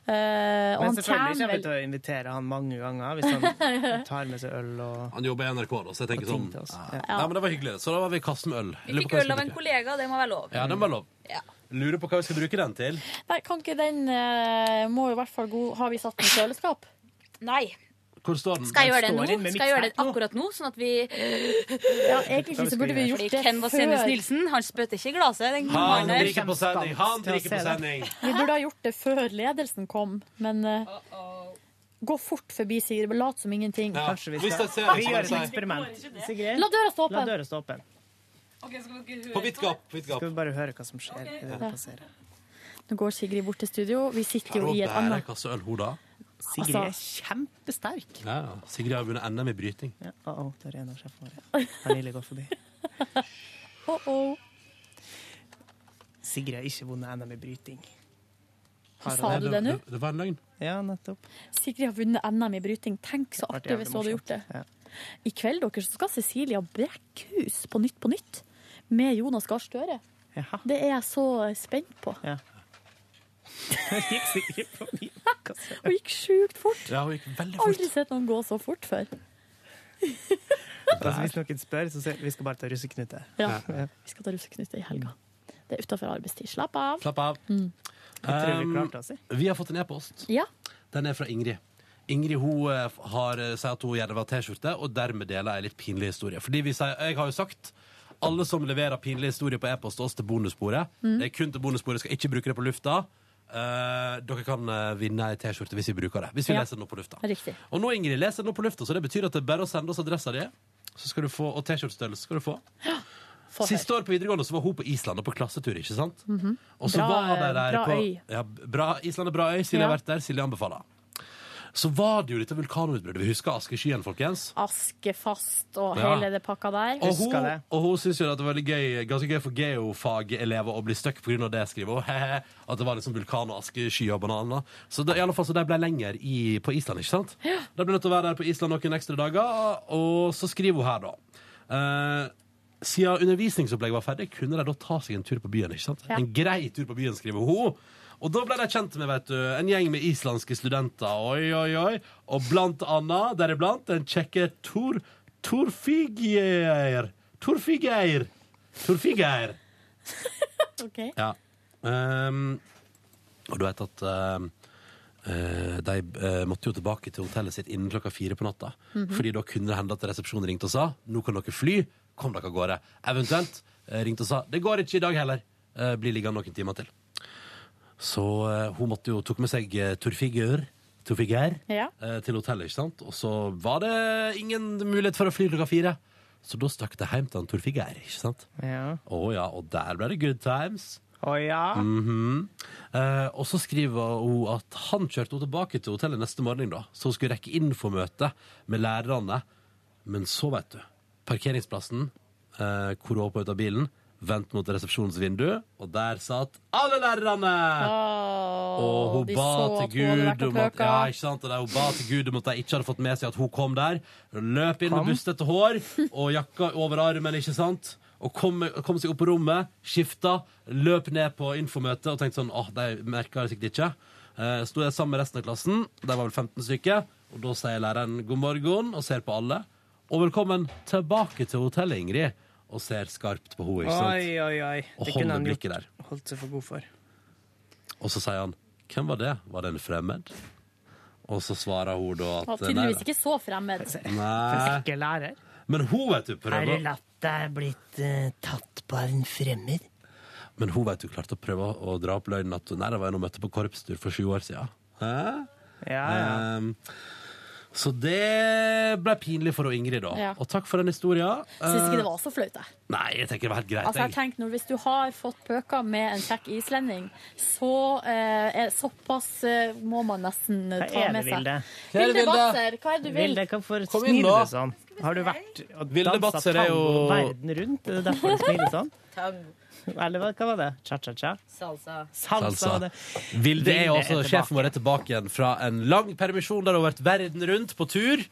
[SPEAKER 4] Eh,
[SPEAKER 3] Men
[SPEAKER 4] og han
[SPEAKER 3] selvfølgelig
[SPEAKER 4] kommer
[SPEAKER 3] kommer vi
[SPEAKER 4] vel
[SPEAKER 3] til å invitere han mange ganger hvis han tar med seg øl og
[SPEAKER 2] Han jobber i NRK, da, så jeg tenker sånn ja. Nei, men Det var hyggelig. Så da var vi i kassen med øl.
[SPEAKER 17] Vi fikk øl av en kollega, det må være lov.
[SPEAKER 2] Ja, den var lov.
[SPEAKER 17] Ja.
[SPEAKER 2] Lurer på hva vi skal bruke den til.
[SPEAKER 4] Nei, kan ikke den eh, Må jo i hvert fall gå Har vi satt den i kjøleskap?
[SPEAKER 17] Nei.
[SPEAKER 2] Hvor står den?
[SPEAKER 17] Skal jeg gjøre det
[SPEAKER 2] Den står inn
[SPEAKER 17] nå?
[SPEAKER 2] med
[SPEAKER 17] Skal jeg gjøre det
[SPEAKER 2] mitt sterk nå.
[SPEAKER 17] akkurat nå, sånn at vi
[SPEAKER 4] Ja, egentlig så burde vi gjort det
[SPEAKER 17] Fordi Ken Vasenus
[SPEAKER 4] før.
[SPEAKER 17] Nilsen, han spytter ikke i glasset.
[SPEAKER 2] Han
[SPEAKER 17] Den mannen der.
[SPEAKER 2] drikker på sending! Han drikker på sending!
[SPEAKER 4] Vi burde ha gjort det før ledelsen kom, men eh, gå fort forbi Sigrid. Lat som ingenting.
[SPEAKER 3] Ja, Kanskje vi hvis skal- jeg ser det, sånn. vi så gjør et sier jeg. eksperiment. Sigrid?
[SPEAKER 4] La døra stå
[SPEAKER 3] La
[SPEAKER 4] åpen.
[SPEAKER 3] døra stå åpen.
[SPEAKER 2] På vidt gap. på vidt gap.
[SPEAKER 3] Skal vi bare høre hva som skjer i det
[SPEAKER 4] Ja.
[SPEAKER 3] det passerer.
[SPEAKER 4] Nå går Sigrid bort til studio. Vi sitter jo
[SPEAKER 2] Kan hun
[SPEAKER 4] i et
[SPEAKER 2] bære ei
[SPEAKER 4] annet
[SPEAKER 2] kasse øl, hun da? Altså,
[SPEAKER 3] Sigrid er Altså, kjempesterk.
[SPEAKER 2] Ja, ja. Sigrid har vunnet NM i bryting.
[SPEAKER 3] Ja, oh, oh, der er en av sjefene våre. Pernille går forbi.
[SPEAKER 4] oh, oh.
[SPEAKER 3] Sigrid har ikke vunnet NM i bryting.
[SPEAKER 4] Har Sa hun- du det nå? Det-
[SPEAKER 2] var en løgn.
[SPEAKER 3] Ja, nettopp.
[SPEAKER 4] Sigrid har vunnet NM i bryting. Tenk så
[SPEAKER 3] Det
[SPEAKER 4] artig hvis hun hadde gjort det. I kveld dere, så skal Cecilia Brækhus på Nytt på Nytt med Jonas Gahr Støre. Det er jeg så spent på.
[SPEAKER 3] Ja. Gikk Sigrid forbi?
[SPEAKER 4] Hun gikk sjukt fort.
[SPEAKER 2] Ja, hun gikk veldig
[SPEAKER 4] Aldri sett noen gå så fort før.
[SPEAKER 3] Altså, hvis noen spør, så sier vi skal bare ta russeknute.
[SPEAKER 4] Ja. Vi skal ta russeknute i helga. Det er utafor arbeidstid. Slapp av.
[SPEAKER 2] Slapp av.
[SPEAKER 4] Mm.
[SPEAKER 3] Jeg tror vi
[SPEAKER 2] Um,
[SPEAKER 3] klarte
[SPEAKER 17] altså.
[SPEAKER 3] oss, jeg.
[SPEAKER 2] vi har fått en e-post.
[SPEAKER 4] Ja.
[SPEAKER 2] Den er fra Ingrid. Ingrid hun eh, har, eh, sier at hun gjerne vil ha T-skjorte, og dermed deler jeg en litt pinlig historie. Fordi vi sier, jeg har jo sagt alle som leverer pinlige historier på e-post til oss til bonussporet.
[SPEAKER 18] Mm.
[SPEAKER 2] Det er kun til bonussporet, skal ikke bruke det på lufta. Eh, dere kan eh, vinne ei T-skjorte hvis vi bruker det. Hvis vi
[SPEAKER 18] Ja.
[SPEAKER 2] leser den opp på lufta.
[SPEAKER 18] Riktig.
[SPEAKER 2] Og nå, Ingrid, leser den opp på lufta, så det betyr at det er bare å sende oss adressa di, så skal du få, og T-skjortestørrelse skal du få.
[SPEAKER 4] Få høre.
[SPEAKER 2] Siste år på videregående så var hun på Island og på klassetur, ikke sant?
[SPEAKER 4] Mhm.
[SPEAKER 2] Og så
[SPEAKER 4] Bra,
[SPEAKER 2] var de der
[SPEAKER 4] bra
[SPEAKER 2] på,
[SPEAKER 4] øy.
[SPEAKER 2] Ja, bra, Island er bra øy, Silje
[SPEAKER 4] Ja.
[SPEAKER 2] har vært der, Silje anbefaler. Så var det jo dette vulkanutbruddet. Vi husker askeskyen, folkens.
[SPEAKER 4] Askefast og
[SPEAKER 2] Ja.
[SPEAKER 4] hele det pakka der.
[SPEAKER 2] Og hun, og hun syntes jo at det var veldig gøy, ganske gøy for geofagelever å bli stuck pga. det, skriver hun. Hehe. At det var liksom vulkan og aske, sky og bananer. Så det, i alle fall, så de ble lenger i, på Island, ikke sant? De ble nødt til å være der på Island noen ekstra dager, og så skriver hun her, da. Eh, siden undervisningsopplegget var ferdig, kunne de da ta seg en tur på byen, ikke sant?
[SPEAKER 18] Ja.
[SPEAKER 2] En grei tur på byen, skriver hun. Og da ble de kjent med vet du, en gjeng med islandske studenter. Oi, oi, oi. Og blant annet, deriblant, den kjekke Tor Torfigeir. Torfigeir. Torfigeir.
[SPEAKER 4] Ok.
[SPEAKER 2] Ja. Ehm, og du vet at ehm, eh, de eh, måtte jo tilbake til hotellet sitt innen klokka fire på natta.
[SPEAKER 18] Mhm.
[SPEAKER 2] Fordi da kunne det hende at resepsjonen ringte og sa nå kan dere fly, kom dere av gårde. Eventuelt eh, ringte og sa det går ikke i dag heller, eh, bli liggende noen timer til. Så eh, hun måtte jo tok med seg eh, Torfigur, Torfigur
[SPEAKER 4] Ja.
[SPEAKER 2] eh, til hotellet, ikke sant? Og så var det ingen mulighet for å fly klokka fire. Så da stakk det hjem til han Torfigur, ikke sant?
[SPEAKER 3] Ja.
[SPEAKER 2] Å ja, og der ble det good times.
[SPEAKER 3] Å ja.
[SPEAKER 2] Mhm. eh, og så skriver hun at han kjørte henne tilbake til hotellet neste morgen, da, så hun skulle rekke infomøte med lærerne. Men så, vet du, parkeringsplassen, eh, hvor hun hoppet ut av bilen, vendt mot resepsjonsvinduet, og der satt alle lærerne! og hun
[SPEAKER 18] de
[SPEAKER 2] ba
[SPEAKER 18] så at
[SPEAKER 2] til
[SPEAKER 18] hun hadde vært
[SPEAKER 2] Gud
[SPEAKER 18] på
[SPEAKER 2] om at
[SPEAKER 18] pøka.
[SPEAKER 2] ja, ikke sant? Og der, Hun ba til Gud om at de ikke hadde fått med seg at hun kom der. Løp inn
[SPEAKER 18] Kom.
[SPEAKER 2] med bustete hår og jakka over armen, ikke sant? Og kom, kom seg opp på rommet, skifta, løp ned på infomøtet og tenkte sånn åh, de merka det sikkert ikke. Eh, Sto jeg sammen med resten av klassen, de var vel 15 stykker, og da sier læreren god morgen og ser på alle. Og velkommen tilbake til hotellet, Ingrid. Og ser skarpt på henne, ikke sant?
[SPEAKER 3] Oi, oi, oi.
[SPEAKER 2] Og
[SPEAKER 3] Det
[SPEAKER 2] holder
[SPEAKER 3] kunne han
[SPEAKER 2] blikket
[SPEAKER 3] gjort-
[SPEAKER 2] der.
[SPEAKER 3] holdt seg for god for.
[SPEAKER 2] Og så sier han Hvem var det? Var det en fremmed? Og så svarer hun da
[SPEAKER 4] Og
[SPEAKER 2] at
[SPEAKER 4] tydeligvis ikke så fremmed.
[SPEAKER 2] Nei.
[SPEAKER 3] Ikke lærer.
[SPEAKER 2] Men hun vet du
[SPEAKER 3] Har du
[SPEAKER 2] prøver
[SPEAKER 3] latt deg blitt eh, tatt på en fremmed?
[SPEAKER 2] Men hun vet du klarte å prøve å dra opp løgnen at Nei, det var en hun møtte på korpstur for sju år siden Hæ?
[SPEAKER 18] ja.
[SPEAKER 2] Ehm, så det ble pinlig for hun Ingrid da
[SPEAKER 4] Ja.
[SPEAKER 2] Og takk for den historien Eh,
[SPEAKER 4] Syns ikke det
[SPEAKER 2] Uh,
[SPEAKER 4] var så flaut, jeg.
[SPEAKER 2] Nei, jeg tenker det var helt greit
[SPEAKER 4] Altså, jeg
[SPEAKER 2] jeg.
[SPEAKER 4] tenkte når, Hvis du har fått pøka med en kjekk islending, så eh, er såpass eh, må man nesten eh, ta
[SPEAKER 3] er det,
[SPEAKER 4] med seg.
[SPEAKER 3] Vilde?
[SPEAKER 4] Vilde?
[SPEAKER 3] Hva er det, Vilde?
[SPEAKER 4] Batzer, hva er det du vil?
[SPEAKER 3] Vilde, hvorfor
[SPEAKER 4] Kom inn
[SPEAKER 3] smiler
[SPEAKER 4] nå.
[SPEAKER 3] du sånn? Har du vært og
[SPEAKER 2] Vilde
[SPEAKER 3] dansa
[SPEAKER 2] Batzer er
[SPEAKER 3] tango
[SPEAKER 2] jo-
[SPEAKER 3] verden rundt? Er det derfor du smiler sånn?
[SPEAKER 17] Tango,
[SPEAKER 3] Eller hva hva var det? Cha-cha-cha?
[SPEAKER 17] salsa.
[SPEAKER 3] Salsa. var det.
[SPEAKER 2] Altså, Vilde er jo
[SPEAKER 3] Vilde
[SPEAKER 2] også
[SPEAKER 3] er
[SPEAKER 2] sjefen vår er tilbake igjen Fra en lang permisjon der hun har vært verden rundt på tur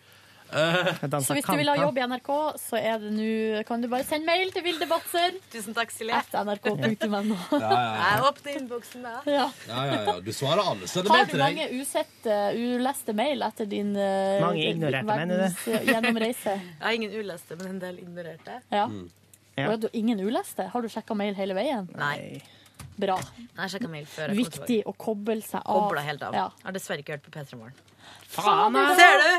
[SPEAKER 2] Eh,
[SPEAKER 3] altså,
[SPEAKER 4] Så hvis du vil ha jobb i NRK, så er det nå Kan du bare sende mail til Vilde Batzer. Tusen takk, Silje. At nrk.no.
[SPEAKER 2] Ja, ja, ja.
[SPEAKER 4] opp til innboksen, da. Ja.
[SPEAKER 2] Ja, ja, ja, du svarer alle Sender
[SPEAKER 4] Har
[SPEAKER 2] mail
[SPEAKER 4] du
[SPEAKER 2] til deg
[SPEAKER 4] mange usette, uleste mail etter din eh,
[SPEAKER 3] Mange ignorerte, mener du?
[SPEAKER 4] verdens- eh, gjennomreise?
[SPEAKER 6] Jeg har ingen uleste, men en del ignorerte.
[SPEAKER 4] Ja.
[SPEAKER 2] Mm.
[SPEAKER 3] Ja.
[SPEAKER 4] Og er du ingen uleste? Har du sjekka mail hele veien?
[SPEAKER 6] Nei.
[SPEAKER 4] Bra.
[SPEAKER 6] Jeg sjekka mail før. jeg kom
[SPEAKER 4] Viktig å koble seg av.
[SPEAKER 6] Kobla helt av.
[SPEAKER 4] Ja.
[SPEAKER 6] Har dessverre ikke hørt på P3 Morgen.
[SPEAKER 4] Faen, jeg-
[SPEAKER 6] Ser du?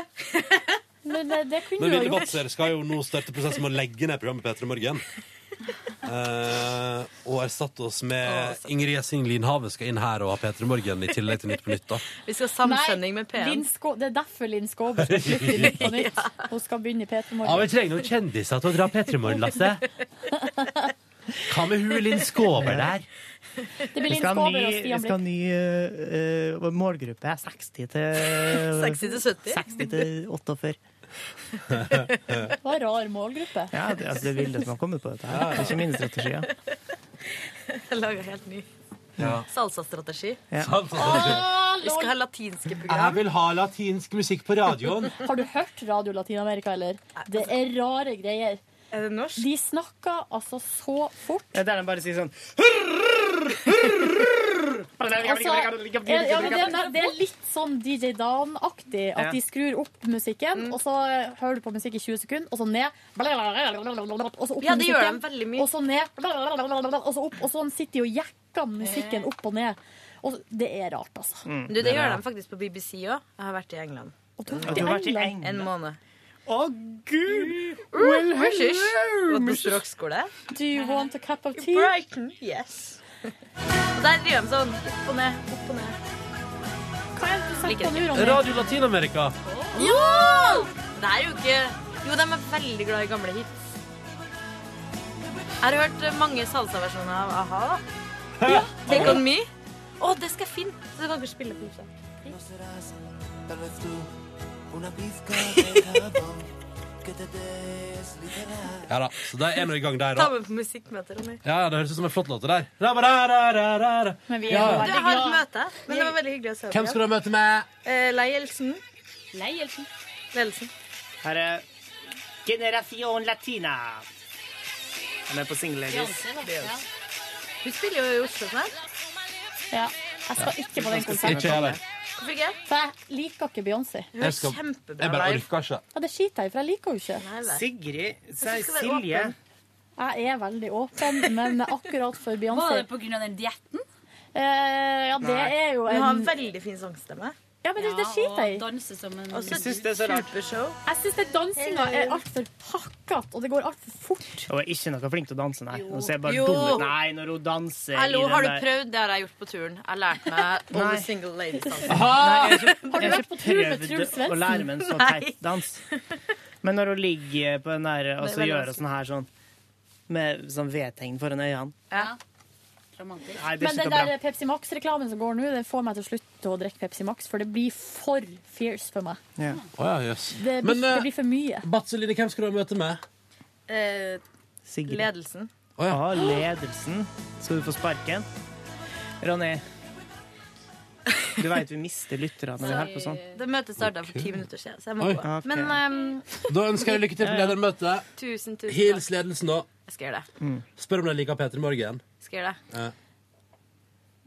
[SPEAKER 4] Men det, det kunne
[SPEAKER 2] Men
[SPEAKER 4] du ha
[SPEAKER 2] Vilde
[SPEAKER 4] gjort.
[SPEAKER 2] Batzer skal jo nå starte prosessen med å legge ned programmet P3 Morgen. Eh, og erstatte oss med
[SPEAKER 4] altså.
[SPEAKER 2] Ingrid Gjessing Linhave skal inn her og ha P3 Morgen i tillegg til Nytt på Nytt. da
[SPEAKER 6] Vi skal ha samsending med
[SPEAKER 4] Nei, Linn
[SPEAKER 6] P1.
[SPEAKER 4] Skå- det er derfor Linn Skåber skal flytte inn på nytt. Hun skal begynne i P3
[SPEAKER 2] Ja, Vi
[SPEAKER 4] Morgen.
[SPEAKER 2] trenger noen kjendiser til å dra P3 Morgen, Lasse. Hva med hun Linn Skåber der?
[SPEAKER 4] Det blir
[SPEAKER 3] Vi
[SPEAKER 4] Linn
[SPEAKER 3] skal ha ny,
[SPEAKER 4] Skåber og
[SPEAKER 3] vi
[SPEAKER 4] Stian
[SPEAKER 3] skal ha
[SPEAKER 4] Blipp.
[SPEAKER 3] ny eh, eh, målgruppe. 60 til
[SPEAKER 6] 60 til 70.
[SPEAKER 3] 60 til 48.
[SPEAKER 4] Det var en rar målgruppe.
[SPEAKER 3] Ja, det, altså, det er Vilde som har kommet på dette. her. Det er ikke min strategi. Ja.
[SPEAKER 6] Jeg lager helt ny
[SPEAKER 2] Ja.
[SPEAKER 6] salsastrategi.
[SPEAKER 3] Ja.
[SPEAKER 2] Sånn,
[SPEAKER 4] Ah,
[SPEAKER 6] Vi skal ha latinske
[SPEAKER 2] Jeg
[SPEAKER 6] program.
[SPEAKER 2] vil ha latinsk musikk på radioen.
[SPEAKER 4] Har du hørt Radio Latin-Amerika, eller? Det er rare greier.
[SPEAKER 6] altså- Er det norsk?
[SPEAKER 4] De snakker altså så fort.
[SPEAKER 3] Ja, der de bare sier sånn
[SPEAKER 4] Altså, ja, ja, men det, er- det er litt sånn DJ Dan-aktig. At
[SPEAKER 3] Ja.
[SPEAKER 4] de skrur opp musikken,
[SPEAKER 2] Mm.
[SPEAKER 4] og så hører du på musikk i 20 sekunder, og så ned. Og så opp
[SPEAKER 6] Ja,
[SPEAKER 4] med
[SPEAKER 6] det gjør
[SPEAKER 4] musikken,
[SPEAKER 6] de veldig mye.
[SPEAKER 4] Og så ned. Og så opp. Og sånn sitter de og jekker musikken opp og ned. Og det er rart, altså.
[SPEAKER 2] Mm.
[SPEAKER 6] Du, det gjør de faktisk på BBC òg. Jeg har vært i England.
[SPEAKER 4] Og du har vært i Og du har vært i England?
[SPEAKER 6] En måned.
[SPEAKER 3] Å, gud! Well, hello, Mrs.
[SPEAKER 6] rockskole.
[SPEAKER 4] Do you want a cup of tea?
[SPEAKER 6] Brighton, yes. Og der driver de sånn opp og ned, opp og ned.
[SPEAKER 4] Hva er det du setter på nå, Ronny?
[SPEAKER 2] Radio Latin-Amerika.
[SPEAKER 6] Jo! Det er jo ikke Jo, de er veldig glad i gamle hits. Jeg har hørt mange salsa-versjoner av a-ha. da.
[SPEAKER 9] Ja.
[SPEAKER 6] Take On Me. Å, det skal jeg finne! Så kan dere spille på huset.
[SPEAKER 2] Ja da, så da er vi i gang der
[SPEAKER 6] Ta
[SPEAKER 2] òg.
[SPEAKER 6] med på musikkmøter, Ronny.
[SPEAKER 2] Ja, det høres ut som en flott låt, det der. Ra-ba-ra-ra-ra-ra.
[SPEAKER 6] Men
[SPEAKER 2] Ja.
[SPEAKER 6] Du jeg har et møte, men det var veldig hyggelig å se
[SPEAKER 2] Hvem skal du ha møte med?
[SPEAKER 6] Eh, Lei Elsen. Lei Elsen.
[SPEAKER 3] Her er Generasjon Latina. Han er på singleladies.
[SPEAKER 6] Hun spiller jo i Oslo sånn snart.
[SPEAKER 4] Ja. Jeg skal ikke på den konserten.
[SPEAKER 2] Ikke jeg heller.
[SPEAKER 6] Hvorfor ikke?
[SPEAKER 4] For jeg liker ikke Beyoncé.
[SPEAKER 2] Jeg, skal, jeg bare orker ikke.
[SPEAKER 4] Ja, det skiter jeg i, for jeg liker jo ikke.
[SPEAKER 3] Sigrid
[SPEAKER 4] Jeg skal være åpen. Jeg er veldig åpen, men akkurat for Beyoncé
[SPEAKER 6] Var det
[SPEAKER 4] på grunn av den dietten? Eh, ja, det er jo
[SPEAKER 6] Hun har en
[SPEAKER 4] en
[SPEAKER 6] veldig fin sangstemme.
[SPEAKER 4] Ja, men det, det skiter jeg i.
[SPEAKER 6] Og så supershow.
[SPEAKER 4] Jeg syns dansinga er altfor pakkete, og det går altfor fort.
[SPEAKER 3] Hun er ikke noe flink til å danse, nei. Hun ser bare
[SPEAKER 6] Jo.
[SPEAKER 3] dum ut. Nei, når hun danser i
[SPEAKER 6] Hallo,
[SPEAKER 3] den
[SPEAKER 6] har du
[SPEAKER 3] der-
[SPEAKER 6] prøvd? Det har jeg gjort på turen. Jeg lærte meg All the Single Ladies-dansen.
[SPEAKER 3] Nei, jeg
[SPEAKER 6] Har du
[SPEAKER 3] jeg
[SPEAKER 6] vært på tur med
[SPEAKER 3] prøvd
[SPEAKER 6] Truls Svendsen?
[SPEAKER 3] Å lære meg en så
[SPEAKER 6] Nei.
[SPEAKER 3] teit dans. Men når hun ligger på den der og
[SPEAKER 6] Det er
[SPEAKER 3] så
[SPEAKER 6] veldig
[SPEAKER 3] gjør hun sånn her sånn med sånn vedtegn foran øynene
[SPEAKER 6] Ja.
[SPEAKER 3] Nei, det er
[SPEAKER 4] Men
[SPEAKER 3] ikke
[SPEAKER 4] den
[SPEAKER 3] noe bra.
[SPEAKER 4] der Pepsi Max-reklamen som går nå, den får meg til slutt til å drikke Pepsi Max, for det blir for fierce for meg.
[SPEAKER 3] Ja.
[SPEAKER 2] Å ja, jøss.
[SPEAKER 4] Det blir,
[SPEAKER 2] Men
[SPEAKER 4] det
[SPEAKER 2] eh,
[SPEAKER 4] blir for mye.
[SPEAKER 2] Batseline, hvem skal du ha møte med?
[SPEAKER 6] Eh,
[SPEAKER 3] Sigrid.
[SPEAKER 6] ledelsen.
[SPEAKER 2] Å ja.
[SPEAKER 3] Ah, ledelsen. Skal du få sparken? Ronny, du veit vi mister lyttere når vi holder på sånn.
[SPEAKER 6] Det møtet starta for ti minutter siden, så jeg må
[SPEAKER 2] Oi.
[SPEAKER 6] gå.
[SPEAKER 3] Ok.
[SPEAKER 6] Men ehm,
[SPEAKER 2] Da ønsker jeg deg lykke til på ledermøtet.
[SPEAKER 6] tusen, tusen takk.
[SPEAKER 2] Hils ledelsen, da.
[SPEAKER 6] Jeg skal gjøre det.
[SPEAKER 3] Mm.
[SPEAKER 2] Spør om de liker P3 Morgen.
[SPEAKER 6] Jeg skal gjøre det.
[SPEAKER 2] Ja.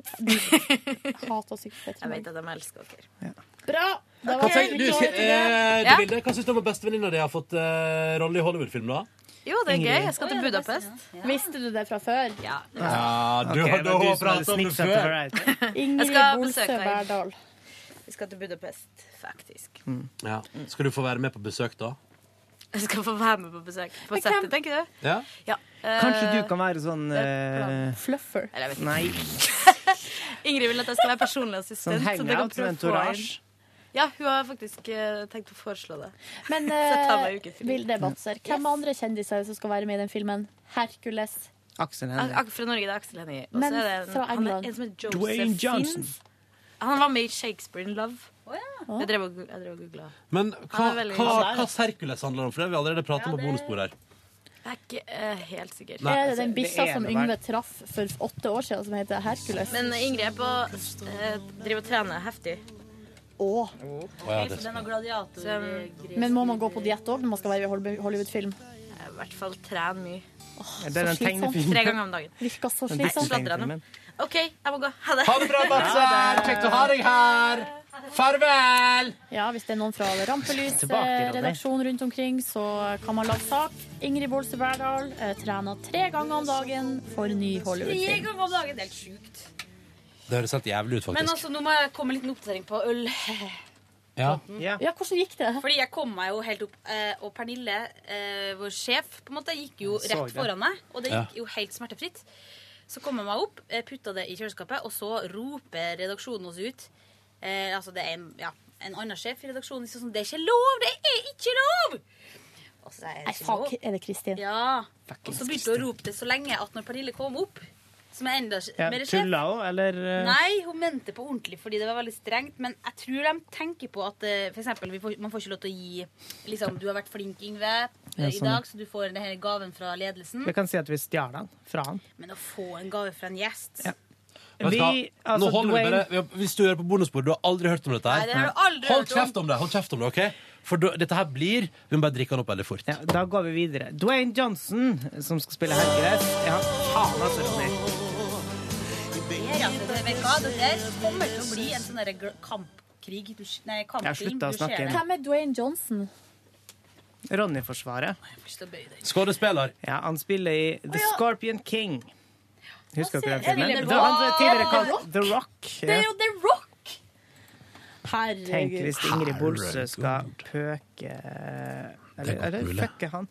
[SPEAKER 4] Hat og sykt
[SPEAKER 6] Jeg vet at de elsker dere.
[SPEAKER 4] Bra! Da
[SPEAKER 2] Hva
[SPEAKER 4] var
[SPEAKER 2] tenker du,
[SPEAKER 4] vi
[SPEAKER 2] skal,
[SPEAKER 4] klare til det.
[SPEAKER 2] eh, du
[SPEAKER 6] Ja.
[SPEAKER 2] Vilde, hva syns du om at bestevenninna di har fått eh, rolle i Hollywood-film, da?
[SPEAKER 6] Jo, det er sånn,
[SPEAKER 2] Ingrid.
[SPEAKER 6] gøy. Jeg skal til Budapest.
[SPEAKER 4] Visste du det fra før?
[SPEAKER 6] Ja.
[SPEAKER 2] Ja, du
[SPEAKER 3] Ok,
[SPEAKER 2] har
[SPEAKER 3] det var du
[SPEAKER 2] da
[SPEAKER 3] som hadde
[SPEAKER 2] pratet om det
[SPEAKER 3] snikskjønt det
[SPEAKER 2] før.
[SPEAKER 3] her.
[SPEAKER 6] Jeg
[SPEAKER 4] Ingrid
[SPEAKER 6] skal
[SPEAKER 4] Bolsø
[SPEAKER 6] besøke deg.
[SPEAKER 4] Berdal.
[SPEAKER 6] Vi skal til Budapest, faktisk.
[SPEAKER 3] Mm.
[SPEAKER 2] Ja. Skal du få være med på besøk, da?
[SPEAKER 6] Jeg skal få være med på besøk. På settet, tenker du?
[SPEAKER 2] Ja.
[SPEAKER 6] Ja.
[SPEAKER 3] Kanskje
[SPEAKER 6] Eh,
[SPEAKER 3] du kan være sånn eh,
[SPEAKER 4] Fluffer.
[SPEAKER 6] Eller jeg vet ikke.
[SPEAKER 3] Nei,
[SPEAKER 6] Ingrid vil at jeg skal være personlig assistent.
[SPEAKER 3] sånn
[SPEAKER 6] så det kan
[SPEAKER 3] hangout
[SPEAKER 6] prøve
[SPEAKER 3] med
[SPEAKER 6] å få
[SPEAKER 3] entourage.
[SPEAKER 6] inn. Ja, hun har faktisk eh, tenkt å foreslå det.
[SPEAKER 4] Men
[SPEAKER 6] Så tar meg
[SPEAKER 4] eh,
[SPEAKER 6] uke fri.
[SPEAKER 4] Vilde Batzer, hvem andre kjendiser er det som skal være med i den filmen? Hercules.
[SPEAKER 3] Aksel
[SPEAKER 6] Ak
[SPEAKER 3] Hennie.
[SPEAKER 6] ak fra Norge det er Aksel Hennie. Og så
[SPEAKER 4] Men
[SPEAKER 6] er det en,
[SPEAKER 4] fra
[SPEAKER 6] han er
[SPEAKER 4] England.
[SPEAKER 6] en som heter Joseph
[SPEAKER 3] Dwayne Johnson.
[SPEAKER 6] Fiennes. Han var med i Shakespeare in Love. Jeg drev og, jeg drev og googla.
[SPEAKER 2] Men hva
[SPEAKER 6] Han er veldig-
[SPEAKER 2] slags Hercules handler det om? For det har vi allerede pratet om på bonusbord her.
[SPEAKER 6] Jeg er ikke eh, helt sikker.
[SPEAKER 4] er det den bikkja
[SPEAKER 3] det er
[SPEAKER 4] som
[SPEAKER 3] noe
[SPEAKER 4] Yngve traff for åtte år siden, som heter Hercules?
[SPEAKER 6] Men Ingrid er på eh, driver og trener heftig.
[SPEAKER 17] eh,
[SPEAKER 4] Å.
[SPEAKER 2] Å, ja, det
[SPEAKER 17] Den
[SPEAKER 2] skal.
[SPEAKER 17] har gladiator
[SPEAKER 6] Så
[SPEAKER 17] i gris.
[SPEAKER 4] Men må man gå på diett òg når man skal være i Hollywood- Hollywood-film?
[SPEAKER 6] jeg i hvert fall trener mye.
[SPEAKER 3] Det er
[SPEAKER 4] Så
[SPEAKER 3] den
[SPEAKER 4] slitsomt.
[SPEAKER 3] tegnefilmen.
[SPEAKER 6] Tre ganger om dagen.
[SPEAKER 4] Virka så
[SPEAKER 3] Den
[SPEAKER 6] Jeg
[SPEAKER 4] slitsomt.
[SPEAKER 6] sladrer nå.
[SPEAKER 3] tegnefilmen.
[SPEAKER 6] OK, jeg må gå. Ha det.
[SPEAKER 2] Ha det bra, Batzer! Kjekt å ha deg her! Farvel!
[SPEAKER 4] Ja, hvis det er noen fra
[SPEAKER 3] Tilbake, Ronny.
[SPEAKER 4] Rampelys-redaksjonen rundt omkring, så kan man lage sak. Ingrid Bolse Berdal eh, trener tre ganger om dagen for ny
[SPEAKER 17] Tre
[SPEAKER 4] Hollywood-film.
[SPEAKER 17] ganger om dagen. Det er helt sjukt.
[SPEAKER 2] Det høres helt jævlig ut,
[SPEAKER 17] Men
[SPEAKER 2] faktisk.
[SPEAKER 17] altså, nå må jeg komme med en liten oppdatering på øl.
[SPEAKER 2] Ja.
[SPEAKER 3] Ja.
[SPEAKER 4] Ja, hvordan gikk det?
[SPEAKER 17] Fordi jeg kom meg jo helt opp, eh, og Pernille, eh, vår sjef, på en måte, gikk jo
[SPEAKER 3] Jeg så
[SPEAKER 17] rett
[SPEAKER 3] det.
[SPEAKER 17] foran meg. Og det
[SPEAKER 2] Ja.
[SPEAKER 17] gikk jo helt smertefritt. Så kom jeg meg opp, eh, putta det i kjøleskapet, og så roper redaksjonen oss ut. Eh, altså, det er en, ja, en annen sjef i redaksjonen som sånn Det er ikke lov! Det er ikke lov! Og så er
[SPEAKER 4] Nei,
[SPEAKER 17] det ikke
[SPEAKER 4] fuck,
[SPEAKER 17] lov.
[SPEAKER 4] er det Kristin?
[SPEAKER 17] Ja. Og
[SPEAKER 3] Fuckings
[SPEAKER 17] så begynte hun å rope det så lenge at når Pernille kom opp, som er enda
[SPEAKER 3] Ja,
[SPEAKER 17] mer sjef
[SPEAKER 3] Tulla hun, eller eh,
[SPEAKER 17] Nei, hun mente på ordentlig fordi det var veldig strengt. Men jeg tror de tenker på at eh, for eksempel, vi får, man får ikke lov til å gi liksom, Du har vært flink, Yngve, eh, i
[SPEAKER 3] sånn.
[SPEAKER 17] dag, så du får denne gaven fra ledelsen.
[SPEAKER 3] Vi kan si at vi stjal den fra han.
[SPEAKER 17] Men å få en gave fra en gjest
[SPEAKER 2] Vet du hva?
[SPEAKER 3] Vi, altså,
[SPEAKER 2] Nå holder
[SPEAKER 3] Dwayne-
[SPEAKER 2] du bare, hvis du hører på bonusbord, du har aldri hørt om dette her.
[SPEAKER 17] Nei, det har du aldri
[SPEAKER 2] hold
[SPEAKER 17] hørt om.
[SPEAKER 2] kjeft om det, hold kjeft om det, ok? For da- dette her blir Vi må bare drikke den opp veldig fort.
[SPEAKER 3] Ja, da går vi videre. Dwayne Johnson, eh, som skal spille Hercules. Ja, faen altså, Ronny.
[SPEAKER 17] Det er altså, det, vet du hva, det der kommer til å bli en sånn derre gl- kampkrig du, s- Nei,
[SPEAKER 3] Jeg
[SPEAKER 17] kampfilm.
[SPEAKER 3] slutta å snakke igjen.
[SPEAKER 4] Hvem er Dwayne Johnson?
[SPEAKER 3] Ronny-forsvaret.
[SPEAKER 17] igjen.
[SPEAKER 2] Skådespiller.
[SPEAKER 3] Ja, han spiller i The Scorpion King. Husker dere den
[SPEAKER 4] ser jeg.
[SPEAKER 3] filmen?
[SPEAKER 4] Er det
[SPEAKER 3] Da, han
[SPEAKER 4] The Rock?
[SPEAKER 3] tidligere
[SPEAKER 4] Er det
[SPEAKER 3] kalt The Rock.
[SPEAKER 4] Det
[SPEAKER 3] Ja.
[SPEAKER 4] er jo The Rock!
[SPEAKER 3] Tenk
[SPEAKER 4] Herregud.
[SPEAKER 3] hvis Ingrid Bolsø skal pøke Eller,
[SPEAKER 2] godt
[SPEAKER 3] eller
[SPEAKER 2] mulig.
[SPEAKER 3] fucker han?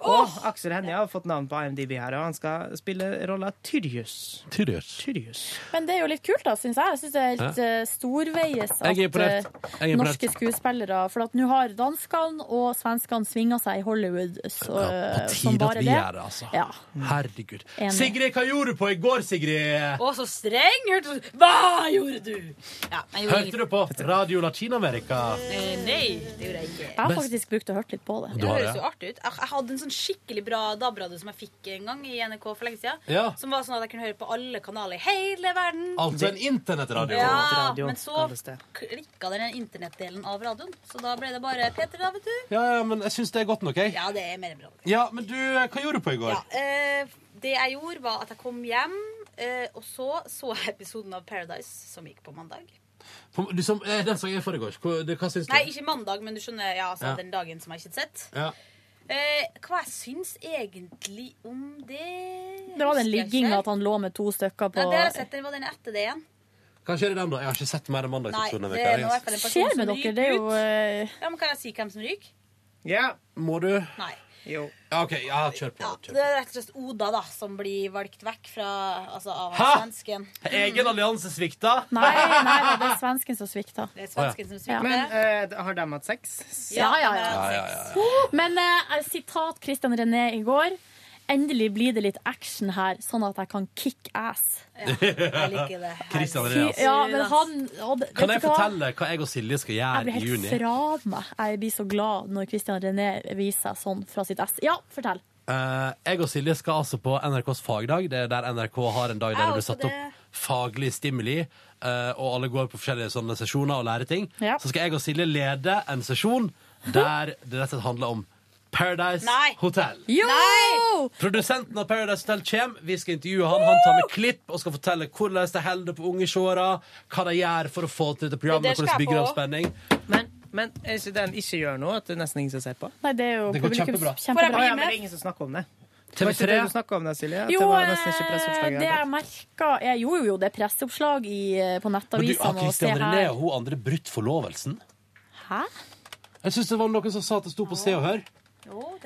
[SPEAKER 3] Og Aksel Hennie har fått navn på IMDb her, og han skal spille rolla Tyrjus.
[SPEAKER 2] Tyrjus.
[SPEAKER 4] Men det er jo litt kult, da, syns jeg. Jeg syns det er helt
[SPEAKER 2] Ja.
[SPEAKER 4] eh, storveies at
[SPEAKER 2] Jeg er imponert.
[SPEAKER 4] eh,
[SPEAKER 2] Jeg er imponert.
[SPEAKER 4] norske skuespillere For at nå har danskene og svenskene svinga seg i Hollywood så,
[SPEAKER 2] På
[SPEAKER 4] eh, som
[SPEAKER 2] tide at
[SPEAKER 4] bare
[SPEAKER 2] vi
[SPEAKER 4] det.
[SPEAKER 2] gjør det, altså.
[SPEAKER 4] Ja.
[SPEAKER 2] Herregud.
[SPEAKER 4] Enig.
[SPEAKER 2] Sigrid, hva gjorde du på i går, Sigrid?
[SPEAKER 6] Å, så streng! Hørte du Hva gjorde du? Ja, men jeg
[SPEAKER 2] Hørte
[SPEAKER 6] gjorde
[SPEAKER 2] du på Radio Latin-Amerika?
[SPEAKER 6] Eh, Nei, det gjorde jeg ikke.
[SPEAKER 4] Jeg har faktisk brukt og hørt litt på det.
[SPEAKER 2] Du
[SPEAKER 17] Det
[SPEAKER 2] har
[SPEAKER 17] høres
[SPEAKER 2] det.
[SPEAKER 17] jo artig ut. Jeg jeg hadde en sånn skikkelig bra DAB-radio som jeg fikk en gang i NRK for lenge siden.
[SPEAKER 2] Ja.
[SPEAKER 17] Som var sånn at jeg kunne høre på alle kanaler i hele verden.
[SPEAKER 2] Altså en internettradio.
[SPEAKER 17] Ja, men så klikka den internettdelen av radioen, så da ble det bare Peter, da, vet du.
[SPEAKER 2] Ja, ja, men jeg syns det er godt nok, jeg.
[SPEAKER 17] Ja, det er mer enn bra.
[SPEAKER 2] Ja, men du, hva gjorde du på i går?
[SPEAKER 17] Ja, eh, det jeg gjorde, var at jeg kom hjem, eh, og så så jeg episoden av Paradise som gikk på mandag.
[SPEAKER 2] På- Du som, eh, den som jeg foregårs, hva, det- hva syns du?
[SPEAKER 17] Nei, ikke mandag, men du skjønner ja, altså,
[SPEAKER 2] Ja.
[SPEAKER 17] den dagen som jeg ikke hadde sett.
[SPEAKER 2] Ja.
[SPEAKER 17] Eh, hva jeg syns egentlig om det
[SPEAKER 4] Det var den
[SPEAKER 17] husker jeg ikke
[SPEAKER 4] ligginga
[SPEAKER 17] helt.
[SPEAKER 4] at han lå med to stykker på
[SPEAKER 17] Nei, det har jeg sett. Det var den etter det igjen.
[SPEAKER 2] Kanskje er det den, da? Jeg har ikke sett mer enn mandagsepisoden.
[SPEAKER 17] Nei,
[SPEAKER 2] denne
[SPEAKER 17] det
[SPEAKER 2] veka,
[SPEAKER 17] er nå i hvert fall en
[SPEAKER 2] altså.
[SPEAKER 17] person
[SPEAKER 4] Skjer med
[SPEAKER 17] som
[SPEAKER 4] dere?
[SPEAKER 17] ryker
[SPEAKER 4] Det er jo
[SPEAKER 17] ut.
[SPEAKER 4] eh,
[SPEAKER 17] Ja, men Kan jeg si hvem som ryker?
[SPEAKER 3] Ja.
[SPEAKER 2] Må du?
[SPEAKER 17] Nei.
[SPEAKER 3] Jo.
[SPEAKER 2] Ja, OK. Ja, kjør på. Kjør.
[SPEAKER 17] Det er rett og slett Oda da, som blir valgt vekk fra, altså, av
[SPEAKER 2] Hæ?
[SPEAKER 17] svensken. Mm.
[SPEAKER 2] på. Egen allianse svikta.
[SPEAKER 4] Nei, nei, det er svensken som svikta.
[SPEAKER 17] Det er
[SPEAKER 2] svensken
[SPEAKER 17] som
[SPEAKER 4] Ja.
[SPEAKER 3] Men eh, har de hatt sex?
[SPEAKER 4] Ja, ja, ja.
[SPEAKER 2] Ja, ja, ja.
[SPEAKER 4] Men eh, sitat Christian René i går. Endelig blir det litt action her, sånn at jeg kan kick ass.
[SPEAKER 2] jeg
[SPEAKER 17] liker det.
[SPEAKER 2] Christian
[SPEAKER 4] Fy-
[SPEAKER 2] Andreas.
[SPEAKER 4] Ja, men han, og, det-
[SPEAKER 2] Kan
[SPEAKER 4] vet
[SPEAKER 2] jeg
[SPEAKER 4] du hva?
[SPEAKER 2] fortelle hva jeg og Silje skal
[SPEAKER 4] Jeg
[SPEAKER 2] gjøre
[SPEAKER 4] blir
[SPEAKER 2] i juni?
[SPEAKER 4] helt fra meg. Jeg blir så glad når Christian René viser seg sånn fra sitt ass. Ja, fortell.
[SPEAKER 2] Eh, jeg og Silje skal altså på NRKs fagdag. Det er der NRK har en dag der det
[SPEAKER 4] Jeg
[SPEAKER 2] blir
[SPEAKER 4] også
[SPEAKER 2] satt opp faglig stimuli, eh, og alle går på forskjellige sånne sesjoner og lærer ting.
[SPEAKER 4] Ja.
[SPEAKER 2] Så skal jeg og Silje lede en sesjon der det rett og slett handler om Paradise
[SPEAKER 17] Nei.
[SPEAKER 2] Hotel.
[SPEAKER 4] Jo! Nei!
[SPEAKER 2] Produsenten av Paradise Hotel kommer. Vi skal intervjue han. Han tar med klipp og skal fortelle hvordan de holder det på unge seere, hva de gjør for å få til dette
[SPEAKER 3] Det
[SPEAKER 2] programmet,
[SPEAKER 3] skal
[SPEAKER 2] hvordan de
[SPEAKER 3] jeg
[SPEAKER 2] bygger
[SPEAKER 3] på.
[SPEAKER 2] opp spenning.
[SPEAKER 3] Men er ikke det de ikke gjør nå, at det er nesten ingen som ser på?
[SPEAKER 4] Nei, det er jo
[SPEAKER 2] Det går publikums- kjempebra. kjempebra.
[SPEAKER 3] Å, ja, men det er ingen som snakker om det.
[SPEAKER 2] TV3.
[SPEAKER 3] Var ikke det du snakket om det, Silje? At
[SPEAKER 4] Jo,
[SPEAKER 3] det var
[SPEAKER 4] eh,
[SPEAKER 3] nesten ikke presseoppslaget.
[SPEAKER 4] det jeg merka Jeg gjorde jo det presseoppslag i, eh, på
[SPEAKER 2] Men du, har
[SPEAKER 4] nettavisene. og se
[SPEAKER 2] Christian René
[SPEAKER 4] her.
[SPEAKER 2] og hun andre brutt forlovelsen?
[SPEAKER 4] Hæ?
[SPEAKER 2] Jeg syns det var noen som sa at det sto på Se og Hør.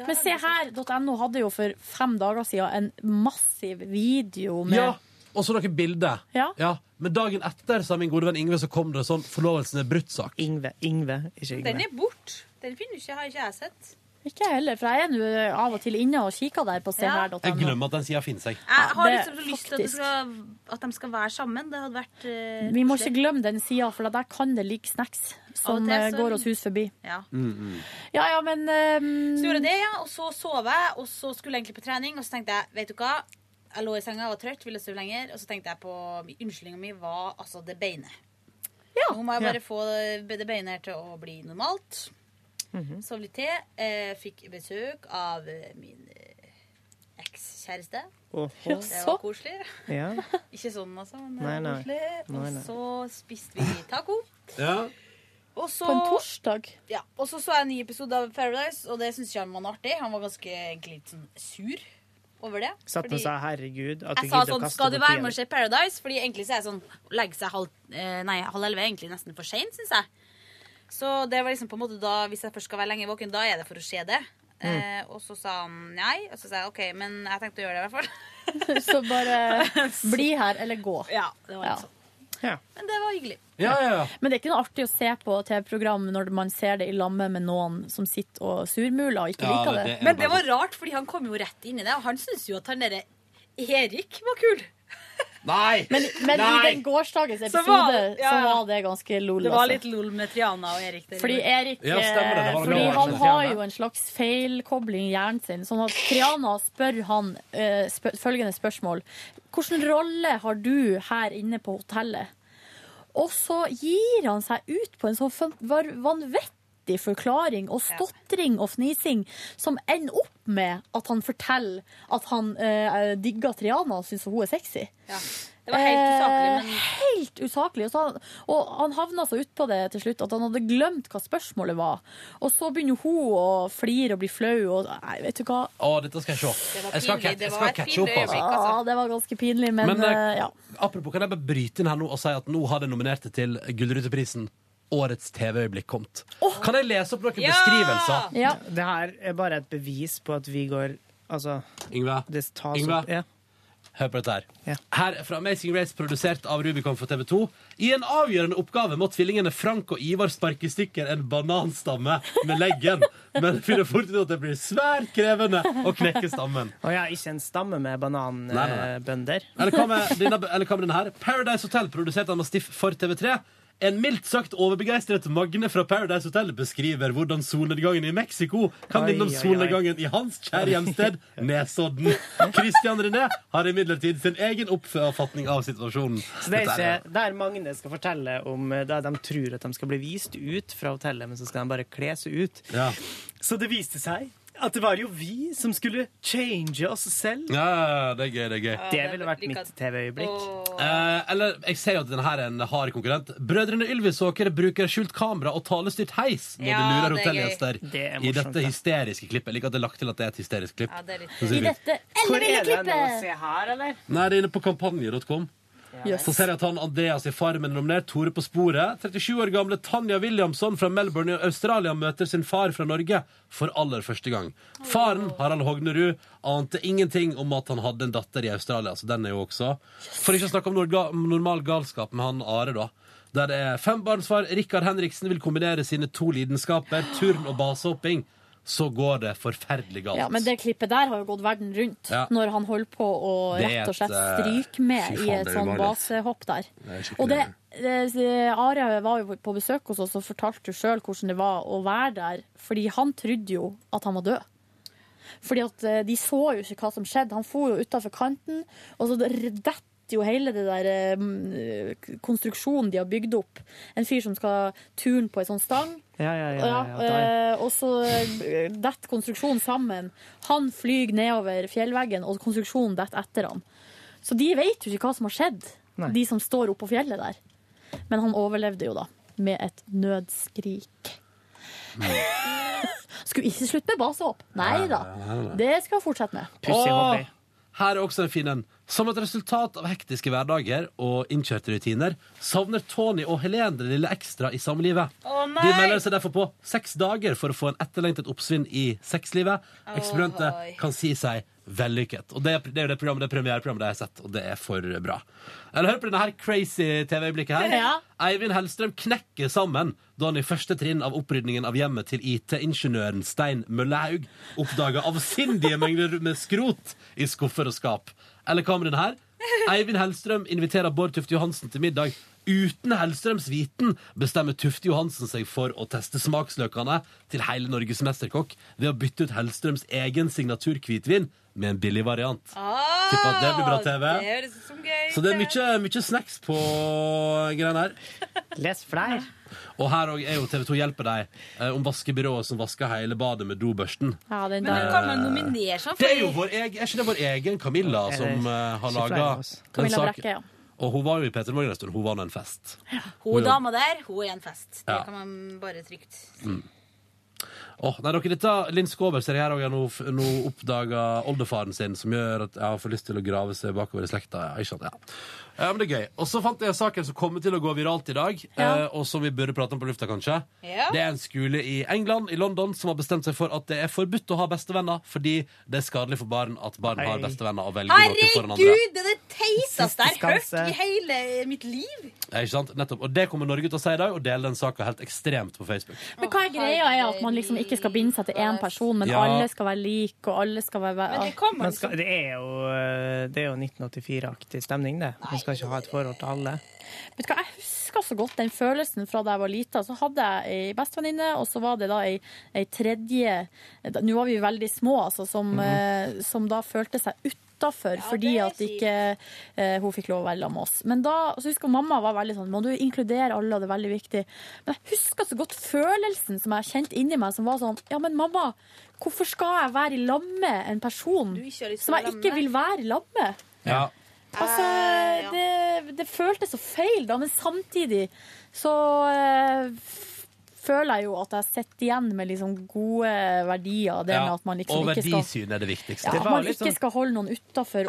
[SPEAKER 4] Men se her, .no hadde jo for fem dager siden en massiv video med
[SPEAKER 2] Ja, og så noen bilder.
[SPEAKER 4] Ja.
[SPEAKER 2] Men dagen etter sa min gode venn Ingve, så kom det sånn 'Forlovelsen er brutt'-sak.
[SPEAKER 3] Ingve, Ingve, ikke
[SPEAKER 17] Den er borte. Den finner du ikke, har ikke jeg sett.
[SPEAKER 4] Ikke jeg heller, for jeg er nå eh, av og til inne og kikker der på seher.no.
[SPEAKER 2] Jeg glemmer at den sida finnes, jeg.
[SPEAKER 17] Jeg har
[SPEAKER 4] det-
[SPEAKER 17] liksom så lyst til at, det
[SPEAKER 4] faktisk.
[SPEAKER 17] skal, at de skal være sammen. Det hadde vært eh,
[SPEAKER 4] Vi må ikke
[SPEAKER 17] koselig.
[SPEAKER 4] glemme den sida, for der kan det ligge snacks som
[SPEAKER 17] Av og til
[SPEAKER 4] eh,
[SPEAKER 17] så-
[SPEAKER 4] går oss hus forbi.
[SPEAKER 17] Ja.
[SPEAKER 4] Ja, ja, men ehm,
[SPEAKER 17] Så gjorde jeg det, ja, og så sov jeg, og så skulle jeg egentlig på trening, og så tenkte jeg, vet du hva, jeg lå i senga, jeg var trøtt, ville sove lenger, og så tenkte jeg på, unnskyldningen min var altså det beinet. Nå må jeg bare
[SPEAKER 4] Ja.
[SPEAKER 17] få det det beinet her til å bli normalt. Sov litt til, eh, fikk besøk av eh, min eh, ekskjæreste.
[SPEAKER 3] Åhå.
[SPEAKER 17] Det var koselig.
[SPEAKER 3] Ja.
[SPEAKER 17] Ikke sånn, altså, men det
[SPEAKER 3] Nei,
[SPEAKER 17] var
[SPEAKER 3] nei.
[SPEAKER 17] koselig.
[SPEAKER 3] Nei,
[SPEAKER 17] Og
[SPEAKER 3] nei.
[SPEAKER 17] så spiste vi taco. Og så,
[SPEAKER 4] På en torsdag?
[SPEAKER 17] Ja, og så så jeg en ny episode av Paradise, og det syns ikke han var noe artig. Han var ganske egentlig litt sånn sur over det.
[SPEAKER 3] Satt
[SPEAKER 17] fordi-
[SPEAKER 3] og sa 'herregud', at du
[SPEAKER 17] jeg
[SPEAKER 3] gidder
[SPEAKER 17] sa
[SPEAKER 3] å
[SPEAKER 17] sånn,
[SPEAKER 3] kaste
[SPEAKER 17] skal du
[SPEAKER 3] bort
[SPEAKER 17] være med og
[SPEAKER 3] tida
[SPEAKER 17] se Paradise? Fordi egentlig så er jeg sånn, legge seg halv, eh, nei, halv elve er egentlig nesten for sent, synes jeg. Så det var liksom på en måte da, hvis jeg først skal være lenge våken, da er det for å se det.
[SPEAKER 3] Mm.
[SPEAKER 17] Eh, og så sa han nei, og så sa jeg ok, men jeg tenkte å gjøre det i hvert fall.
[SPEAKER 4] så bare bli her, eller gå.
[SPEAKER 17] Ja, det var
[SPEAKER 4] Ja.
[SPEAKER 17] litt sånn. Men det var hyggelig.
[SPEAKER 4] Men det er ikke noe artig å se på TV-program når man ser det i lamme med noen som sitter og surmuler og ikke
[SPEAKER 2] Ja,
[SPEAKER 4] liker
[SPEAKER 2] det-
[SPEAKER 4] det.
[SPEAKER 2] det er
[SPEAKER 17] Men det var rart, fordi han kom jo rett inn i det, og han syntes jo at han derre Erik var kul.
[SPEAKER 2] Nei!
[SPEAKER 4] Men, men i
[SPEAKER 17] Nei!
[SPEAKER 4] den gårsdagens
[SPEAKER 17] Så
[SPEAKER 4] episode så
[SPEAKER 17] var
[SPEAKER 4] var,
[SPEAKER 17] det- ja, ja.
[SPEAKER 4] det ganske lol.
[SPEAKER 17] Det
[SPEAKER 4] altså.
[SPEAKER 17] var litt lol med Triana og Erik. der.
[SPEAKER 4] Fordi Erik
[SPEAKER 17] Ja, stemmer det. Det var
[SPEAKER 4] eh, fordi
[SPEAKER 17] lol med
[SPEAKER 4] han har
[SPEAKER 17] Triana.
[SPEAKER 4] jo en slags feilkobling i hjernen sin. Sånn at Triana spør han eh, spør, følgende spørsmål. Hvilken rolle har du her inne på hotellet? Og så gir han seg ut på en sånn fan- var- vanvittig forklaring og stotring og fnising som ender opp med at han forteller at han eh, digger Triana og syns hun er sexy.
[SPEAKER 17] Det var helt usaklig, men
[SPEAKER 4] Eh, Helt usaklig. Og, så han, og han havna så utpå det til slutt at han hadde glemt hva spørsmålet var. Og så begynner hun å flire og bli flau, og nei, vet du hva.
[SPEAKER 2] Å, dette skal jeg se.
[SPEAKER 4] Det var
[SPEAKER 2] Jeg skal,
[SPEAKER 4] pinlig.
[SPEAKER 2] catch,
[SPEAKER 4] Det
[SPEAKER 2] jeg
[SPEAKER 4] var
[SPEAKER 2] skal
[SPEAKER 4] et
[SPEAKER 2] catche
[SPEAKER 4] pinlig
[SPEAKER 2] opp, altså.
[SPEAKER 4] øyeblikk, altså. Ja, det var ganske pinlig, men,
[SPEAKER 2] Men, eh,
[SPEAKER 4] eh, ja.
[SPEAKER 2] Apropos, kan jeg bare bryte inn her nå og si at nå har de nominerte til Gullruteprisen årets TV-øyeblikk kommet. Kan jeg lese opp noen
[SPEAKER 3] Ah!
[SPEAKER 2] beskrivelser?
[SPEAKER 3] Det her er bare et bevis på at vi går Altså,
[SPEAKER 2] Yngve,
[SPEAKER 3] det tas
[SPEAKER 2] Yngve?
[SPEAKER 3] opp. Ja.
[SPEAKER 2] hør på dette her. Her er fra Amazing Race, produsert av Rubicon for TV 2. I en avgjørende oppgave må tvillingene Frank og Ivar sparke i stykker en bananstamme med leggen, men finner fort ut at det blir svært krevende å knekke stammen.
[SPEAKER 3] Og jeg har ikke en stamme med
[SPEAKER 2] Nei, nei, nei.
[SPEAKER 3] bananbønder.
[SPEAKER 2] Eller hva med denne, eller hva med denne her? Paradise Hotel, produsert av Mastiff for TV3. En mildt sagt overbegeistret Magne fra Paradise Hotel beskriver hvordan solnedgangen i Mexico kan
[SPEAKER 3] Oi,
[SPEAKER 2] minne om
[SPEAKER 3] oi, oi.
[SPEAKER 2] solnedgangen i hans kjære hjemsted, Nesodden. Christian René har imidlertid sin egen oppfatning av situasjonen.
[SPEAKER 3] Så det er
[SPEAKER 2] Dette
[SPEAKER 3] ikke der Magne skal fortelle om eh, der de tror at de skal bli vist ut fra hotellet, men så skal de bare kle seg ut.
[SPEAKER 2] Ja.
[SPEAKER 3] Så det viste seg at det var jo vi som skulle change oss selv.
[SPEAKER 2] Ja, det er gøy, det er gøy.
[SPEAKER 3] Det ville vært mitt TV-øyeblikk.
[SPEAKER 2] Eh, eller, jeg ser jo at denne her er en hard konkurrent. Brødrene Ylvisåker bruker skjult kamera og talestyrt heis når de
[SPEAKER 17] Ja,
[SPEAKER 2] lurer
[SPEAKER 17] det er gøy.
[SPEAKER 2] hotellgjester
[SPEAKER 17] Det er
[SPEAKER 2] i
[SPEAKER 17] morsomt,
[SPEAKER 2] dette hysteriske klippet. Jeg liker at det er lagt til at det er et hysterisk klipp.
[SPEAKER 17] Ja, det er litt
[SPEAKER 2] Så sier vi-
[SPEAKER 3] Hvor er det nå å
[SPEAKER 17] klippet?
[SPEAKER 3] se her, eller?
[SPEAKER 2] Nei, det er inne på kampanje.com.
[SPEAKER 3] Yes.
[SPEAKER 2] Så ser jeg at han Andreas i Farmen er nominert. Tore på sporet. 37 år gamle Tanja Williamson fra Melbourne i Australia møter sin far fra Norge for aller første gang. Faren, Harald Hognerud, ante ingenting om at han hadde en datter i Australia, så den er jo også For ikke å snakke om norga- normal galskap med han Are, da. Der det er fembarnsfar Rikard Henriksen vil kombinere sine to lidenskaper, turn og basehopping. Så går det forferdelig galt.
[SPEAKER 4] Ja, men det klippet der har jo gått verden rundt
[SPEAKER 2] Ja.
[SPEAKER 4] når han holder på å
[SPEAKER 2] Det er
[SPEAKER 4] rett og slett
[SPEAKER 2] et, eh,
[SPEAKER 4] stryke med
[SPEAKER 2] fy
[SPEAKER 4] i
[SPEAKER 2] faen,
[SPEAKER 4] et
[SPEAKER 2] det er
[SPEAKER 4] sånn
[SPEAKER 2] ubehagelig.
[SPEAKER 4] basehopp der.
[SPEAKER 2] Det er skikkelig-
[SPEAKER 4] Og det, det- Are var jo på besøk hos oss og fortalte jo sjøl hvordan det var å være der, fordi han trodde jo at han var død. Fordi at eh, de så jo ikke hva som skjedde. Han for jo utafor kanten, og så detter jo hele det der eh, m- konstruksjonen de har bygd opp. En fyr som skal turne på ei sånn stang.
[SPEAKER 3] Ja, ja, ja.
[SPEAKER 4] Ja,
[SPEAKER 3] ja, der.
[SPEAKER 4] eh, og så eh, detter konstruksjonen sammen. Han flyr nedover fjellveggen, og konstruksjonen detter etter han. Så de vet jo ikke hva som har skjedd,
[SPEAKER 3] Nei.
[SPEAKER 4] de som står oppå fjellet der. Men han overlevde jo, da. Med et nødskrik. Skulle ikke slutte med basehopp. Nei da. Det skal jeg fortsette med.
[SPEAKER 2] Åh, Her er også en fin en. Som et resultat av hektiske hverdager og innkjørte rutiner savner Tony og Helen det lille ekstra i samlivet.
[SPEAKER 17] Å, nei!
[SPEAKER 2] De melder seg derfor på seks dager for å få en etterlengtet oppsvinn i sexlivet. Eksperimentet
[SPEAKER 17] Ohoi.
[SPEAKER 2] kan si seg vellykket. Og det, er- det er jo det programmet, det er premiereprogrammet jeg har sett, og det er for bra. Eller hør på denne her crazy TV-øyeblikket her.
[SPEAKER 4] Ja.
[SPEAKER 2] Eivind Hellstrøm knekker sammen da han i første trinn av opprydningen av hjemmet til IT-ingeniøren Stein Møllehaug oppdaga avsindige mengder med skrot i skuffer og skap. Eller hva med den her? Eivind Hellstrøm inviterer Bård Tufte Johansen til middag. Uten Hellstrøms viten bestemmer Tufte Johansen seg for å teste smaksløkene til hele Norges mesterkokk ved å bytte ut Hellstrøms egen signatur hvitvin med en billig variant.
[SPEAKER 17] Ah,
[SPEAKER 2] Tipper at det blir bra TV.
[SPEAKER 17] Det høres ut som gøy.
[SPEAKER 2] Så det er mye, mye snacks på greiene her.
[SPEAKER 3] Les flere.
[SPEAKER 2] Og her òg er jo TV2 hjelper deg eh, om vaskebyrået som vasker hele badet med dobørsten.
[SPEAKER 4] Ja, den
[SPEAKER 17] Men
[SPEAKER 4] der.
[SPEAKER 17] nå kan man nominere seg
[SPEAKER 2] Det er jo vår egen, er ikke det vår egen Camilla
[SPEAKER 3] Eller-
[SPEAKER 2] som eh, har
[SPEAKER 3] ikke flere
[SPEAKER 2] laga
[SPEAKER 3] av oss.
[SPEAKER 2] den
[SPEAKER 4] Camilla
[SPEAKER 2] saken?
[SPEAKER 4] Brekke, ja.
[SPEAKER 2] Og hun var jo i P3 Morgen en stund. Hun var nå en fest.
[SPEAKER 17] Hun dama der, hun er en fest. Det
[SPEAKER 2] Ja.
[SPEAKER 17] kan man bare trygt
[SPEAKER 2] Mm. Åh, nei, dere, dette, Linn Skåber ser jeg her òg nå, f- nå oppdaga oldefaren sin, som gjør at jeg får lyst til å grave seg bakover i slekta. Ja, ikke sant? Ja. Ja, men det er gøy. Og så fant jeg saken som kommer til å gå viralt i dag, eh, og som vi burde prate om på lufta, kanskje.
[SPEAKER 17] Ja.
[SPEAKER 2] Det er en skole i England, i London, som har bestemt seg for at det er forbudt å ha bestevenner fordi det er skadelig for barn at barn har bestevenner og velger noe foran andre.
[SPEAKER 17] Herregud, det er det teiteste jeg har hørt
[SPEAKER 2] Skanse.
[SPEAKER 17] i hele mitt liv!
[SPEAKER 2] Ja, ikke sant? Nettopp. Og det kommer Norge til å si i dag, og dele den saka helt ekstremt på Facebook.
[SPEAKER 4] Men hva er greia er at man liksom ikke skal binde seg til én person, men
[SPEAKER 2] Ja.
[SPEAKER 4] alle skal være like, og alle skal være
[SPEAKER 3] Man skal, det er jo, eh, det er jo 1984-aktig stemning, det. Man skal ikke ha et forhold til alle.
[SPEAKER 4] Vet du hva, Jeg husker så godt den følelsen fra da jeg var lita. Så hadde jeg ei bestevenninne, og så var det da ei, ei tredje da- Nå var vi veldig små, altså, som, eh, som da følte seg utafor fordi at ikke eh, hun fikk lov å være sammen med oss. Men da, så husker jeg Mamma var veldig sånn Må du inkludere alle, og det er veldig viktig. Men jeg husker så godt følelsen som jeg kjente inni meg, som var sånn Ja, men mamma, hvorfor skal jeg være i lag med en person som jeg ikke vil være i lag med?
[SPEAKER 2] Ja.
[SPEAKER 4] Altså, det, det føltes så feil, da, men samtidig så eh, f- føler jeg jo at jeg sitter igjen med liksom gode verdier. Det
[SPEAKER 2] Ja,
[SPEAKER 4] med at man
[SPEAKER 2] og
[SPEAKER 4] liksom ikke skal
[SPEAKER 2] verdisyn sånn er det viktigste.
[SPEAKER 4] ja, at man ikke skal holde noen utafor.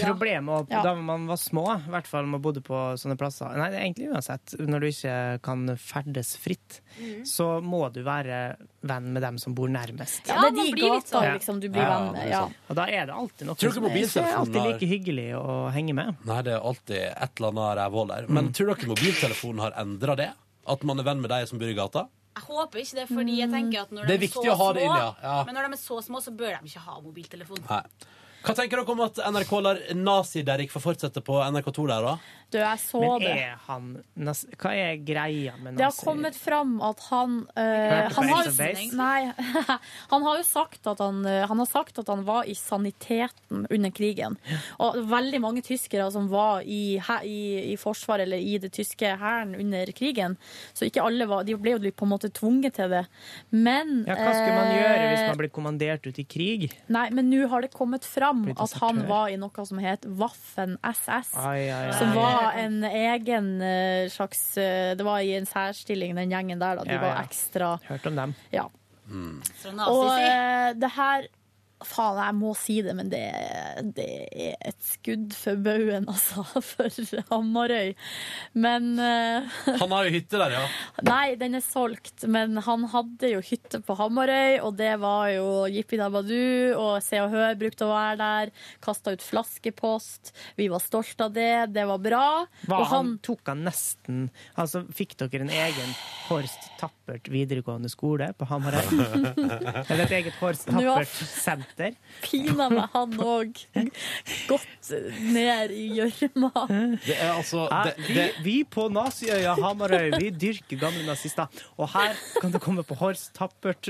[SPEAKER 3] Problemet opp-
[SPEAKER 4] Ja.
[SPEAKER 3] da man var små, i hvert fall man bodde på sånne plasser Nei, det er egentlig uansett. Når du ikke kan ferdes fritt,
[SPEAKER 4] Mhm.
[SPEAKER 3] så må du være venn med dem som bor nærmest.
[SPEAKER 4] Ja, det er de gata liksom, du blir venn med. Ja.
[SPEAKER 3] Og da er det alltid noe
[SPEAKER 2] Tror dere
[SPEAKER 3] som Eh, er-
[SPEAKER 2] mobiltelefonen
[SPEAKER 3] Det er alltid
[SPEAKER 2] har-
[SPEAKER 3] like hyggelig å henge med. Mm.
[SPEAKER 2] Nei, det er alltid et eller annet rævhull der. Men tror dere mobiltelefonen har endra det? At man er venn med de som bor i gata?
[SPEAKER 17] Jeg håper ikke det, fordi jeg tenker at når
[SPEAKER 2] Det er
[SPEAKER 17] de
[SPEAKER 2] viktig
[SPEAKER 17] så
[SPEAKER 2] å ha det
[SPEAKER 17] små,
[SPEAKER 2] inn, ja. Ja.
[SPEAKER 17] Men når de er så små, så bør de ikke ha mobiltelefon.
[SPEAKER 2] Nei. Hva tenker dere om at NRK lar Nazi-Derrik få fortsette på NRK2 der, da?
[SPEAKER 4] Du, jeg så
[SPEAKER 3] Men
[SPEAKER 4] det.
[SPEAKER 3] er han nas Hva er greia med
[SPEAKER 4] Det har
[SPEAKER 3] nazi?
[SPEAKER 4] kommet fram at han eh,
[SPEAKER 3] Hørte
[SPEAKER 4] han,
[SPEAKER 3] på
[SPEAKER 4] har,
[SPEAKER 3] Ace of Base?
[SPEAKER 4] nei, han har jo sagt at han, eh, han har sagt at han var i saniteten under krigen. Og veldig mange tyskere som var i, hæ- i, i forsvaret eller i det tyske hæren under krigen. Så ikke alle var De ble jo på en måte tvunget til det. Men
[SPEAKER 3] Ja, hva skulle man gjøre hvis
[SPEAKER 4] eh,
[SPEAKER 3] man blir kommandert ut i krig?
[SPEAKER 4] Nei, men nå har det kommet fram
[SPEAKER 3] Blitt
[SPEAKER 4] at han
[SPEAKER 3] desertør.
[SPEAKER 4] var i noe som het Waffen SS.
[SPEAKER 3] Ai, ai, ai.
[SPEAKER 4] Som var en egen eh, slags eh, Det var i en særstilling, den gjengen der. Da. De
[SPEAKER 3] Ja,
[SPEAKER 4] var
[SPEAKER 3] ja.
[SPEAKER 4] ekstra
[SPEAKER 3] Hørt om dem.
[SPEAKER 4] Ja.
[SPEAKER 2] Mm.
[SPEAKER 17] Fra
[SPEAKER 4] Og
[SPEAKER 17] nazi, si.
[SPEAKER 4] eh, det her Faen, jeg må si det, men det, det er et skudd for baugen, altså, for Hamarøy. Men eh,
[SPEAKER 2] Han har jo hytte der, ja.
[SPEAKER 4] Nei, den er solgt, men han hadde jo hytte på Hamarøy, og det var jo Jippi Dabadu, og Se og Hør brukte å være der. Kasta ut flaskepost. Vi var stolt av det, det var bra.
[SPEAKER 3] Var
[SPEAKER 4] og
[SPEAKER 3] han, tok han nesten Altså, fikk dere en egen Horst Tappert videregående skole på Hamarøy? Eller et eget Horst
[SPEAKER 4] Nå har-
[SPEAKER 3] Tappert-senter?
[SPEAKER 4] pina meg, han òg. Gått ned i gjørma.
[SPEAKER 2] Det er altså det,
[SPEAKER 3] Ah, vi, vi på naziøya Hamarøy, vi dyrker gamle nazister. Og her kan du komme på Horst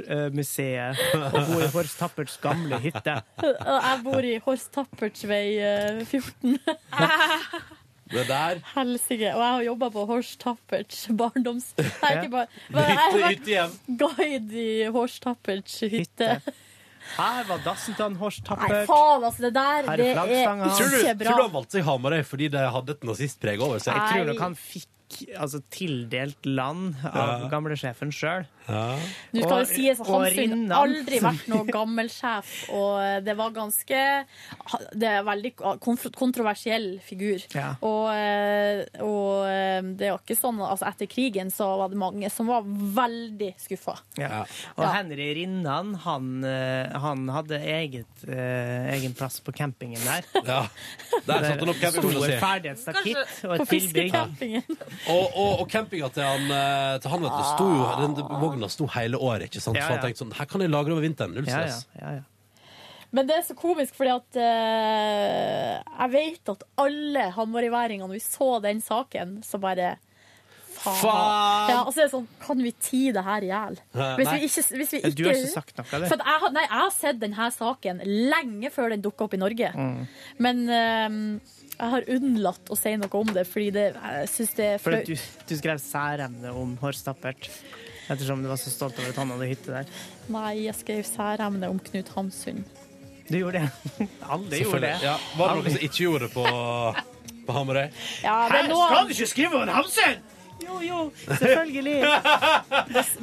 [SPEAKER 3] Tappert-museet og bo i Horst Tapperts gamle hytte.
[SPEAKER 4] Og jeg bor i Horst Tapperts vei eh, 14.
[SPEAKER 2] Det der
[SPEAKER 4] Helsike. Og jeg har jobba på Horst Tapperts barndoms... Nei, ikke bare, jeg har
[SPEAKER 3] Hytte,
[SPEAKER 4] vært guide i Horst Tapperts hytte.
[SPEAKER 3] Her var dassen til han Horst
[SPEAKER 4] Nei,
[SPEAKER 3] Tappert.
[SPEAKER 4] faen, altså. Det
[SPEAKER 3] Her
[SPEAKER 4] der,
[SPEAKER 3] er
[SPEAKER 4] det
[SPEAKER 3] flaggstanga.
[SPEAKER 4] er
[SPEAKER 2] Tror du,
[SPEAKER 4] ikke
[SPEAKER 2] tror du
[SPEAKER 4] bra.
[SPEAKER 2] han valgte seg Hamarøy fordi det hadde et nazistpreg over seg?
[SPEAKER 3] Jeg tror nok han fikk altså, tildelt land av
[SPEAKER 2] Ja.
[SPEAKER 3] gamlesjefen sjøl.
[SPEAKER 4] Nå skal det sies at
[SPEAKER 3] Og
[SPEAKER 4] Hamsun
[SPEAKER 3] Rinnan,
[SPEAKER 4] aldri
[SPEAKER 3] som-
[SPEAKER 4] vært noe gammel sjef, og det var ganske Det er en veldig konf- kontroversiell figur.
[SPEAKER 3] Ja.
[SPEAKER 4] Og, eh, og eh, det er jo ikke sånn altså Etter krigen så var det mange som var veldig skuffa.
[SPEAKER 3] Ja. Og Henry Rinnan, han, eh, han hadde eget, eh, egen plass på campingen der.
[SPEAKER 2] Ja. Der satte han opp campingstolen
[SPEAKER 3] Stor
[SPEAKER 2] sin.
[SPEAKER 3] ferdighetsstakitt og
[SPEAKER 4] På
[SPEAKER 3] et tilbygg.
[SPEAKER 4] fiskecampingen.
[SPEAKER 2] Og, og, og campinga til han, eh, til han vet du, sto jo, den vogna sto hele året, ikke sant?
[SPEAKER 3] Ja,
[SPEAKER 2] Så han
[SPEAKER 3] ja.
[SPEAKER 2] tenkte sånn, her kan jeg lagre over vinteren, null
[SPEAKER 3] Ja, ja,
[SPEAKER 2] stress.
[SPEAKER 3] ja, ja.
[SPEAKER 4] Men det er så komisk, fordi at eh, jeg vet at alle hamarøyværingene, når vi så den saken, så bare Faen!
[SPEAKER 3] Faen!
[SPEAKER 4] Ja, og så er det sånn, kan vi ti det her i hjel?
[SPEAKER 3] Nei.
[SPEAKER 4] Hvis vi ikke, hvis vi
[SPEAKER 3] Ja,
[SPEAKER 4] ikke
[SPEAKER 3] du har ikke sagt noe, eller?
[SPEAKER 4] For at jeg, har- nei, jeg har sett denne saken lenge før den dukka opp i Norge.
[SPEAKER 3] Mm.
[SPEAKER 4] Men eh, jeg har unnlatt å si noe om det, fordi det, jeg syns det er
[SPEAKER 3] For at
[SPEAKER 4] flaut.
[SPEAKER 3] du, du skrev særemne om Horst Tappert, ettersom du var så stolt over at han hadde hytte der.
[SPEAKER 4] Nei, jeg skrev særemne om Knut Hamsun.
[SPEAKER 3] Du gjorde det. Alle gjorde det.
[SPEAKER 2] Selvfølgelig. Ja. Var det noen som ikke gjorde det på, på Hamarøy?
[SPEAKER 4] Ja, det er noe-
[SPEAKER 3] ikke skrive om Hamsun! Jo, jo, selvfølgelig.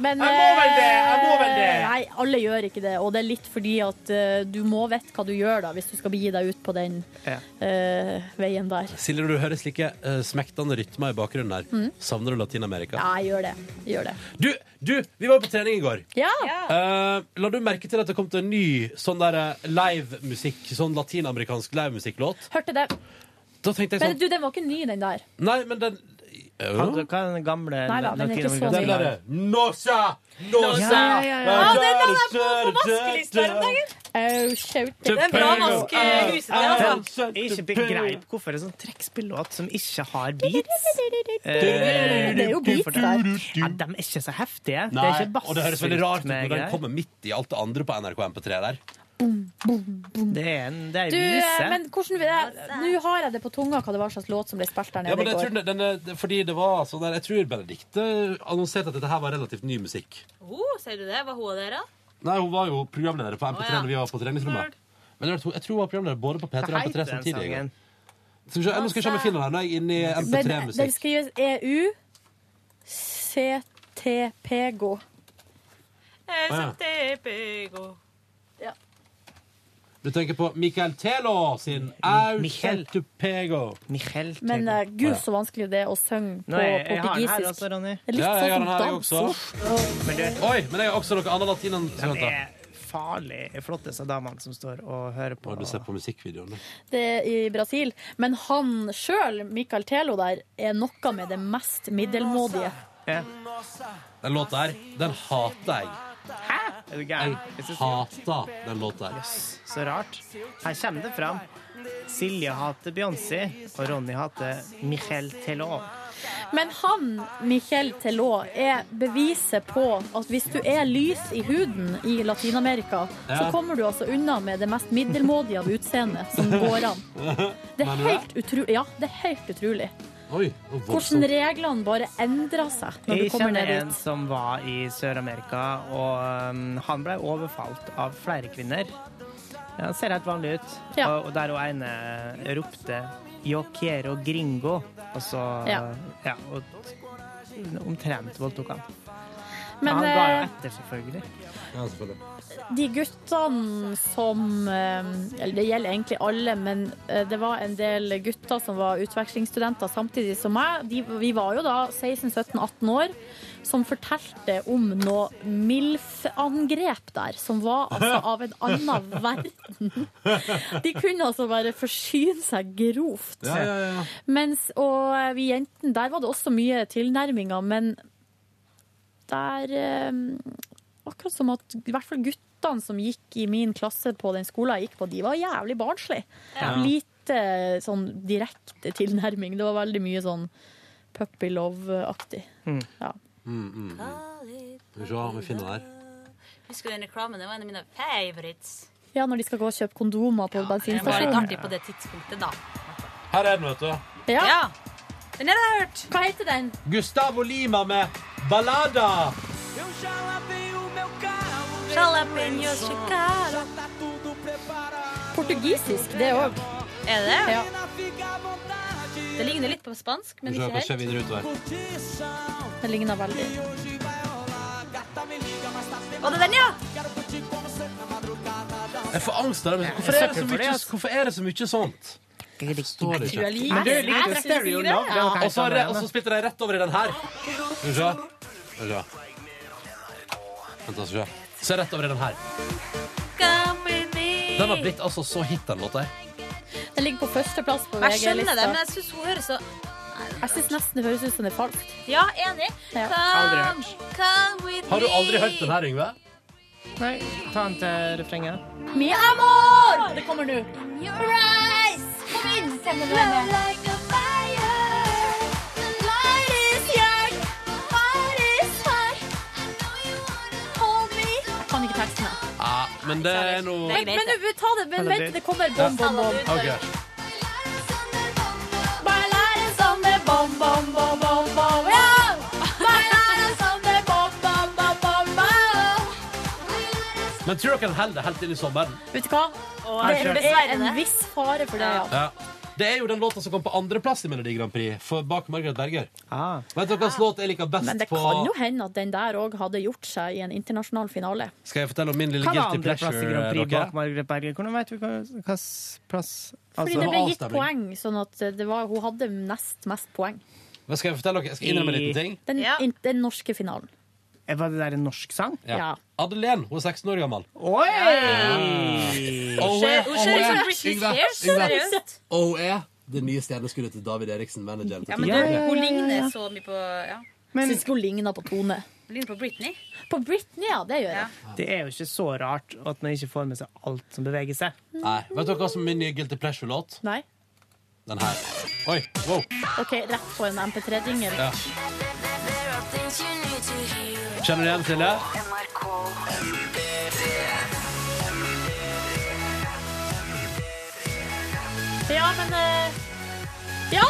[SPEAKER 4] Men,
[SPEAKER 3] Jeg må vel det, jeg må vel det.
[SPEAKER 4] eh, Nei, alle gjør ikke det. Og det er litt fordi at eh, du må vite hva du gjør da, hvis du skal begi deg ut på den eh, veien der.
[SPEAKER 2] Silje, når du hører slike eh, smektende rytmer i bakgrunnen her,
[SPEAKER 4] Mm.
[SPEAKER 2] savner du Latin-Amerika?
[SPEAKER 4] Ja, jeg gjør det. Jeg gjør det.
[SPEAKER 2] Du, du, vi var på trening i går.
[SPEAKER 4] Ja!
[SPEAKER 2] Eh, la du merke til at det kom til en ny sånn der eh, livemusikk, sånn latinamerikansk livemusikklåt?
[SPEAKER 4] Hørte det.
[SPEAKER 2] Da tenkte jeg
[SPEAKER 4] Men
[SPEAKER 2] sånn
[SPEAKER 4] du, den var ikke ny, den der.
[SPEAKER 2] Nei, men den
[SPEAKER 3] Hva hva er den gamle
[SPEAKER 4] Nei da, den er ikke så
[SPEAKER 3] latinamerikanske-
[SPEAKER 4] ny.
[SPEAKER 2] Den derre Nosa! Nosa!
[SPEAKER 3] Ja, ja, ja.
[SPEAKER 2] Ja,
[SPEAKER 3] den
[SPEAKER 2] hadde jeg på- på vaskelista her om dagen.
[SPEAKER 4] Oh, shout.
[SPEAKER 3] Det er en bra vask, eh, huset der, altså.
[SPEAKER 2] Jeg
[SPEAKER 3] ikke begreip hvorfor det er sånn trekkspillåt som ikke har beats.
[SPEAKER 2] Eh,
[SPEAKER 4] Det er jo beats der.
[SPEAKER 3] Ja, de er ikke så heftige.
[SPEAKER 2] Nei,
[SPEAKER 3] det er ikke
[SPEAKER 2] og det høres veldig
[SPEAKER 3] bassfullt
[SPEAKER 2] rart ut
[SPEAKER 3] med
[SPEAKER 2] når den
[SPEAKER 3] greier.
[SPEAKER 2] kommer midt i alt det andre på NRK MP3 der.
[SPEAKER 3] Det er en det er
[SPEAKER 4] Du, eh,
[SPEAKER 3] vise.
[SPEAKER 4] men hvordan vil jeg Nå har jeg det på tunga hva det var slags låt som ble spilt der
[SPEAKER 2] Ja,
[SPEAKER 4] nede
[SPEAKER 2] men jeg
[SPEAKER 4] i
[SPEAKER 2] tror,
[SPEAKER 4] går.
[SPEAKER 2] den, den, er- fordi det var sånn der, jeg tror Benedicte annonserte at dette her var relativt ny musikk.
[SPEAKER 17] Oh, sier du det? Var hun og dere?
[SPEAKER 2] Nei, hun var jo programleder på MP3
[SPEAKER 17] Å, ja.
[SPEAKER 2] når vi var på treningsrommet. Men jeg tror, jeg tror hun var programleder både på P3 og
[SPEAKER 3] Hva
[SPEAKER 2] MP3
[SPEAKER 3] heter den
[SPEAKER 2] samtidig. jeg.
[SPEAKER 3] sangen?
[SPEAKER 2] Skal vi se,
[SPEAKER 4] Altså- E
[SPEAKER 2] nå skal jeg se om jeg finner den. Nå er jeg inne i
[SPEAKER 4] Men den
[SPEAKER 2] MP3-musikk.
[SPEAKER 4] skrives EU CT STPGO.
[SPEAKER 3] Eh,
[SPEAKER 6] STPGO.
[SPEAKER 4] Ja.
[SPEAKER 2] Du tenker på Michael Telo sin Au
[SPEAKER 3] Michael.
[SPEAKER 2] Santupego.
[SPEAKER 4] Men eh, gud, så vanskelig det er å synge på
[SPEAKER 2] Nei, jeg har den her
[SPEAKER 4] portugisisk.
[SPEAKER 2] også, Ronny.
[SPEAKER 4] Det er litt
[SPEAKER 2] Ja, jeg har
[SPEAKER 4] sånn
[SPEAKER 2] den her, jeg
[SPEAKER 4] dansord.
[SPEAKER 2] Oi, men jeg har også noe annet latin enn
[SPEAKER 3] Den er farlig flotte, disse damene som står og hører på.
[SPEAKER 2] Du ser på musikkvideoene.
[SPEAKER 4] det er i Brasil. Men han sjøl, Michael Telo der, er noe med det mest middelmådige.
[SPEAKER 2] Den låta her, den hater jeg.
[SPEAKER 3] Er du gæren?
[SPEAKER 2] Jeg hater den låta her.
[SPEAKER 3] Så rart. Her kommer det fram. Silje hater Beyoncé, og Ronny hater Michel Telot.
[SPEAKER 4] Men han, Michel Telot, er beviset på at hvis du er lys i huden i Latin-Amerika, så
[SPEAKER 2] Ja.
[SPEAKER 4] kommer du altså unna med det mest middelmådige av utseende som går an. Det er
[SPEAKER 2] Mener du
[SPEAKER 4] helt utrolig. Ja, det er helt utrolig.
[SPEAKER 2] Oi, og
[SPEAKER 4] Hvordan
[SPEAKER 2] voldsomt.
[SPEAKER 4] reglene bare endrer seg når
[SPEAKER 3] Jeg
[SPEAKER 4] du kommer
[SPEAKER 3] kjenner
[SPEAKER 4] ned
[SPEAKER 3] en
[SPEAKER 4] dit.
[SPEAKER 3] som var i Sør-Amerika, og um, han ble overfalt av flere kvinner. Ja, Han ser helt vanlig ut. Og, og der hun ene ropte 'Yo quiero gringo', og så
[SPEAKER 4] Ja.
[SPEAKER 3] ja, og t- omtrent voldtok han.
[SPEAKER 4] Men,
[SPEAKER 3] han var jo
[SPEAKER 4] eh,
[SPEAKER 3] etter, selvfølgelig.
[SPEAKER 2] Ja, selvfølgelig.
[SPEAKER 4] De guttene som eh, Eller det gjelder egentlig alle, men eh, det var en del gutter som var utvekslingsstudenter samtidig som meg. De, vi var jo da 16-17-18 år, som fortalte om noe MILF-angrep der, som var altså av en annen verden. De kunne altså bare forsyne seg grovt.
[SPEAKER 9] Ja, ja, ja.
[SPEAKER 4] Mens, og vi jentene, der var det også mye tilnærminger, men der eh, Akkurat som at i hvert fall guttene som gikk i min klasse på den skolen jeg gikk på, de var jævlig barnslige.
[SPEAKER 9] Ja.
[SPEAKER 4] Lite sånn direkte tilnærming. Det var veldig mye sånn puppy love-aktig.
[SPEAKER 2] Mm.
[SPEAKER 4] Ja.
[SPEAKER 2] Mm, mm, mm. Skal vi se om vi finner den her.
[SPEAKER 6] Husker du den reklamen? Det var en av mine favorites.
[SPEAKER 4] ja, når de skal gå og kjøpe kondomer
[SPEAKER 6] Det
[SPEAKER 4] på
[SPEAKER 6] var litt
[SPEAKER 4] bensinstasjonen.
[SPEAKER 6] artig på det tidspunktet, da.
[SPEAKER 2] Her er den, vet du.
[SPEAKER 4] Ja.
[SPEAKER 6] Den har jeg hørt.
[SPEAKER 4] Hva heter den?
[SPEAKER 2] Gustavo Lima med Ballada.
[SPEAKER 6] Jalapeños chicaro.
[SPEAKER 4] Portugisisk, det òg.
[SPEAKER 6] Er det?
[SPEAKER 4] Ja.
[SPEAKER 6] Det ligner litt på spansk, men
[SPEAKER 2] Skal
[SPEAKER 6] ikke
[SPEAKER 2] vi se
[SPEAKER 6] helt.
[SPEAKER 2] videre utover.
[SPEAKER 4] Det ligner veldig.
[SPEAKER 6] Var det den, ja?
[SPEAKER 2] Jeg får angst av det. men
[SPEAKER 3] Jeg støtter
[SPEAKER 2] Hvorfor er det så
[SPEAKER 3] for det,
[SPEAKER 2] mye,
[SPEAKER 3] ass.
[SPEAKER 2] hvorfor er det så mye sånt? Forstår
[SPEAKER 3] Jeg
[SPEAKER 2] det
[SPEAKER 3] tror jeg
[SPEAKER 2] ikke.
[SPEAKER 3] liker Men du det. liker Jeg tror Stereo jeg liker Love, det. det var hva jeg
[SPEAKER 2] Og så
[SPEAKER 3] sa
[SPEAKER 2] er det-
[SPEAKER 3] med
[SPEAKER 2] og så
[SPEAKER 3] henne.
[SPEAKER 2] spytter de rett over i den her. Skal
[SPEAKER 12] sånn,
[SPEAKER 2] vi se. Skal vi se. Vent, da, skal vi se. Så er det rett over i den her. Den har blitt altså så hit, den låta her.
[SPEAKER 4] Den ligger på førsteplass på
[SPEAKER 6] Jeg skjønner det,
[SPEAKER 4] VG-lista.
[SPEAKER 6] men jeg syns hun høres så
[SPEAKER 4] Jeg syns nesten det høres ut som det er falskt.
[SPEAKER 6] Ja, enig.
[SPEAKER 4] Ja.
[SPEAKER 3] Aldri
[SPEAKER 6] Come,
[SPEAKER 3] hørt.
[SPEAKER 6] come with me.
[SPEAKER 2] her, Yngve?
[SPEAKER 3] Nei, ta den til refrenget.
[SPEAKER 4] Mi amor! Ah, Det kommer nå. Kom inn! Jeg kan ikke tekstene.
[SPEAKER 2] Ja, men det er noe
[SPEAKER 4] Vent, men du, ta det, men
[SPEAKER 2] Eller
[SPEAKER 4] vent,
[SPEAKER 2] det-
[SPEAKER 4] det kommer bom, bom, bom.
[SPEAKER 2] Ok.
[SPEAKER 4] Bailar som det bom, bom, bom, bom, bom, ja. Bailar som det bom, bom, bom, bom, bom.
[SPEAKER 2] Men tror dere den holder helt inn i sommeren?
[SPEAKER 4] Vet du hva?
[SPEAKER 2] jeg
[SPEAKER 4] Det
[SPEAKER 2] skjønner.
[SPEAKER 4] er en viss fare for det, ja.
[SPEAKER 2] Ja. Det er jo den låta som kom på andreplass i Melodi Grand Prix, for bak Margaret Berger. Vet dere hvilken låt jeg liker
[SPEAKER 4] Men
[SPEAKER 2] best
[SPEAKER 4] det
[SPEAKER 2] på
[SPEAKER 4] kan jo hende at den der òg hadde gjort seg i en internasjonal finale.
[SPEAKER 2] Skal jeg fortelle om min lille
[SPEAKER 3] Hva var
[SPEAKER 2] guilty
[SPEAKER 3] andreplass i Grand
[SPEAKER 2] pleasure?
[SPEAKER 3] Prix
[SPEAKER 2] Dere?
[SPEAKER 3] bak Margaret Berger? Hvordan vet du hva hvilken plass
[SPEAKER 4] Fordi
[SPEAKER 3] Altså-
[SPEAKER 4] det ble gitt poeng, sånn at det var, hun hadde nest mest poeng.
[SPEAKER 2] Hva skal jeg fortelle dere? Jeg skal innrømme en liten ting.
[SPEAKER 4] Den, in, den norske finalen.
[SPEAKER 3] Eh, Var det der en norsk sang?
[SPEAKER 2] Ja. Madeleine, hun er 16 år gammel.
[SPEAKER 3] Oi!
[SPEAKER 2] Og
[SPEAKER 3] Hun ser- hun ser ut som
[SPEAKER 2] Yngve,
[SPEAKER 3] Britney
[SPEAKER 2] Yngve,
[SPEAKER 3] Spears,
[SPEAKER 2] Yngve.
[SPEAKER 6] seriøst.
[SPEAKER 2] Og hun er det nye stjerneskuddet til David Eriksen, manageren. til
[SPEAKER 6] Ja, men
[SPEAKER 2] Tone
[SPEAKER 6] hun-
[SPEAKER 2] Tone.
[SPEAKER 6] Hun ligner så mye på Ja.
[SPEAKER 4] Syns ikke hun ligna på Tone.
[SPEAKER 6] Hun ligner på Britney.
[SPEAKER 4] På Britney, ja. Det gjør jeg.
[SPEAKER 3] Det er jo ikke så rart at man ikke får med seg alt som beveger seg.
[SPEAKER 2] Nei. Vet dere hva som er min nye guilty pleasure-låt?
[SPEAKER 4] Nei.
[SPEAKER 2] Den her. Oi, wow.
[SPEAKER 4] OK, rett på en MP3-dingel.
[SPEAKER 2] Ja. Kjenner du igjen, Silje?
[SPEAKER 4] Ja, men eh, Ja!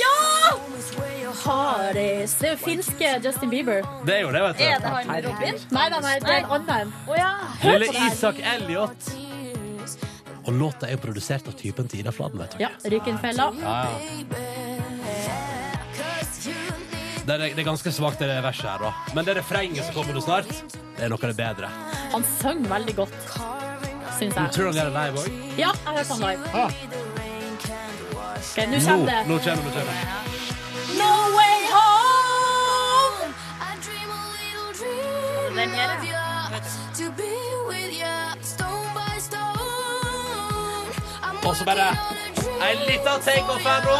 [SPEAKER 4] Ja! Hardest. Det er jo finske Justin Bieber.
[SPEAKER 2] Det er jo det, vet du.
[SPEAKER 4] Er det han med Robin? Nei, nei, nei, det er en annen. Å ja. Hør
[SPEAKER 2] Lille
[SPEAKER 4] på det her.
[SPEAKER 2] Isak Elliot. Og låta er jo produsert av typen til Ida Fladen, vet dere.
[SPEAKER 4] Ja, Rykkenfella.
[SPEAKER 2] Ja, Det er, det er ganske svakt, det verset her, da. Men det refrenget som kommer nå snart, det er noe av det bedre.
[SPEAKER 4] Han sang veldig godt, syns jeg.
[SPEAKER 2] Tror du han gjør det live òg?
[SPEAKER 4] Ja, jeg hørte han live. Ok, nå
[SPEAKER 2] Nå,
[SPEAKER 4] kommer det.
[SPEAKER 2] nå kommer det. Nå
[SPEAKER 4] No way home!
[SPEAKER 6] Den her, ja.
[SPEAKER 2] kommer det. Og så bare en liten takeoff her nå.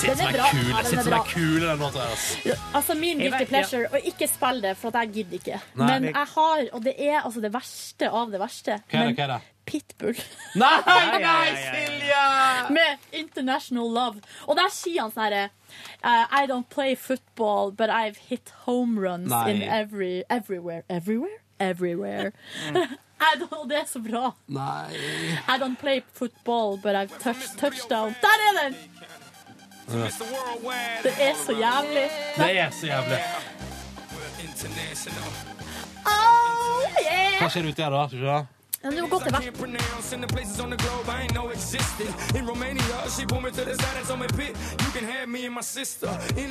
[SPEAKER 2] Shit,
[SPEAKER 4] Den
[SPEAKER 2] som
[SPEAKER 4] er
[SPEAKER 2] er
[SPEAKER 4] bra.
[SPEAKER 2] kul,
[SPEAKER 4] Ja, den
[SPEAKER 2] Shit,
[SPEAKER 4] er
[SPEAKER 2] som
[SPEAKER 4] bra.
[SPEAKER 2] er kul den låta her, ass.
[SPEAKER 4] Altså Min
[SPEAKER 2] Jeg
[SPEAKER 4] guilty
[SPEAKER 2] vet-
[SPEAKER 4] pleasure, og ikke spill det, for at jeg gidder ikke.
[SPEAKER 2] Nei,
[SPEAKER 4] men
[SPEAKER 2] vi-
[SPEAKER 4] jeg har, og det er altså det verste av det verste,
[SPEAKER 2] Hva er det,
[SPEAKER 4] men
[SPEAKER 2] hva er det?
[SPEAKER 4] Pitbull.
[SPEAKER 2] Nei, nei, Silje!
[SPEAKER 4] Med International Love. Og der sier han sånn herre I don't play football, but I've hit home runs
[SPEAKER 2] Nei.
[SPEAKER 4] in every everywhere. Everywhere? Everywhere.
[SPEAKER 2] Mm.
[SPEAKER 4] I don't, og det er så bra.
[SPEAKER 2] Nei.
[SPEAKER 4] I don't play football, but I've touched touchdown. Der er den! Det er så jævlig.
[SPEAKER 2] Det er så jævlig.
[SPEAKER 4] Oh,
[SPEAKER 2] Hva
[SPEAKER 4] yeah!
[SPEAKER 2] skjer uti her, da? Skal vi se.
[SPEAKER 4] Men du må gå til verk.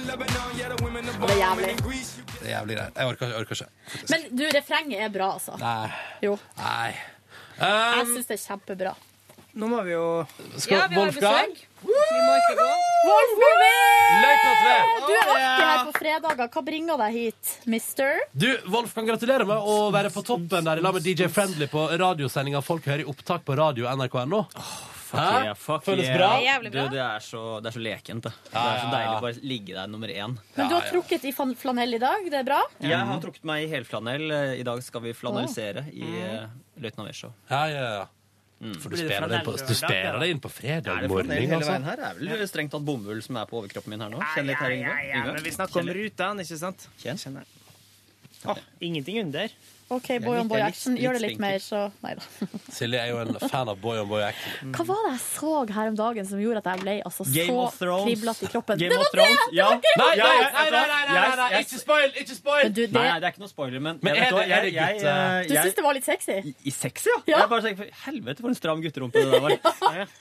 [SPEAKER 4] Det er jævlig.
[SPEAKER 2] Det er jævlig greit. Jeg orker, jeg orker ikke.
[SPEAKER 4] Men du, refrenget er bra, altså.
[SPEAKER 2] Nei.
[SPEAKER 4] Jo.
[SPEAKER 2] Nei.
[SPEAKER 4] Jeg
[SPEAKER 2] Um,
[SPEAKER 4] syns det er kjempebra.
[SPEAKER 3] Nå må vi jo
[SPEAKER 2] Skal- Ja, vi har Wolfgang? besøk.
[SPEAKER 3] Vi må ikke gå.
[SPEAKER 2] Løypa
[SPEAKER 4] Du er alltid her
[SPEAKER 2] tre.
[SPEAKER 4] på fredager. Hva bringer deg hit, mister?
[SPEAKER 2] Du, Wolfgang, gratulerer med å være på toppen der i lag med DJ Friendly på radiosendinga Folk hører i opptak på radio nrk.no.
[SPEAKER 18] Fuck
[SPEAKER 2] Hæ?
[SPEAKER 18] yeah, fuck
[SPEAKER 2] Føles
[SPEAKER 18] yeah.
[SPEAKER 2] bra?
[SPEAKER 4] Det er jævlig bra.
[SPEAKER 18] Du, det, er så, det er så lekent. Det.
[SPEAKER 2] Ja,
[SPEAKER 18] det er så
[SPEAKER 2] ja,
[SPEAKER 18] deilig
[SPEAKER 2] ja.
[SPEAKER 18] å bare ligge der nummer én.
[SPEAKER 4] Men du har trukket i fan- flanell i dag. Det er bra?
[SPEAKER 18] Jeg har trukket meg i helflanell. eh, I dag skal vi flanellisere i
[SPEAKER 4] Mm.
[SPEAKER 18] uh, Løytnant Wesjå.
[SPEAKER 2] Ja, ja, ja. For du
[SPEAKER 18] Blir det
[SPEAKER 2] sperrer deg på,
[SPEAKER 18] flanell
[SPEAKER 2] du
[SPEAKER 18] lørdag,
[SPEAKER 2] sperrer
[SPEAKER 18] da?
[SPEAKER 2] deg inn på fredag
[SPEAKER 18] Er det flanell
[SPEAKER 2] morgen,
[SPEAKER 18] hele
[SPEAKER 2] altså.
[SPEAKER 18] veien her? Det er vel strengt tatt bomull som er på overkroppen min her nå? Kjenn litt her,
[SPEAKER 3] Ja,
[SPEAKER 18] Yngve.
[SPEAKER 3] ja, men vi snakker om
[SPEAKER 18] Kjenn litt.
[SPEAKER 3] rutene, ikke sant? Kjenner. Åh, ingenting under.
[SPEAKER 4] OK,
[SPEAKER 3] er
[SPEAKER 4] boy
[SPEAKER 3] litt-
[SPEAKER 4] on boy
[SPEAKER 3] jeg er litt-
[SPEAKER 4] action.
[SPEAKER 3] litt
[SPEAKER 4] Gjør det litt
[SPEAKER 3] spinkel.
[SPEAKER 4] mer, så Nei da.
[SPEAKER 18] Mm.
[SPEAKER 2] Silje er jo en fan av Boy on Boy Action.
[SPEAKER 4] Hva var det jeg så her om dagen som gjorde at jeg ble altså,
[SPEAKER 2] Game
[SPEAKER 4] så
[SPEAKER 2] of Thrones.
[SPEAKER 4] kriblete i kroppen?
[SPEAKER 18] Game
[SPEAKER 4] det
[SPEAKER 18] of
[SPEAKER 4] var det!
[SPEAKER 18] Thrones,
[SPEAKER 4] det
[SPEAKER 18] ja.
[SPEAKER 4] var Game
[SPEAKER 2] Nei,
[SPEAKER 4] of
[SPEAKER 2] nei, nei,
[SPEAKER 4] Thrones!
[SPEAKER 2] nei, nei, nei,
[SPEAKER 18] Yes,
[SPEAKER 2] nei,
[SPEAKER 18] yes.
[SPEAKER 2] ikke spoil! Ikke spoil!
[SPEAKER 4] Men du, det-
[SPEAKER 18] Nei, nei, det er ikke noe spoiler, men,
[SPEAKER 2] Men
[SPEAKER 18] jeg vet
[SPEAKER 2] er
[SPEAKER 18] hva,
[SPEAKER 2] det- er
[SPEAKER 18] jeg-
[SPEAKER 2] det
[SPEAKER 18] jeg-
[SPEAKER 2] gutt- eh,
[SPEAKER 18] jeg-
[SPEAKER 4] Du syns det var litt sexy?
[SPEAKER 18] I sexy, ja?
[SPEAKER 4] Ja.
[SPEAKER 18] Jeg bare tenker, for Helvete, for en stram gutterumpe det der var. Jeg,
[SPEAKER 4] Nei,
[SPEAKER 18] jeg,
[SPEAKER 4] det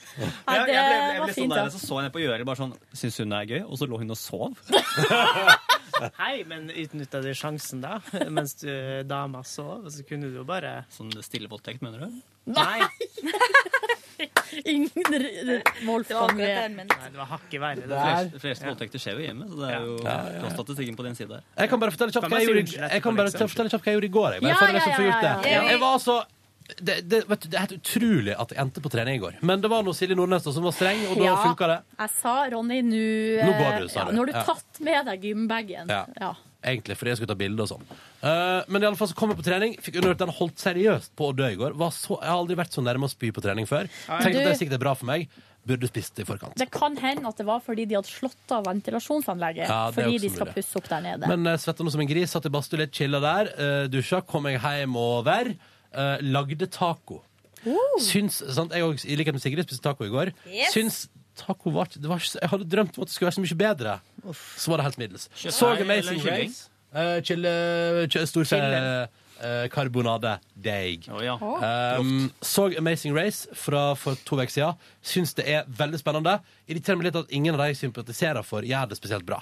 [SPEAKER 18] ble, jeg
[SPEAKER 4] var
[SPEAKER 18] ble sånn
[SPEAKER 4] fint,
[SPEAKER 18] der,
[SPEAKER 4] da.
[SPEAKER 18] Så så jeg ned på Gjørild bare sånn Syns hun det er gøy? Og så lå hun og sov.
[SPEAKER 3] Hei, men utnytta du sjansen da? Mens du, dama sov, så kunne du jo bare
[SPEAKER 18] Sånn stille voldtekt, mener du?
[SPEAKER 3] Nei!
[SPEAKER 4] Ingen
[SPEAKER 3] akkurat
[SPEAKER 4] Wolfgang
[SPEAKER 3] det
[SPEAKER 4] er
[SPEAKER 3] jeg Nei, det var hakket verre.
[SPEAKER 18] De fleste, de fleste voldtekter skjer jo hjemme, så det er jo
[SPEAKER 2] Ja, ja, ja.
[SPEAKER 18] statistikken på din side her.
[SPEAKER 2] Jeg kan bare fortelle kjapt
[SPEAKER 18] Kan
[SPEAKER 2] hva
[SPEAKER 18] man
[SPEAKER 2] jeg
[SPEAKER 18] si
[SPEAKER 2] gjorde,
[SPEAKER 18] unnskyld etterpå,
[SPEAKER 2] jeg kan bare
[SPEAKER 18] liksom?
[SPEAKER 2] fortelle kjapt hva jeg gjorde i går. Jeg, bare
[SPEAKER 18] Ja,
[SPEAKER 2] for dere
[SPEAKER 18] ja,
[SPEAKER 2] som får
[SPEAKER 18] ja,
[SPEAKER 2] gjort det.
[SPEAKER 18] ja, ja.
[SPEAKER 2] jeg var altså det, det, vet du, det er helt utrolig at jeg endte på trening i går. Men det var nå Silje Nordnes da som var streng, og da
[SPEAKER 4] Ja.
[SPEAKER 2] funket funka det.
[SPEAKER 4] Jeg sa Ronny, nå eh,
[SPEAKER 2] Nå går du, sa
[SPEAKER 4] ja,
[SPEAKER 2] du.
[SPEAKER 4] Nå har du
[SPEAKER 2] Ja.
[SPEAKER 4] tatt med deg gymbagen.
[SPEAKER 2] Ja.
[SPEAKER 4] Ja.
[SPEAKER 2] Egentlig fordi jeg skulle ta bilder og sånn. Eh, men i alle fall så kom jeg på trening, fikk underhørt den holdt seriøst på å dø i går. Var så, jeg har aldri vært så nærme å spy på trening før.
[SPEAKER 4] Nei.
[SPEAKER 2] Tenkte at det
[SPEAKER 4] Du-
[SPEAKER 2] sikkert er bra for meg. Burde spist i forkant.
[SPEAKER 4] Det kan hende at det var fordi de hadde slått av ventilasjonsanlegget.
[SPEAKER 2] Ja, det er
[SPEAKER 4] fordi
[SPEAKER 2] også
[SPEAKER 4] de skal
[SPEAKER 2] mulig.
[SPEAKER 4] pusse opp der nede.
[SPEAKER 2] Men uh, svetta nå som en gris, satt i badstua litt, chilla der, eh, dusja, kom jeg hjem over, eh, lagde taco. Syns, sant, jeg også, I likhet med Sigrid spiste taco i går.
[SPEAKER 9] Yes.
[SPEAKER 2] Syns taco var, det var ikke så- Jeg hadde drømt om at det skulle være så mye bedre. Så var det helt middels.
[SPEAKER 9] Kjøttdeig
[SPEAKER 2] Så
[SPEAKER 9] eller
[SPEAKER 2] Amazing
[SPEAKER 9] kylling?
[SPEAKER 2] Race. Uh, chille, kjø- storfe
[SPEAKER 9] Chille.
[SPEAKER 2] eh, karbonadedeig.
[SPEAKER 9] Å.
[SPEAKER 2] Um, så Amazing Race fra for to uker siden. Syns det er veldig spennende. Irriterer meg litt at ingen av de jeg sympatiserer for, gjør det spesielt bra.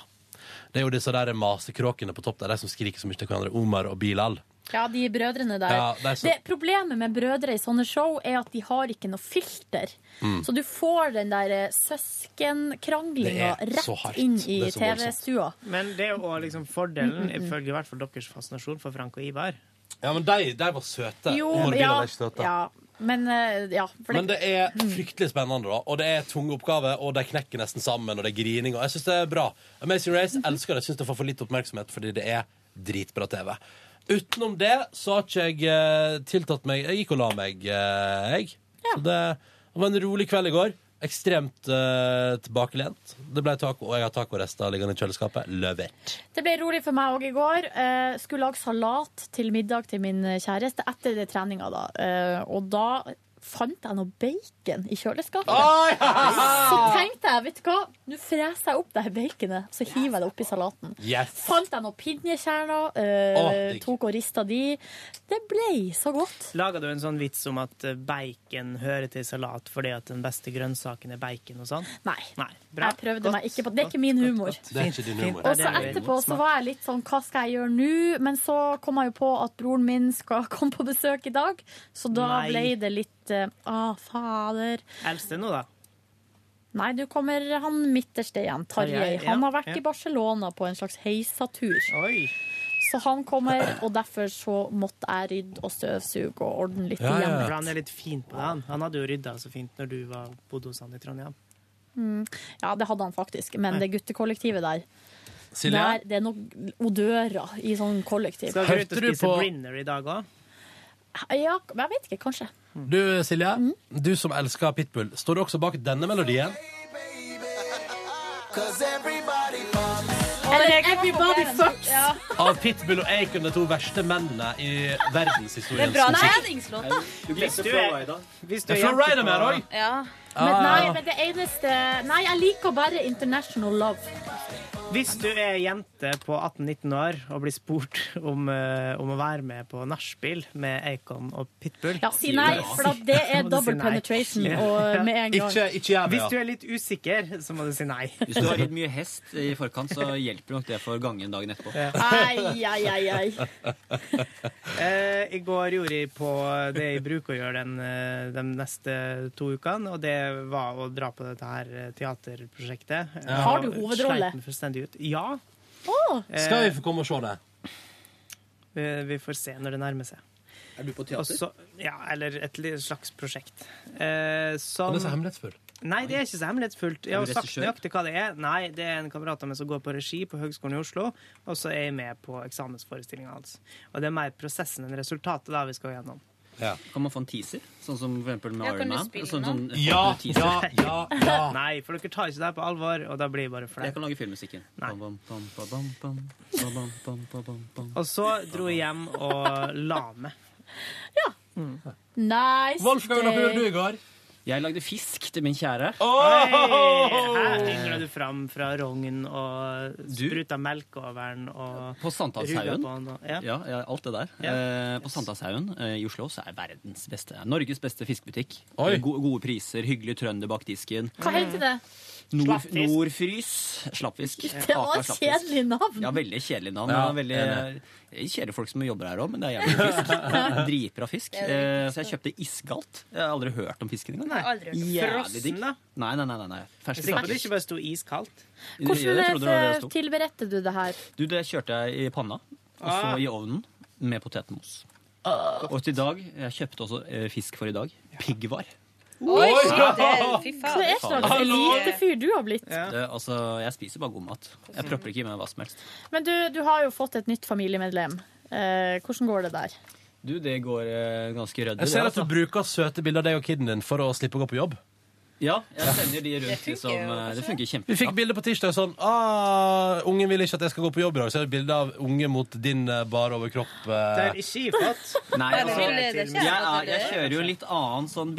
[SPEAKER 2] Det er jo disse der masekråkene på topp der, de som skriker så mye til hverandre. Omar og Bilal.
[SPEAKER 4] Ja, de brødrene der.
[SPEAKER 2] Ja, det er så-
[SPEAKER 4] det, problemet med brødre i sånne show er at de har ikke noe filter.
[SPEAKER 2] Mm.
[SPEAKER 4] Så du får den der eh, søskenkranglinga
[SPEAKER 3] Det er så hardt.
[SPEAKER 4] rett inn i
[SPEAKER 3] Det er så voldsomt.
[SPEAKER 4] TV-stua.
[SPEAKER 3] Men det er jo også liksom fordelen, ifølge i hvert fall deres fascinasjon for Frank og Ivar.
[SPEAKER 2] Ja, men de, de var søte.
[SPEAKER 4] Jo,
[SPEAKER 2] Omar og Bilal
[SPEAKER 4] ja,
[SPEAKER 2] er ikke søte.
[SPEAKER 4] ja. Men eh, ja. for
[SPEAKER 2] Men det er fryktelig spennende, da. Og det er tunge oppgaver, og de knekker nesten sammen, og det er grining, og jeg syns det er bra. Amazing Race elsker det. Jeg syns det får for lite oppmerksomhet fordi det er dritbra TV. Utenom det så har ikke jeg eh, tiltatt meg Jeg gikk og la meg, eh, jeg. Så det, det var en rolig kveld i går. Ekstremt eh, tilbakelent. Det ble taco, og jeg har tacorester liggende i kjøleskapet. Løvet.
[SPEAKER 4] Det ble rolig for meg òg i går. Eh, skulle lage salat til middag til min kjæreste etter det treninga, da. Eh, og da fant jeg noe bacon i kjøleskapet.
[SPEAKER 9] Oi!
[SPEAKER 4] Så tenkte jeg, vet du hva, nå freser jeg opp det her baconet, så hiver jeg det oppi salaten.
[SPEAKER 2] Yes.
[SPEAKER 4] Fant jeg noen pinjekjerner, eh,
[SPEAKER 3] Å, digg.
[SPEAKER 4] tok og rista de. Det blei så godt.
[SPEAKER 3] Laga du en sånn vits om at eh, bacon hører til salat fordi at den beste grønnsaken er bacon og sånn?
[SPEAKER 4] Nei.
[SPEAKER 3] bra.
[SPEAKER 4] Jeg prøvde meg ikke på Det er ikke min humor.
[SPEAKER 3] Det er ikke din humor.
[SPEAKER 4] Og så
[SPEAKER 3] Det er det.
[SPEAKER 4] etterpå så var jeg litt sånn Hva skal jeg gjøre nå? Men så kom jeg jo på at broren min skal komme på besøk i dag, så da
[SPEAKER 3] Nei.
[SPEAKER 4] ble det litt eh, Å, fader.
[SPEAKER 3] Eldste nå, da.
[SPEAKER 4] Nei, nå kommer han midterste igjen, Tarjei.
[SPEAKER 3] Tarjei, ja,
[SPEAKER 4] Han har vært
[SPEAKER 3] ja.
[SPEAKER 4] i Barcelona på en slags heisatur. Så han kommer, og derfor så måtte jeg rydde og støvsuge og ordne litt
[SPEAKER 3] Ja,
[SPEAKER 4] igjen.
[SPEAKER 3] For han er litt fin på det, han. Han hadde jo rydda så fint når du var bodde hos han i Trondheim.
[SPEAKER 4] Mm. Ja, det hadde han faktisk, men
[SPEAKER 3] Nei.
[SPEAKER 4] det guttekollektivet der
[SPEAKER 3] Silje?
[SPEAKER 4] Der, det er noen odører i sånn kollektiv.
[SPEAKER 3] Skal dere ut og spise brinner i dag òg?
[SPEAKER 4] Ja, men jeg vet ikke, kanskje.
[SPEAKER 2] Du, Silje, du som elsker Pitbull, står du også bak denne melodien?
[SPEAKER 4] Eller everybody fucks.
[SPEAKER 9] Ja.
[SPEAKER 2] Av Pitbull og Acon, de to verste mennene i verdenshistorien.
[SPEAKER 17] treningslåt, da.
[SPEAKER 18] Du
[SPEAKER 2] Hvis
[SPEAKER 18] glemte
[SPEAKER 2] du
[SPEAKER 18] Flow
[SPEAKER 2] er-
[SPEAKER 18] Rida.
[SPEAKER 3] Hvis
[SPEAKER 2] du er Ja, Flo jente Rida på- med her også.
[SPEAKER 17] Ja.
[SPEAKER 2] Ah,
[SPEAKER 4] Men nei,
[SPEAKER 2] ja.
[SPEAKER 4] men det eneste Nei, jeg liker bare International Love.
[SPEAKER 3] Hvis du er jente på 18-19 år og blir spurt om, eh, om å være med på nachspiel med Acon og Pitbull
[SPEAKER 4] Ja, si nei, for da- det
[SPEAKER 3] Da
[SPEAKER 4] er
[SPEAKER 3] må du si
[SPEAKER 4] double
[SPEAKER 3] nei.
[SPEAKER 4] penetration, og med en gang. Ikke- ikke jeg med,
[SPEAKER 3] Hvis
[SPEAKER 4] ja.
[SPEAKER 3] du er litt usikker, så må du si nei.
[SPEAKER 18] Hvis du har ridd mye hest i forkant, så hjelper nok det for gangen dagen etterpå.
[SPEAKER 4] Ai, ai, ai, ai.
[SPEAKER 3] Eh, I går gjorde jeg på det jeg bruker å gjøre den, eh, de neste to ukene, og det var å dra på dette her eh, teaterprosjektet.
[SPEAKER 2] Ja. Har du
[SPEAKER 3] Og sleit
[SPEAKER 2] hovedrolle?
[SPEAKER 3] den fullstendig ut. Ja.
[SPEAKER 2] Skal vi få komme og se det?
[SPEAKER 3] Vi, Eh, vi får se når det nærmer seg.
[SPEAKER 2] Er du på
[SPEAKER 3] Og så- ja, eller et li- slags prosjekt. Eh, som,
[SPEAKER 2] Han er så hemmelighetsfull.
[SPEAKER 3] Nei, det er ikke så hemmelighetsfullt. Jeg
[SPEAKER 2] Er
[SPEAKER 3] har
[SPEAKER 2] du
[SPEAKER 3] sagt
[SPEAKER 2] regissør?
[SPEAKER 3] nøyaktig hva det er. Nei, det er en kamerat av meg som går på regi på Høgskolen i Oslo, og så er jeg med på eksamensforestillinga hans. Og det er mer prosessen enn resultatet da vi skal gjennom.
[SPEAKER 18] Kan man få en teaser? Sånn som for eksempel med
[SPEAKER 3] Ja, kan
[SPEAKER 18] Iron
[SPEAKER 3] du
[SPEAKER 18] Man?
[SPEAKER 3] spille
[SPEAKER 18] Sånn, sånn,
[SPEAKER 3] den? Ja,
[SPEAKER 18] teaser.
[SPEAKER 3] ja, ja, ja. Nei, for dere tar ikke det her på alvor, og da blir det bare flaut.
[SPEAKER 18] Jeg kan lage filmmusikken. Bam, bam, bam, bam, bam, bam, bam, bam, bam, bam, bam.
[SPEAKER 3] Og så dro jeg hjem og la meg.
[SPEAKER 4] Nice day.
[SPEAKER 2] går?
[SPEAKER 18] Jeg lagde fisk til min kjære.
[SPEAKER 3] Hei, her yngla du fram fra rogn og spruta melk over den og
[SPEAKER 18] På Sandalshaugen.
[SPEAKER 3] ruga på den og-
[SPEAKER 18] Ja.
[SPEAKER 3] Ja.
[SPEAKER 18] ja, alt det der. Eh, på Sandalshaugen eh, i Oslo så er verdens beste, Norges beste fiskebutikk.
[SPEAKER 2] Oi.
[SPEAKER 18] Go gode priser, hyggelig trønder bak disken.
[SPEAKER 4] Hva heter det?
[SPEAKER 18] Nord
[SPEAKER 4] Slappfisk.
[SPEAKER 18] Nordfrys. Slappfisk.
[SPEAKER 4] Det var
[SPEAKER 18] Aker
[SPEAKER 4] et
[SPEAKER 18] slappfisk.
[SPEAKER 4] kjedelig navn.
[SPEAKER 18] Ja, veldig kjedelig navn.
[SPEAKER 2] Ja,
[SPEAKER 18] og veldig,
[SPEAKER 2] enig.
[SPEAKER 18] det er kjedelige folk som jobber her òg, men det er jævlig fisk. Dritbra fisk.
[SPEAKER 3] Det er
[SPEAKER 18] Eh,
[SPEAKER 3] det
[SPEAKER 18] så jeg kjøpte isgalt. Jeg har aldri hørt om fisken engang.
[SPEAKER 3] Nei, aldri hørt om.
[SPEAKER 18] Jævlig digg.
[SPEAKER 3] Frossen, da?
[SPEAKER 18] Nei, nei, nei. nei, nei.
[SPEAKER 3] Hvis
[SPEAKER 18] Ferske
[SPEAKER 3] ikke det
[SPEAKER 18] slappfisk.
[SPEAKER 3] ikke bare sto iskaldt.
[SPEAKER 18] Jeg trodde det var det det
[SPEAKER 4] Hvordan
[SPEAKER 18] sto.
[SPEAKER 4] tilberedte du det her?
[SPEAKER 18] Du, det kjørte jeg i panna, og så
[SPEAKER 4] Ah.
[SPEAKER 18] i ovnen med potetmos. Og til i dag Jeg kjøpte også eh, fisk for i dag. Piggvar.
[SPEAKER 4] Oi,
[SPEAKER 18] Oi,
[SPEAKER 4] shit,
[SPEAKER 18] ja.
[SPEAKER 4] det- Fy faen. Hva er slags
[SPEAKER 18] Hallo.
[SPEAKER 4] elitefyr du har blitt?
[SPEAKER 18] Det, altså, jeg spiser bare god mat. Jeg propper ikke i meg hva som helst.
[SPEAKER 4] Men du, du har jo fått et nytt familiemedlem. Eh, hvordan går det der?
[SPEAKER 18] Du, det går eh, ganske rødde.
[SPEAKER 2] Jeg ser at du bruker søte bilder av deg og kiden din for å slippe å gå på jobb.
[SPEAKER 18] Ja, jeg sender de rundt det som eh, Det funker
[SPEAKER 2] Vi
[SPEAKER 18] kjempebra.
[SPEAKER 2] fikk bilder på tirsdag sånn ah, 'Ungen vil ikke at jeg skal gå på jobb i dag.' Så er det bilde av unge mot din eh, bare overkropp.
[SPEAKER 3] Det
[SPEAKER 2] eh.
[SPEAKER 3] er ikke iflott.
[SPEAKER 18] Nei,
[SPEAKER 3] Det er
[SPEAKER 18] altså,
[SPEAKER 3] til-
[SPEAKER 18] jeg,
[SPEAKER 3] det er ikke
[SPEAKER 18] er,
[SPEAKER 3] iflott,
[SPEAKER 18] jeg
[SPEAKER 3] eller?
[SPEAKER 18] kjører jo en litt annen sånn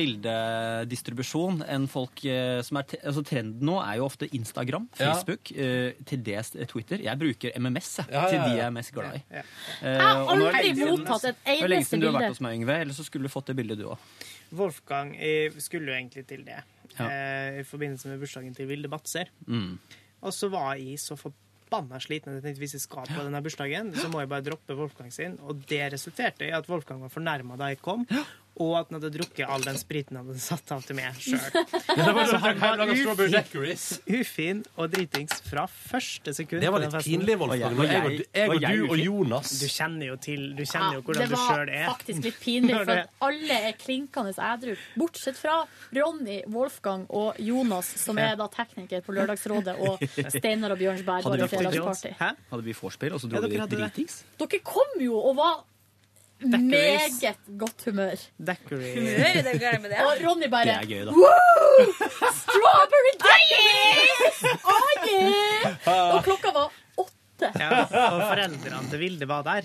[SPEAKER 18] bildedistribusjon enn folk eh, som er te altså, Trenden nå er jo ofte Instagram,
[SPEAKER 2] Ja.
[SPEAKER 18] Facebook, eh, til dels Twitter. Jeg bruker MMS jeg,
[SPEAKER 2] Ja, ja,
[SPEAKER 18] til
[SPEAKER 2] ja.
[SPEAKER 18] de jeg er mest glad i. Eh,
[SPEAKER 4] Jeg har
[SPEAKER 18] og nå er det
[SPEAKER 4] aldri
[SPEAKER 18] lenge siden-
[SPEAKER 4] mottatt et
[SPEAKER 18] Det er lenge
[SPEAKER 4] eneste
[SPEAKER 18] siden du har
[SPEAKER 4] bilde.
[SPEAKER 18] vært hos meg, Yngve. Ellers så skulle du fått det bildet, du òg.
[SPEAKER 3] Wolfgang eh, skulle jo egentlig til det
[SPEAKER 18] Ja.
[SPEAKER 3] eh, i forbindelse med bursdagen til Vilde Batser.
[SPEAKER 18] Mm.
[SPEAKER 3] Og så var jeg så forbanna sliten at jeg tenkte hvis jeg skal på denne bursdagen, så må jeg bare droppe Wolfgang sin. Og det resulterte i at Wolfgang var fornærma da jeg kom, og at han hadde drukket all den spriten han hadde satt av til meg sjøl.
[SPEAKER 2] det var da han laget strawberry
[SPEAKER 3] ufin og dritings fra første sekund.
[SPEAKER 2] Det var
[SPEAKER 3] på den
[SPEAKER 2] litt
[SPEAKER 3] festen.
[SPEAKER 2] pinlig, Wolfgang.
[SPEAKER 3] Og
[SPEAKER 2] Når jeg, og- jeg og du og
[SPEAKER 3] ufin?
[SPEAKER 2] Jonas
[SPEAKER 3] Du kjenner jo til Du kjenner jo hvordan
[SPEAKER 4] det
[SPEAKER 3] du
[SPEAKER 4] var
[SPEAKER 3] sjøl er.
[SPEAKER 4] faktisk litt pinlig,
[SPEAKER 3] Når
[SPEAKER 4] for
[SPEAKER 3] det-
[SPEAKER 4] at alle er klinkende ædru. Bortsett fra Ronny, Wolfgang og Jonas, som er da tekniker på Lørdagsrådet, og Steinar og Bjørnsberg var i
[SPEAKER 18] Hadde vi,
[SPEAKER 4] fredagsparty.
[SPEAKER 18] hadde vi vorspiel, og så dro
[SPEAKER 3] Ja,
[SPEAKER 18] vi
[SPEAKER 3] dere
[SPEAKER 18] dit
[SPEAKER 3] hadde det.
[SPEAKER 18] dritings?
[SPEAKER 4] Dere kom jo og var
[SPEAKER 3] Decorates.
[SPEAKER 4] meget godt humør.
[SPEAKER 3] Deckery.
[SPEAKER 4] Og Ronny bare
[SPEAKER 3] Det er gøy, da.
[SPEAKER 4] Woo! Strawberry Deckery! Oh, yeah! Og klokka var
[SPEAKER 6] åtte.
[SPEAKER 3] Ja, og foreldrene til Vilde var der.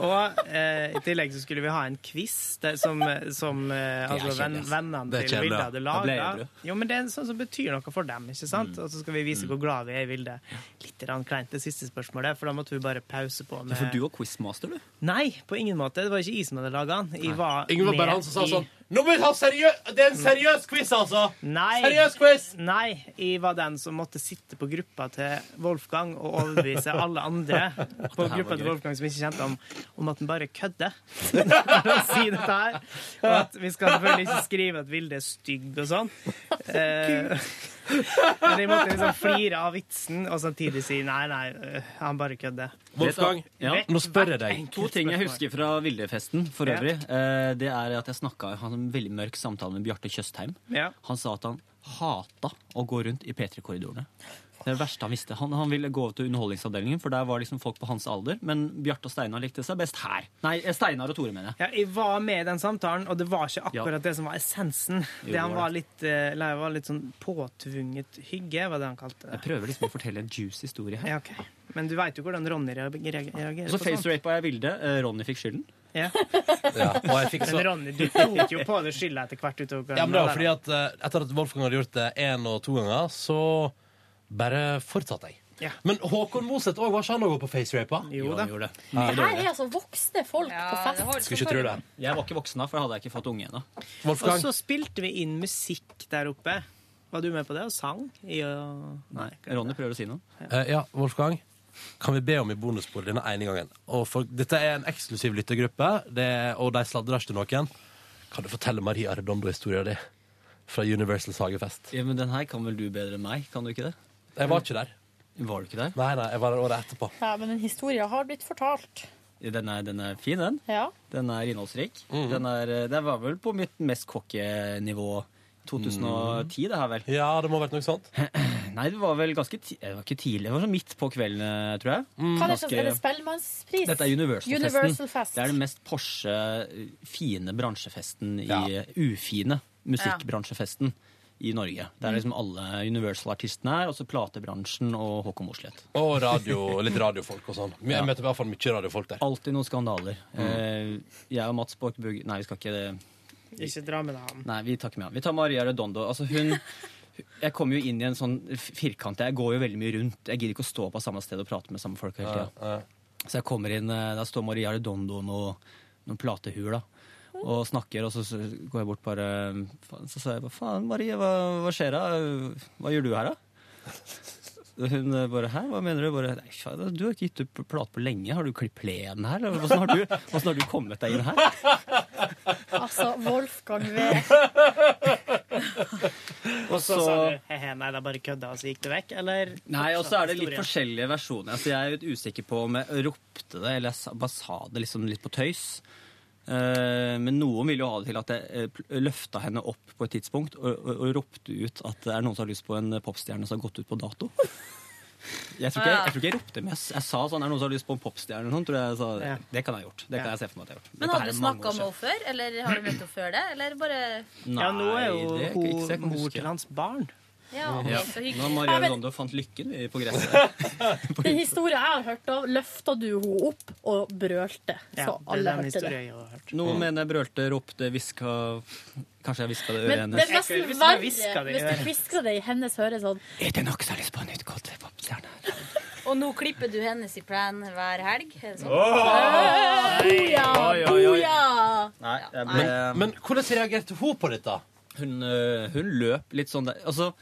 [SPEAKER 3] Og eh, i tillegg så skulle vi ha en quiz der, som, som eh,
[SPEAKER 18] Det er
[SPEAKER 3] altså, venn,
[SPEAKER 18] kjedelig, ass.
[SPEAKER 3] vennene
[SPEAKER 18] Det er
[SPEAKER 3] til
[SPEAKER 18] kjedelig,
[SPEAKER 3] Vilde
[SPEAKER 18] da.
[SPEAKER 3] hadde
[SPEAKER 18] Da ble jeg Mm. edru.
[SPEAKER 3] laga. Jo, men det er sånn som betyr noe for dem, ikke sant? Og så skal vi vise hvor glad vi er i Vilde. Litt rann kleint det siste spørsmålet, for da måtte vi bare pause på med
[SPEAKER 18] For du var quizmaster, du.
[SPEAKER 3] Nei, på ingen måte. Det var ikke jeg som hadde laga den. Jeg var
[SPEAKER 18] Yngve
[SPEAKER 3] med
[SPEAKER 18] Berhan som sa
[SPEAKER 3] i-
[SPEAKER 18] sånn,
[SPEAKER 2] Nå må vi ta seriø- Det er en seriøs quiz, altså!
[SPEAKER 3] Nei.
[SPEAKER 2] Seriøs quiz!
[SPEAKER 3] Nei. Jeg var den som måtte sitte på gruppa til Wolfgang og overbevise alle andre på
[SPEAKER 18] Det her var
[SPEAKER 3] gruppa til
[SPEAKER 18] gøy.
[SPEAKER 3] Wolfgang som ikke kjente ham, om at han bare kødder når han sier dette her. Og at vi skal selvfølgelig ikke skrive at Vilde er stygg og sånn. Eh, men jeg måtte liksom flire av vitsen og samtidig si nei, nei, øh, han bare kødder.
[SPEAKER 18] Vet du- Ja.
[SPEAKER 3] Hvert
[SPEAKER 18] To
[SPEAKER 3] enkelt
[SPEAKER 18] ting jeg
[SPEAKER 3] spørsmål.
[SPEAKER 18] husker fra Vildefesten for
[SPEAKER 3] Ja.
[SPEAKER 18] øvrig. eh, Det er at jeg snakka Jeg hadde en veldig mørk samtale med Bjarte Tjøstheim.
[SPEAKER 3] Ja.
[SPEAKER 18] Han sa at han hata å gå rundt i P3-korridorene. Det er det verste han visste. Han, han ville gå til Underholdningsavdelingen, for der var liksom folk på hans alder. Men Bjarte og Steinar likte seg best her. Nei, eh, Steinar og Tore, mener jeg.
[SPEAKER 3] Ja, jeg var med i den samtalen, og det var ikke akkurat det som var essensen.
[SPEAKER 18] Jo,
[SPEAKER 3] det han
[SPEAKER 18] det var
[SPEAKER 3] var litt, eh, eller det var litt sånn påtvunget hygge, var det han kalte det.
[SPEAKER 18] Jeg prøver liksom å fortelle en juicy historie her.
[SPEAKER 3] Ja, ok. Men du veit jo hvordan Ronny reag- reag- reagerer
[SPEAKER 18] Og så
[SPEAKER 3] på sånt.
[SPEAKER 18] facerapa jeg Vilde. eh, Ronny fikk skylden.
[SPEAKER 3] Ja.
[SPEAKER 2] Ja, og jeg fikk så-
[SPEAKER 3] Men Ronny, du tok jo på deg skylda etter hvert utover
[SPEAKER 2] Ja, men det var fordi
[SPEAKER 3] kvelden.
[SPEAKER 2] at eh, Etter at Wolfgang hadde gjort det én og to ganger, så bare fortsatte jeg.
[SPEAKER 3] Ja.
[SPEAKER 2] Men Håkon Moseth òg, var ikke han òg på facerapa?
[SPEAKER 18] Jo da. gjorde det.
[SPEAKER 2] Mm. Ja.
[SPEAKER 4] Det her er altså voksne folk på fest.
[SPEAKER 2] Skulle ikke tro det.
[SPEAKER 18] Jeg var ikke voksen da, for jeg hadde ikke fått unge ennå.
[SPEAKER 3] Og så spilte vi inn musikk der oppe. Var du med på det og sang? I å...
[SPEAKER 18] Nei, Ronny prøver å si noe.
[SPEAKER 2] Eh, ja, Wolfgang. Kan vi be om i bonusbordet denne ene gangen? Og for, dette er en eksklusiv lyttergruppe, det, og de sladrer ikke til noen. Kan du fortelle Maria Redondo-historien din fra Universals hagefest?
[SPEAKER 18] Ja, men den her kan vel du bedre enn meg, kan du ikke det?
[SPEAKER 2] Jeg var ikke der.
[SPEAKER 18] Var du ikke der?
[SPEAKER 2] Nei, nei, jeg var der året etterpå.
[SPEAKER 4] Ja, men den historien har blitt fortalt.
[SPEAKER 18] Den er, den er fin, den.
[SPEAKER 4] Ja.
[SPEAKER 18] Den er innholdsrik.
[SPEAKER 2] Mm.
[SPEAKER 18] Den, er, den var vel på mitt mest kokkenivå 2010, det her vel?
[SPEAKER 2] Mm. Ja, det må ha vært noe sånt.
[SPEAKER 18] Nei, det var vel ganske ti det var ikke tidlig. Det var sånn midt på kvelden, eh, tror jeg.
[SPEAKER 2] Mm.
[SPEAKER 4] Hva er det som
[SPEAKER 18] Ganske-
[SPEAKER 4] er det Spellemannspris?
[SPEAKER 18] Dette er Universal-festen.
[SPEAKER 4] Universal-fest.
[SPEAKER 18] det er den mest Porsche eh, fine bransjefesten i eh,
[SPEAKER 4] Ja.
[SPEAKER 18] ufine musikkbransjefesten i Norge. Der
[SPEAKER 3] Mm.
[SPEAKER 18] er liksom alle Universal-artistene er, og så platebransjen og Håkon Mosleth.
[SPEAKER 2] Og radio, litt radiofolk og sånn. Jeg møter i hvert fall mye radiofolk der. Mm.
[SPEAKER 18] Alltid noen skandaler. Eh, jeg og Mats Borchbugg Nei, vi skal ikke
[SPEAKER 3] Ikke dra med deg han.
[SPEAKER 18] Nei, vi tar ikke med han. Vi tar Maria Redondo. Altså, hun Jeg kommer jo inn i en sånn f- firkant. Jeg går jo veldig mye rundt. Jeg gidder ikke å stå på samme sted og prate med samme folk hele tida. Så jeg kommer inn, eh, der står Maria Redondo og noe- noen platehuer, da. Og snakker, og så så går jeg bort bare faen, Så sa jeg bare faen, Marie, hva, hva skjer da? Hva gjør du her, da? Og Hun eh, bare hæ, hva mener du? Bare, Nei, faen, du har ikke gitt ut pl- plate på lenge. Har du klippet plenen her? eller Hvordan har, du, hvordan har du kommet deg inn her?
[SPEAKER 4] Altså, Wolfgang V.
[SPEAKER 3] Og så
[SPEAKER 18] så-
[SPEAKER 3] sa du he-he, nei, da bare kødda, og så gikk du vekk, eller?
[SPEAKER 18] Nei, og så er det litt
[SPEAKER 3] Historien.
[SPEAKER 18] forskjellige versjoner. Altså, jeg er litt usikker på om jeg ropte det, eller jeg sa- bare sa det liksom litt på tøys. Eh, men noen ville jo ha det til at jeg eh, pl- løfta henne opp på et tidspunkt og, og, og ropte ut at det er noen som har lyst på en popstjerne som har gått ut på dato. Jeg tror ikke jeg, jeg, tror ikke jeg ropte, men jeg, s- jeg sa sånn, er det noen som har lyst på en popstjerne? eller noe?" Tror jeg jeg sa,
[SPEAKER 17] Ja.
[SPEAKER 18] Det kan jeg ha gjort. Det kan jeg se for meg at jeg har gjort.
[SPEAKER 17] Men
[SPEAKER 18] Dette her
[SPEAKER 17] hadde
[SPEAKER 18] er
[SPEAKER 17] du
[SPEAKER 18] mange
[SPEAKER 17] snakka
[SPEAKER 18] år
[SPEAKER 17] med henne før? Eller har du møtt henne før det? Eller bare
[SPEAKER 18] siden.
[SPEAKER 3] Ja, nå er jo
[SPEAKER 18] Nei, det
[SPEAKER 3] hun
[SPEAKER 18] ikke så jeg kan
[SPEAKER 3] mor
[SPEAKER 18] huske.
[SPEAKER 3] til hans barn.
[SPEAKER 17] Ja,
[SPEAKER 18] Ja.
[SPEAKER 17] ok, så
[SPEAKER 18] Nå
[SPEAKER 17] hyggelig.
[SPEAKER 18] Maria
[SPEAKER 4] Ja, men-
[SPEAKER 18] Rondo fant lykken vi på gresset.
[SPEAKER 4] Den historien jeg har hørt, da løfta du henne opp og brølte. Så alle hørte det.
[SPEAKER 2] Mm.
[SPEAKER 18] Noen mener jeg brølte, ropte, hviska Kanskje jeg hviska det i øret
[SPEAKER 4] Men det
[SPEAKER 18] hennes.
[SPEAKER 4] er nesten verre hvis du hvisker det i hennes øre sånn.
[SPEAKER 18] Er det noen som har lyst på en utgått popstjerne?
[SPEAKER 17] Og nå klipper du hennes i plan hver helg? Er det sånn?
[SPEAKER 2] Åh!
[SPEAKER 17] Boja,
[SPEAKER 2] Oi, oi, oi.
[SPEAKER 17] boja!
[SPEAKER 18] Nei, jeg ble...
[SPEAKER 2] Men, men hvordan reagerte hun på dette?
[SPEAKER 18] Hun, øh, hun løp litt sånn der Altså,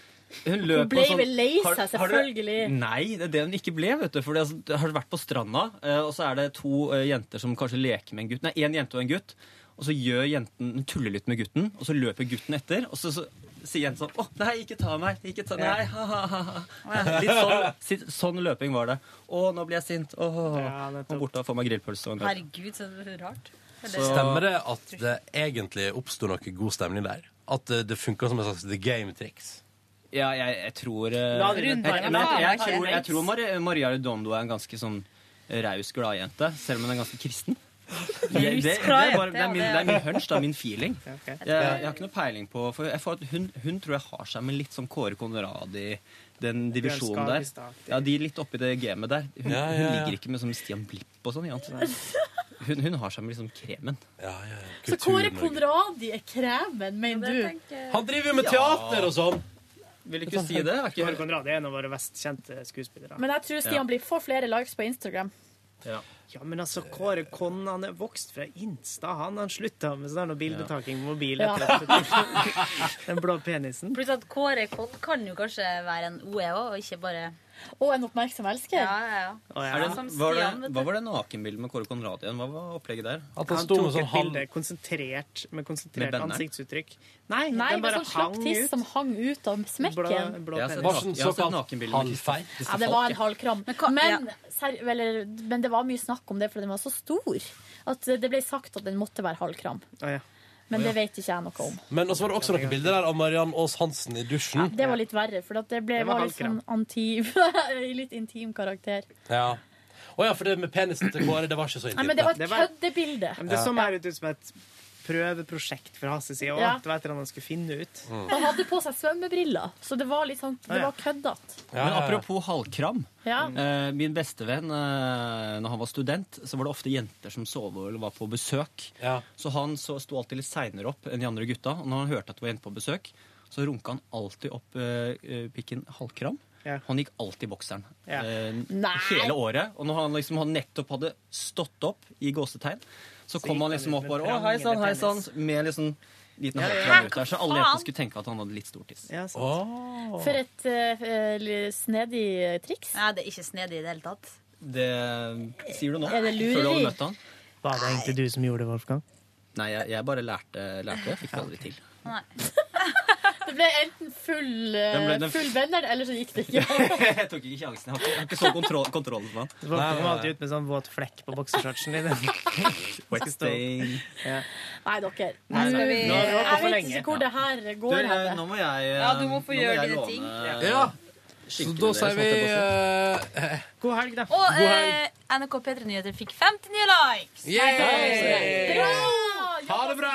[SPEAKER 18] hun løp
[SPEAKER 4] Hun ble
[SPEAKER 18] og sånn,
[SPEAKER 4] vel lei
[SPEAKER 18] Har-
[SPEAKER 4] seg,
[SPEAKER 18] har dere-
[SPEAKER 4] selvfølgelig.
[SPEAKER 18] Nei, det er det hun ikke ble. vet du Fordi, altså, Har du vært på stranda, eh, og så er det to eh, jenter som kanskje leker med en gutt Nei, én jente og en gutt. Og så gjør jenten, hun tuller litt med gutten, og så løper gutten etter. Og så, så sier jenta sånn 'Å, nei, ikke ta meg'. ikke ta Nei, ha, ha, ha, ha. Litt sånn, sitt- sånn løping var det. 'Å, nå blir jeg sint'. Å, og borte og får meg grillpølse og en kaffe.
[SPEAKER 17] Herregud, så rart.
[SPEAKER 2] Stemmer det at det egentlig oppsto noe god stemning der? At det, det funka som et slags the game-triks?
[SPEAKER 18] Ja, jeg, jeg tror eh,
[SPEAKER 2] La
[SPEAKER 18] jeg,
[SPEAKER 2] det
[SPEAKER 18] jeg,
[SPEAKER 2] runde
[SPEAKER 18] jeg, men
[SPEAKER 2] deg, da.
[SPEAKER 18] jeg, tror, jeg tror Maria, Maria Redondo er en ganske sånn raus gladjente, selv om hun er ganske kristen. Det, det, det, er bare, det, er min, det er min hunch, det er min feeling. Jeg, jeg har ikke noe peiling på For jeg får at hun, hun tror jeg har seg med litt sånn Kåre Conradi den divisjonen der.
[SPEAKER 3] Bjørnskag, Stak,
[SPEAKER 18] Ja, De litt oppi det gamet der. Hun,
[SPEAKER 3] Ja, ja,
[SPEAKER 18] hun
[SPEAKER 3] ja.
[SPEAKER 18] ligger ikke med som Stian Blipp og sånn. i annet. Hun, hun har seg med liksom kremen.
[SPEAKER 4] Så Kåre Konradi er kremen, mener du?
[SPEAKER 2] Han driver jo med teater og sånn.
[SPEAKER 18] Vil
[SPEAKER 2] ikke si det, er ikke-
[SPEAKER 3] Kåre Conradi er en av våre best kjente skuespillere.
[SPEAKER 4] Men jeg tror Stian Blipp får flere likes på Instagram.
[SPEAKER 3] Ja. men altså, Kåre Conn han er vokst fra Insta. Han, han slutta med sånn her bildetaking på mobil.
[SPEAKER 17] Ja.
[SPEAKER 3] Etter at, den blå penisen.
[SPEAKER 17] Pluss at Kåre Kodd kan jo kanskje være en OE òg, og ikke bare
[SPEAKER 4] Og en oppmerksom elsker.
[SPEAKER 17] Ja, ja, ja.
[SPEAKER 18] Er det,
[SPEAKER 17] Som
[SPEAKER 18] var det,
[SPEAKER 17] Stian, vet du.
[SPEAKER 18] hva var det nakenbildet med Kåre Conradi igjen? Hva var opplegget der?
[SPEAKER 3] Han tok
[SPEAKER 2] sånn
[SPEAKER 3] et bilde konsentrert, med konsentrert
[SPEAKER 18] Med banneren?
[SPEAKER 3] ansiktsuttrykk. Nei,
[SPEAKER 4] Nei,
[SPEAKER 3] den
[SPEAKER 4] med
[SPEAKER 3] bare
[SPEAKER 4] sånn slapp
[SPEAKER 3] hang
[SPEAKER 4] tiss
[SPEAKER 3] ut.
[SPEAKER 4] som hang ut av smekken.
[SPEAKER 3] Blå- blå
[SPEAKER 18] Jeg har sett
[SPEAKER 3] penis.
[SPEAKER 18] naken- jeg har sett nakenbilder med Kristoffer-
[SPEAKER 4] Ja, det var en halv kram. Men, ser- eller, men det var mye snakk om det, for den var så stor. At det ble sagt at den måtte være halv kram. Men
[SPEAKER 2] Å, ja.
[SPEAKER 4] det vet ikke jeg noe om.
[SPEAKER 2] Men også var det også noen bilder der av Mariann Aas Hansen i dusjen.
[SPEAKER 4] Det var litt verre, for at det ble,
[SPEAKER 2] Det var
[SPEAKER 4] var litt
[SPEAKER 2] halv
[SPEAKER 4] sånn antiv, litt intim karakter.
[SPEAKER 2] Ja. Å ja, for det med penisen til Kåre, det var ikke så
[SPEAKER 4] Nei, men det var
[SPEAKER 2] intimt.
[SPEAKER 4] et køddebilde.
[SPEAKER 3] Men det så mer ut som et prøveprosjekt fra hans side.
[SPEAKER 4] Ja.
[SPEAKER 3] Ja. Det var et eller annet han skulle finne ut.
[SPEAKER 18] Mm.
[SPEAKER 4] Han hadde på seg svømmebriller, så det var litt sånn,
[SPEAKER 18] Ah,
[SPEAKER 4] det
[SPEAKER 18] ja.
[SPEAKER 4] var køddete.
[SPEAKER 18] Men apropos halvkram.
[SPEAKER 4] Ja.
[SPEAKER 3] Mm.
[SPEAKER 18] Eh, min bestevenn, eh, når han var student, så var det ofte jenter som sov over eller var på besøk. Så han så, sto alltid litt seinere opp enn de andre gutta. Og når han hørte at det var jenter på besøk, så runka han alltid opp eh, eh, pikken halvkram. Han gikk alltid i bokseren
[SPEAKER 3] Ja.
[SPEAKER 18] eh,
[SPEAKER 3] Nei.
[SPEAKER 18] hele året. Og når han liksom han nettopp hadde stått opp i gåsetegn, så,
[SPEAKER 3] gikk
[SPEAKER 18] kom han
[SPEAKER 3] han
[SPEAKER 18] liksom
[SPEAKER 3] ut
[SPEAKER 18] opp
[SPEAKER 3] med
[SPEAKER 18] bare Å,
[SPEAKER 3] prangende
[SPEAKER 18] hei sann, hei sann.
[SPEAKER 3] penis.
[SPEAKER 18] Med liksom liten
[SPEAKER 3] Ja, ja.
[SPEAKER 18] halvkram ut der, så alle
[SPEAKER 4] Hva faen?
[SPEAKER 18] jentene skulle tenke at han hadde litt stor tiss. Mm.
[SPEAKER 4] For et eh, eh, snedig triks.
[SPEAKER 17] Nei, det er ikke snedig i det hele tatt.
[SPEAKER 18] Det sier du nå.
[SPEAKER 4] Er det lureri?
[SPEAKER 18] Før du hadde møtt han.
[SPEAKER 3] Var det egentlig du som gjorde det, Wolfgang?
[SPEAKER 18] Nei, jeg, jeg bare lærte, lærte det. Fikk det aldri til.
[SPEAKER 4] Det ble enten full, eh,
[SPEAKER 18] Den ble den-
[SPEAKER 4] full venner, eller så gikk det ikke.
[SPEAKER 18] jeg tok ikke sjansen. Jeg har ikke, jeg har ikke så kontroll, kontrollen på han.
[SPEAKER 3] Du kom alltid ut med sånn våt flekk på boksershortsen din.
[SPEAKER 18] Wet stain.
[SPEAKER 3] Ja.
[SPEAKER 4] Nei, dere.
[SPEAKER 18] Nei,
[SPEAKER 4] nå-
[SPEAKER 18] nei, vi- Nå har vi holdt på
[SPEAKER 4] jeg
[SPEAKER 18] for
[SPEAKER 4] vet
[SPEAKER 18] lenge.
[SPEAKER 4] ikke hvor det her
[SPEAKER 18] Du,
[SPEAKER 4] går. hen.
[SPEAKER 18] eh, nå må jeg eh,
[SPEAKER 4] Ja, du må få
[SPEAKER 18] nå
[SPEAKER 4] gjøre
[SPEAKER 18] jeg
[SPEAKER 4] dine
[SPEAKER 18] låne
[SPEAKER 4] ting.
[SPEAKER 2] Ja. Så
[SPEAKER 18] skinkene
[SPEAKER 2] da
[SPEAKER 18] deres,
[SPEAKER 2] sier vi
[SPEAKER 18] holdt jeg på å si.
[SPEAKER 2] eh,
[SPEAKER 3] God helg, da.
[SPEAKER 17] Og eh, NRK P3 Nyheter fikk 50 nye likes!
[SPEAKER 2] Yay!
[SPEAKER 17] Bra!
[SPEAKER 2] Ha det bra!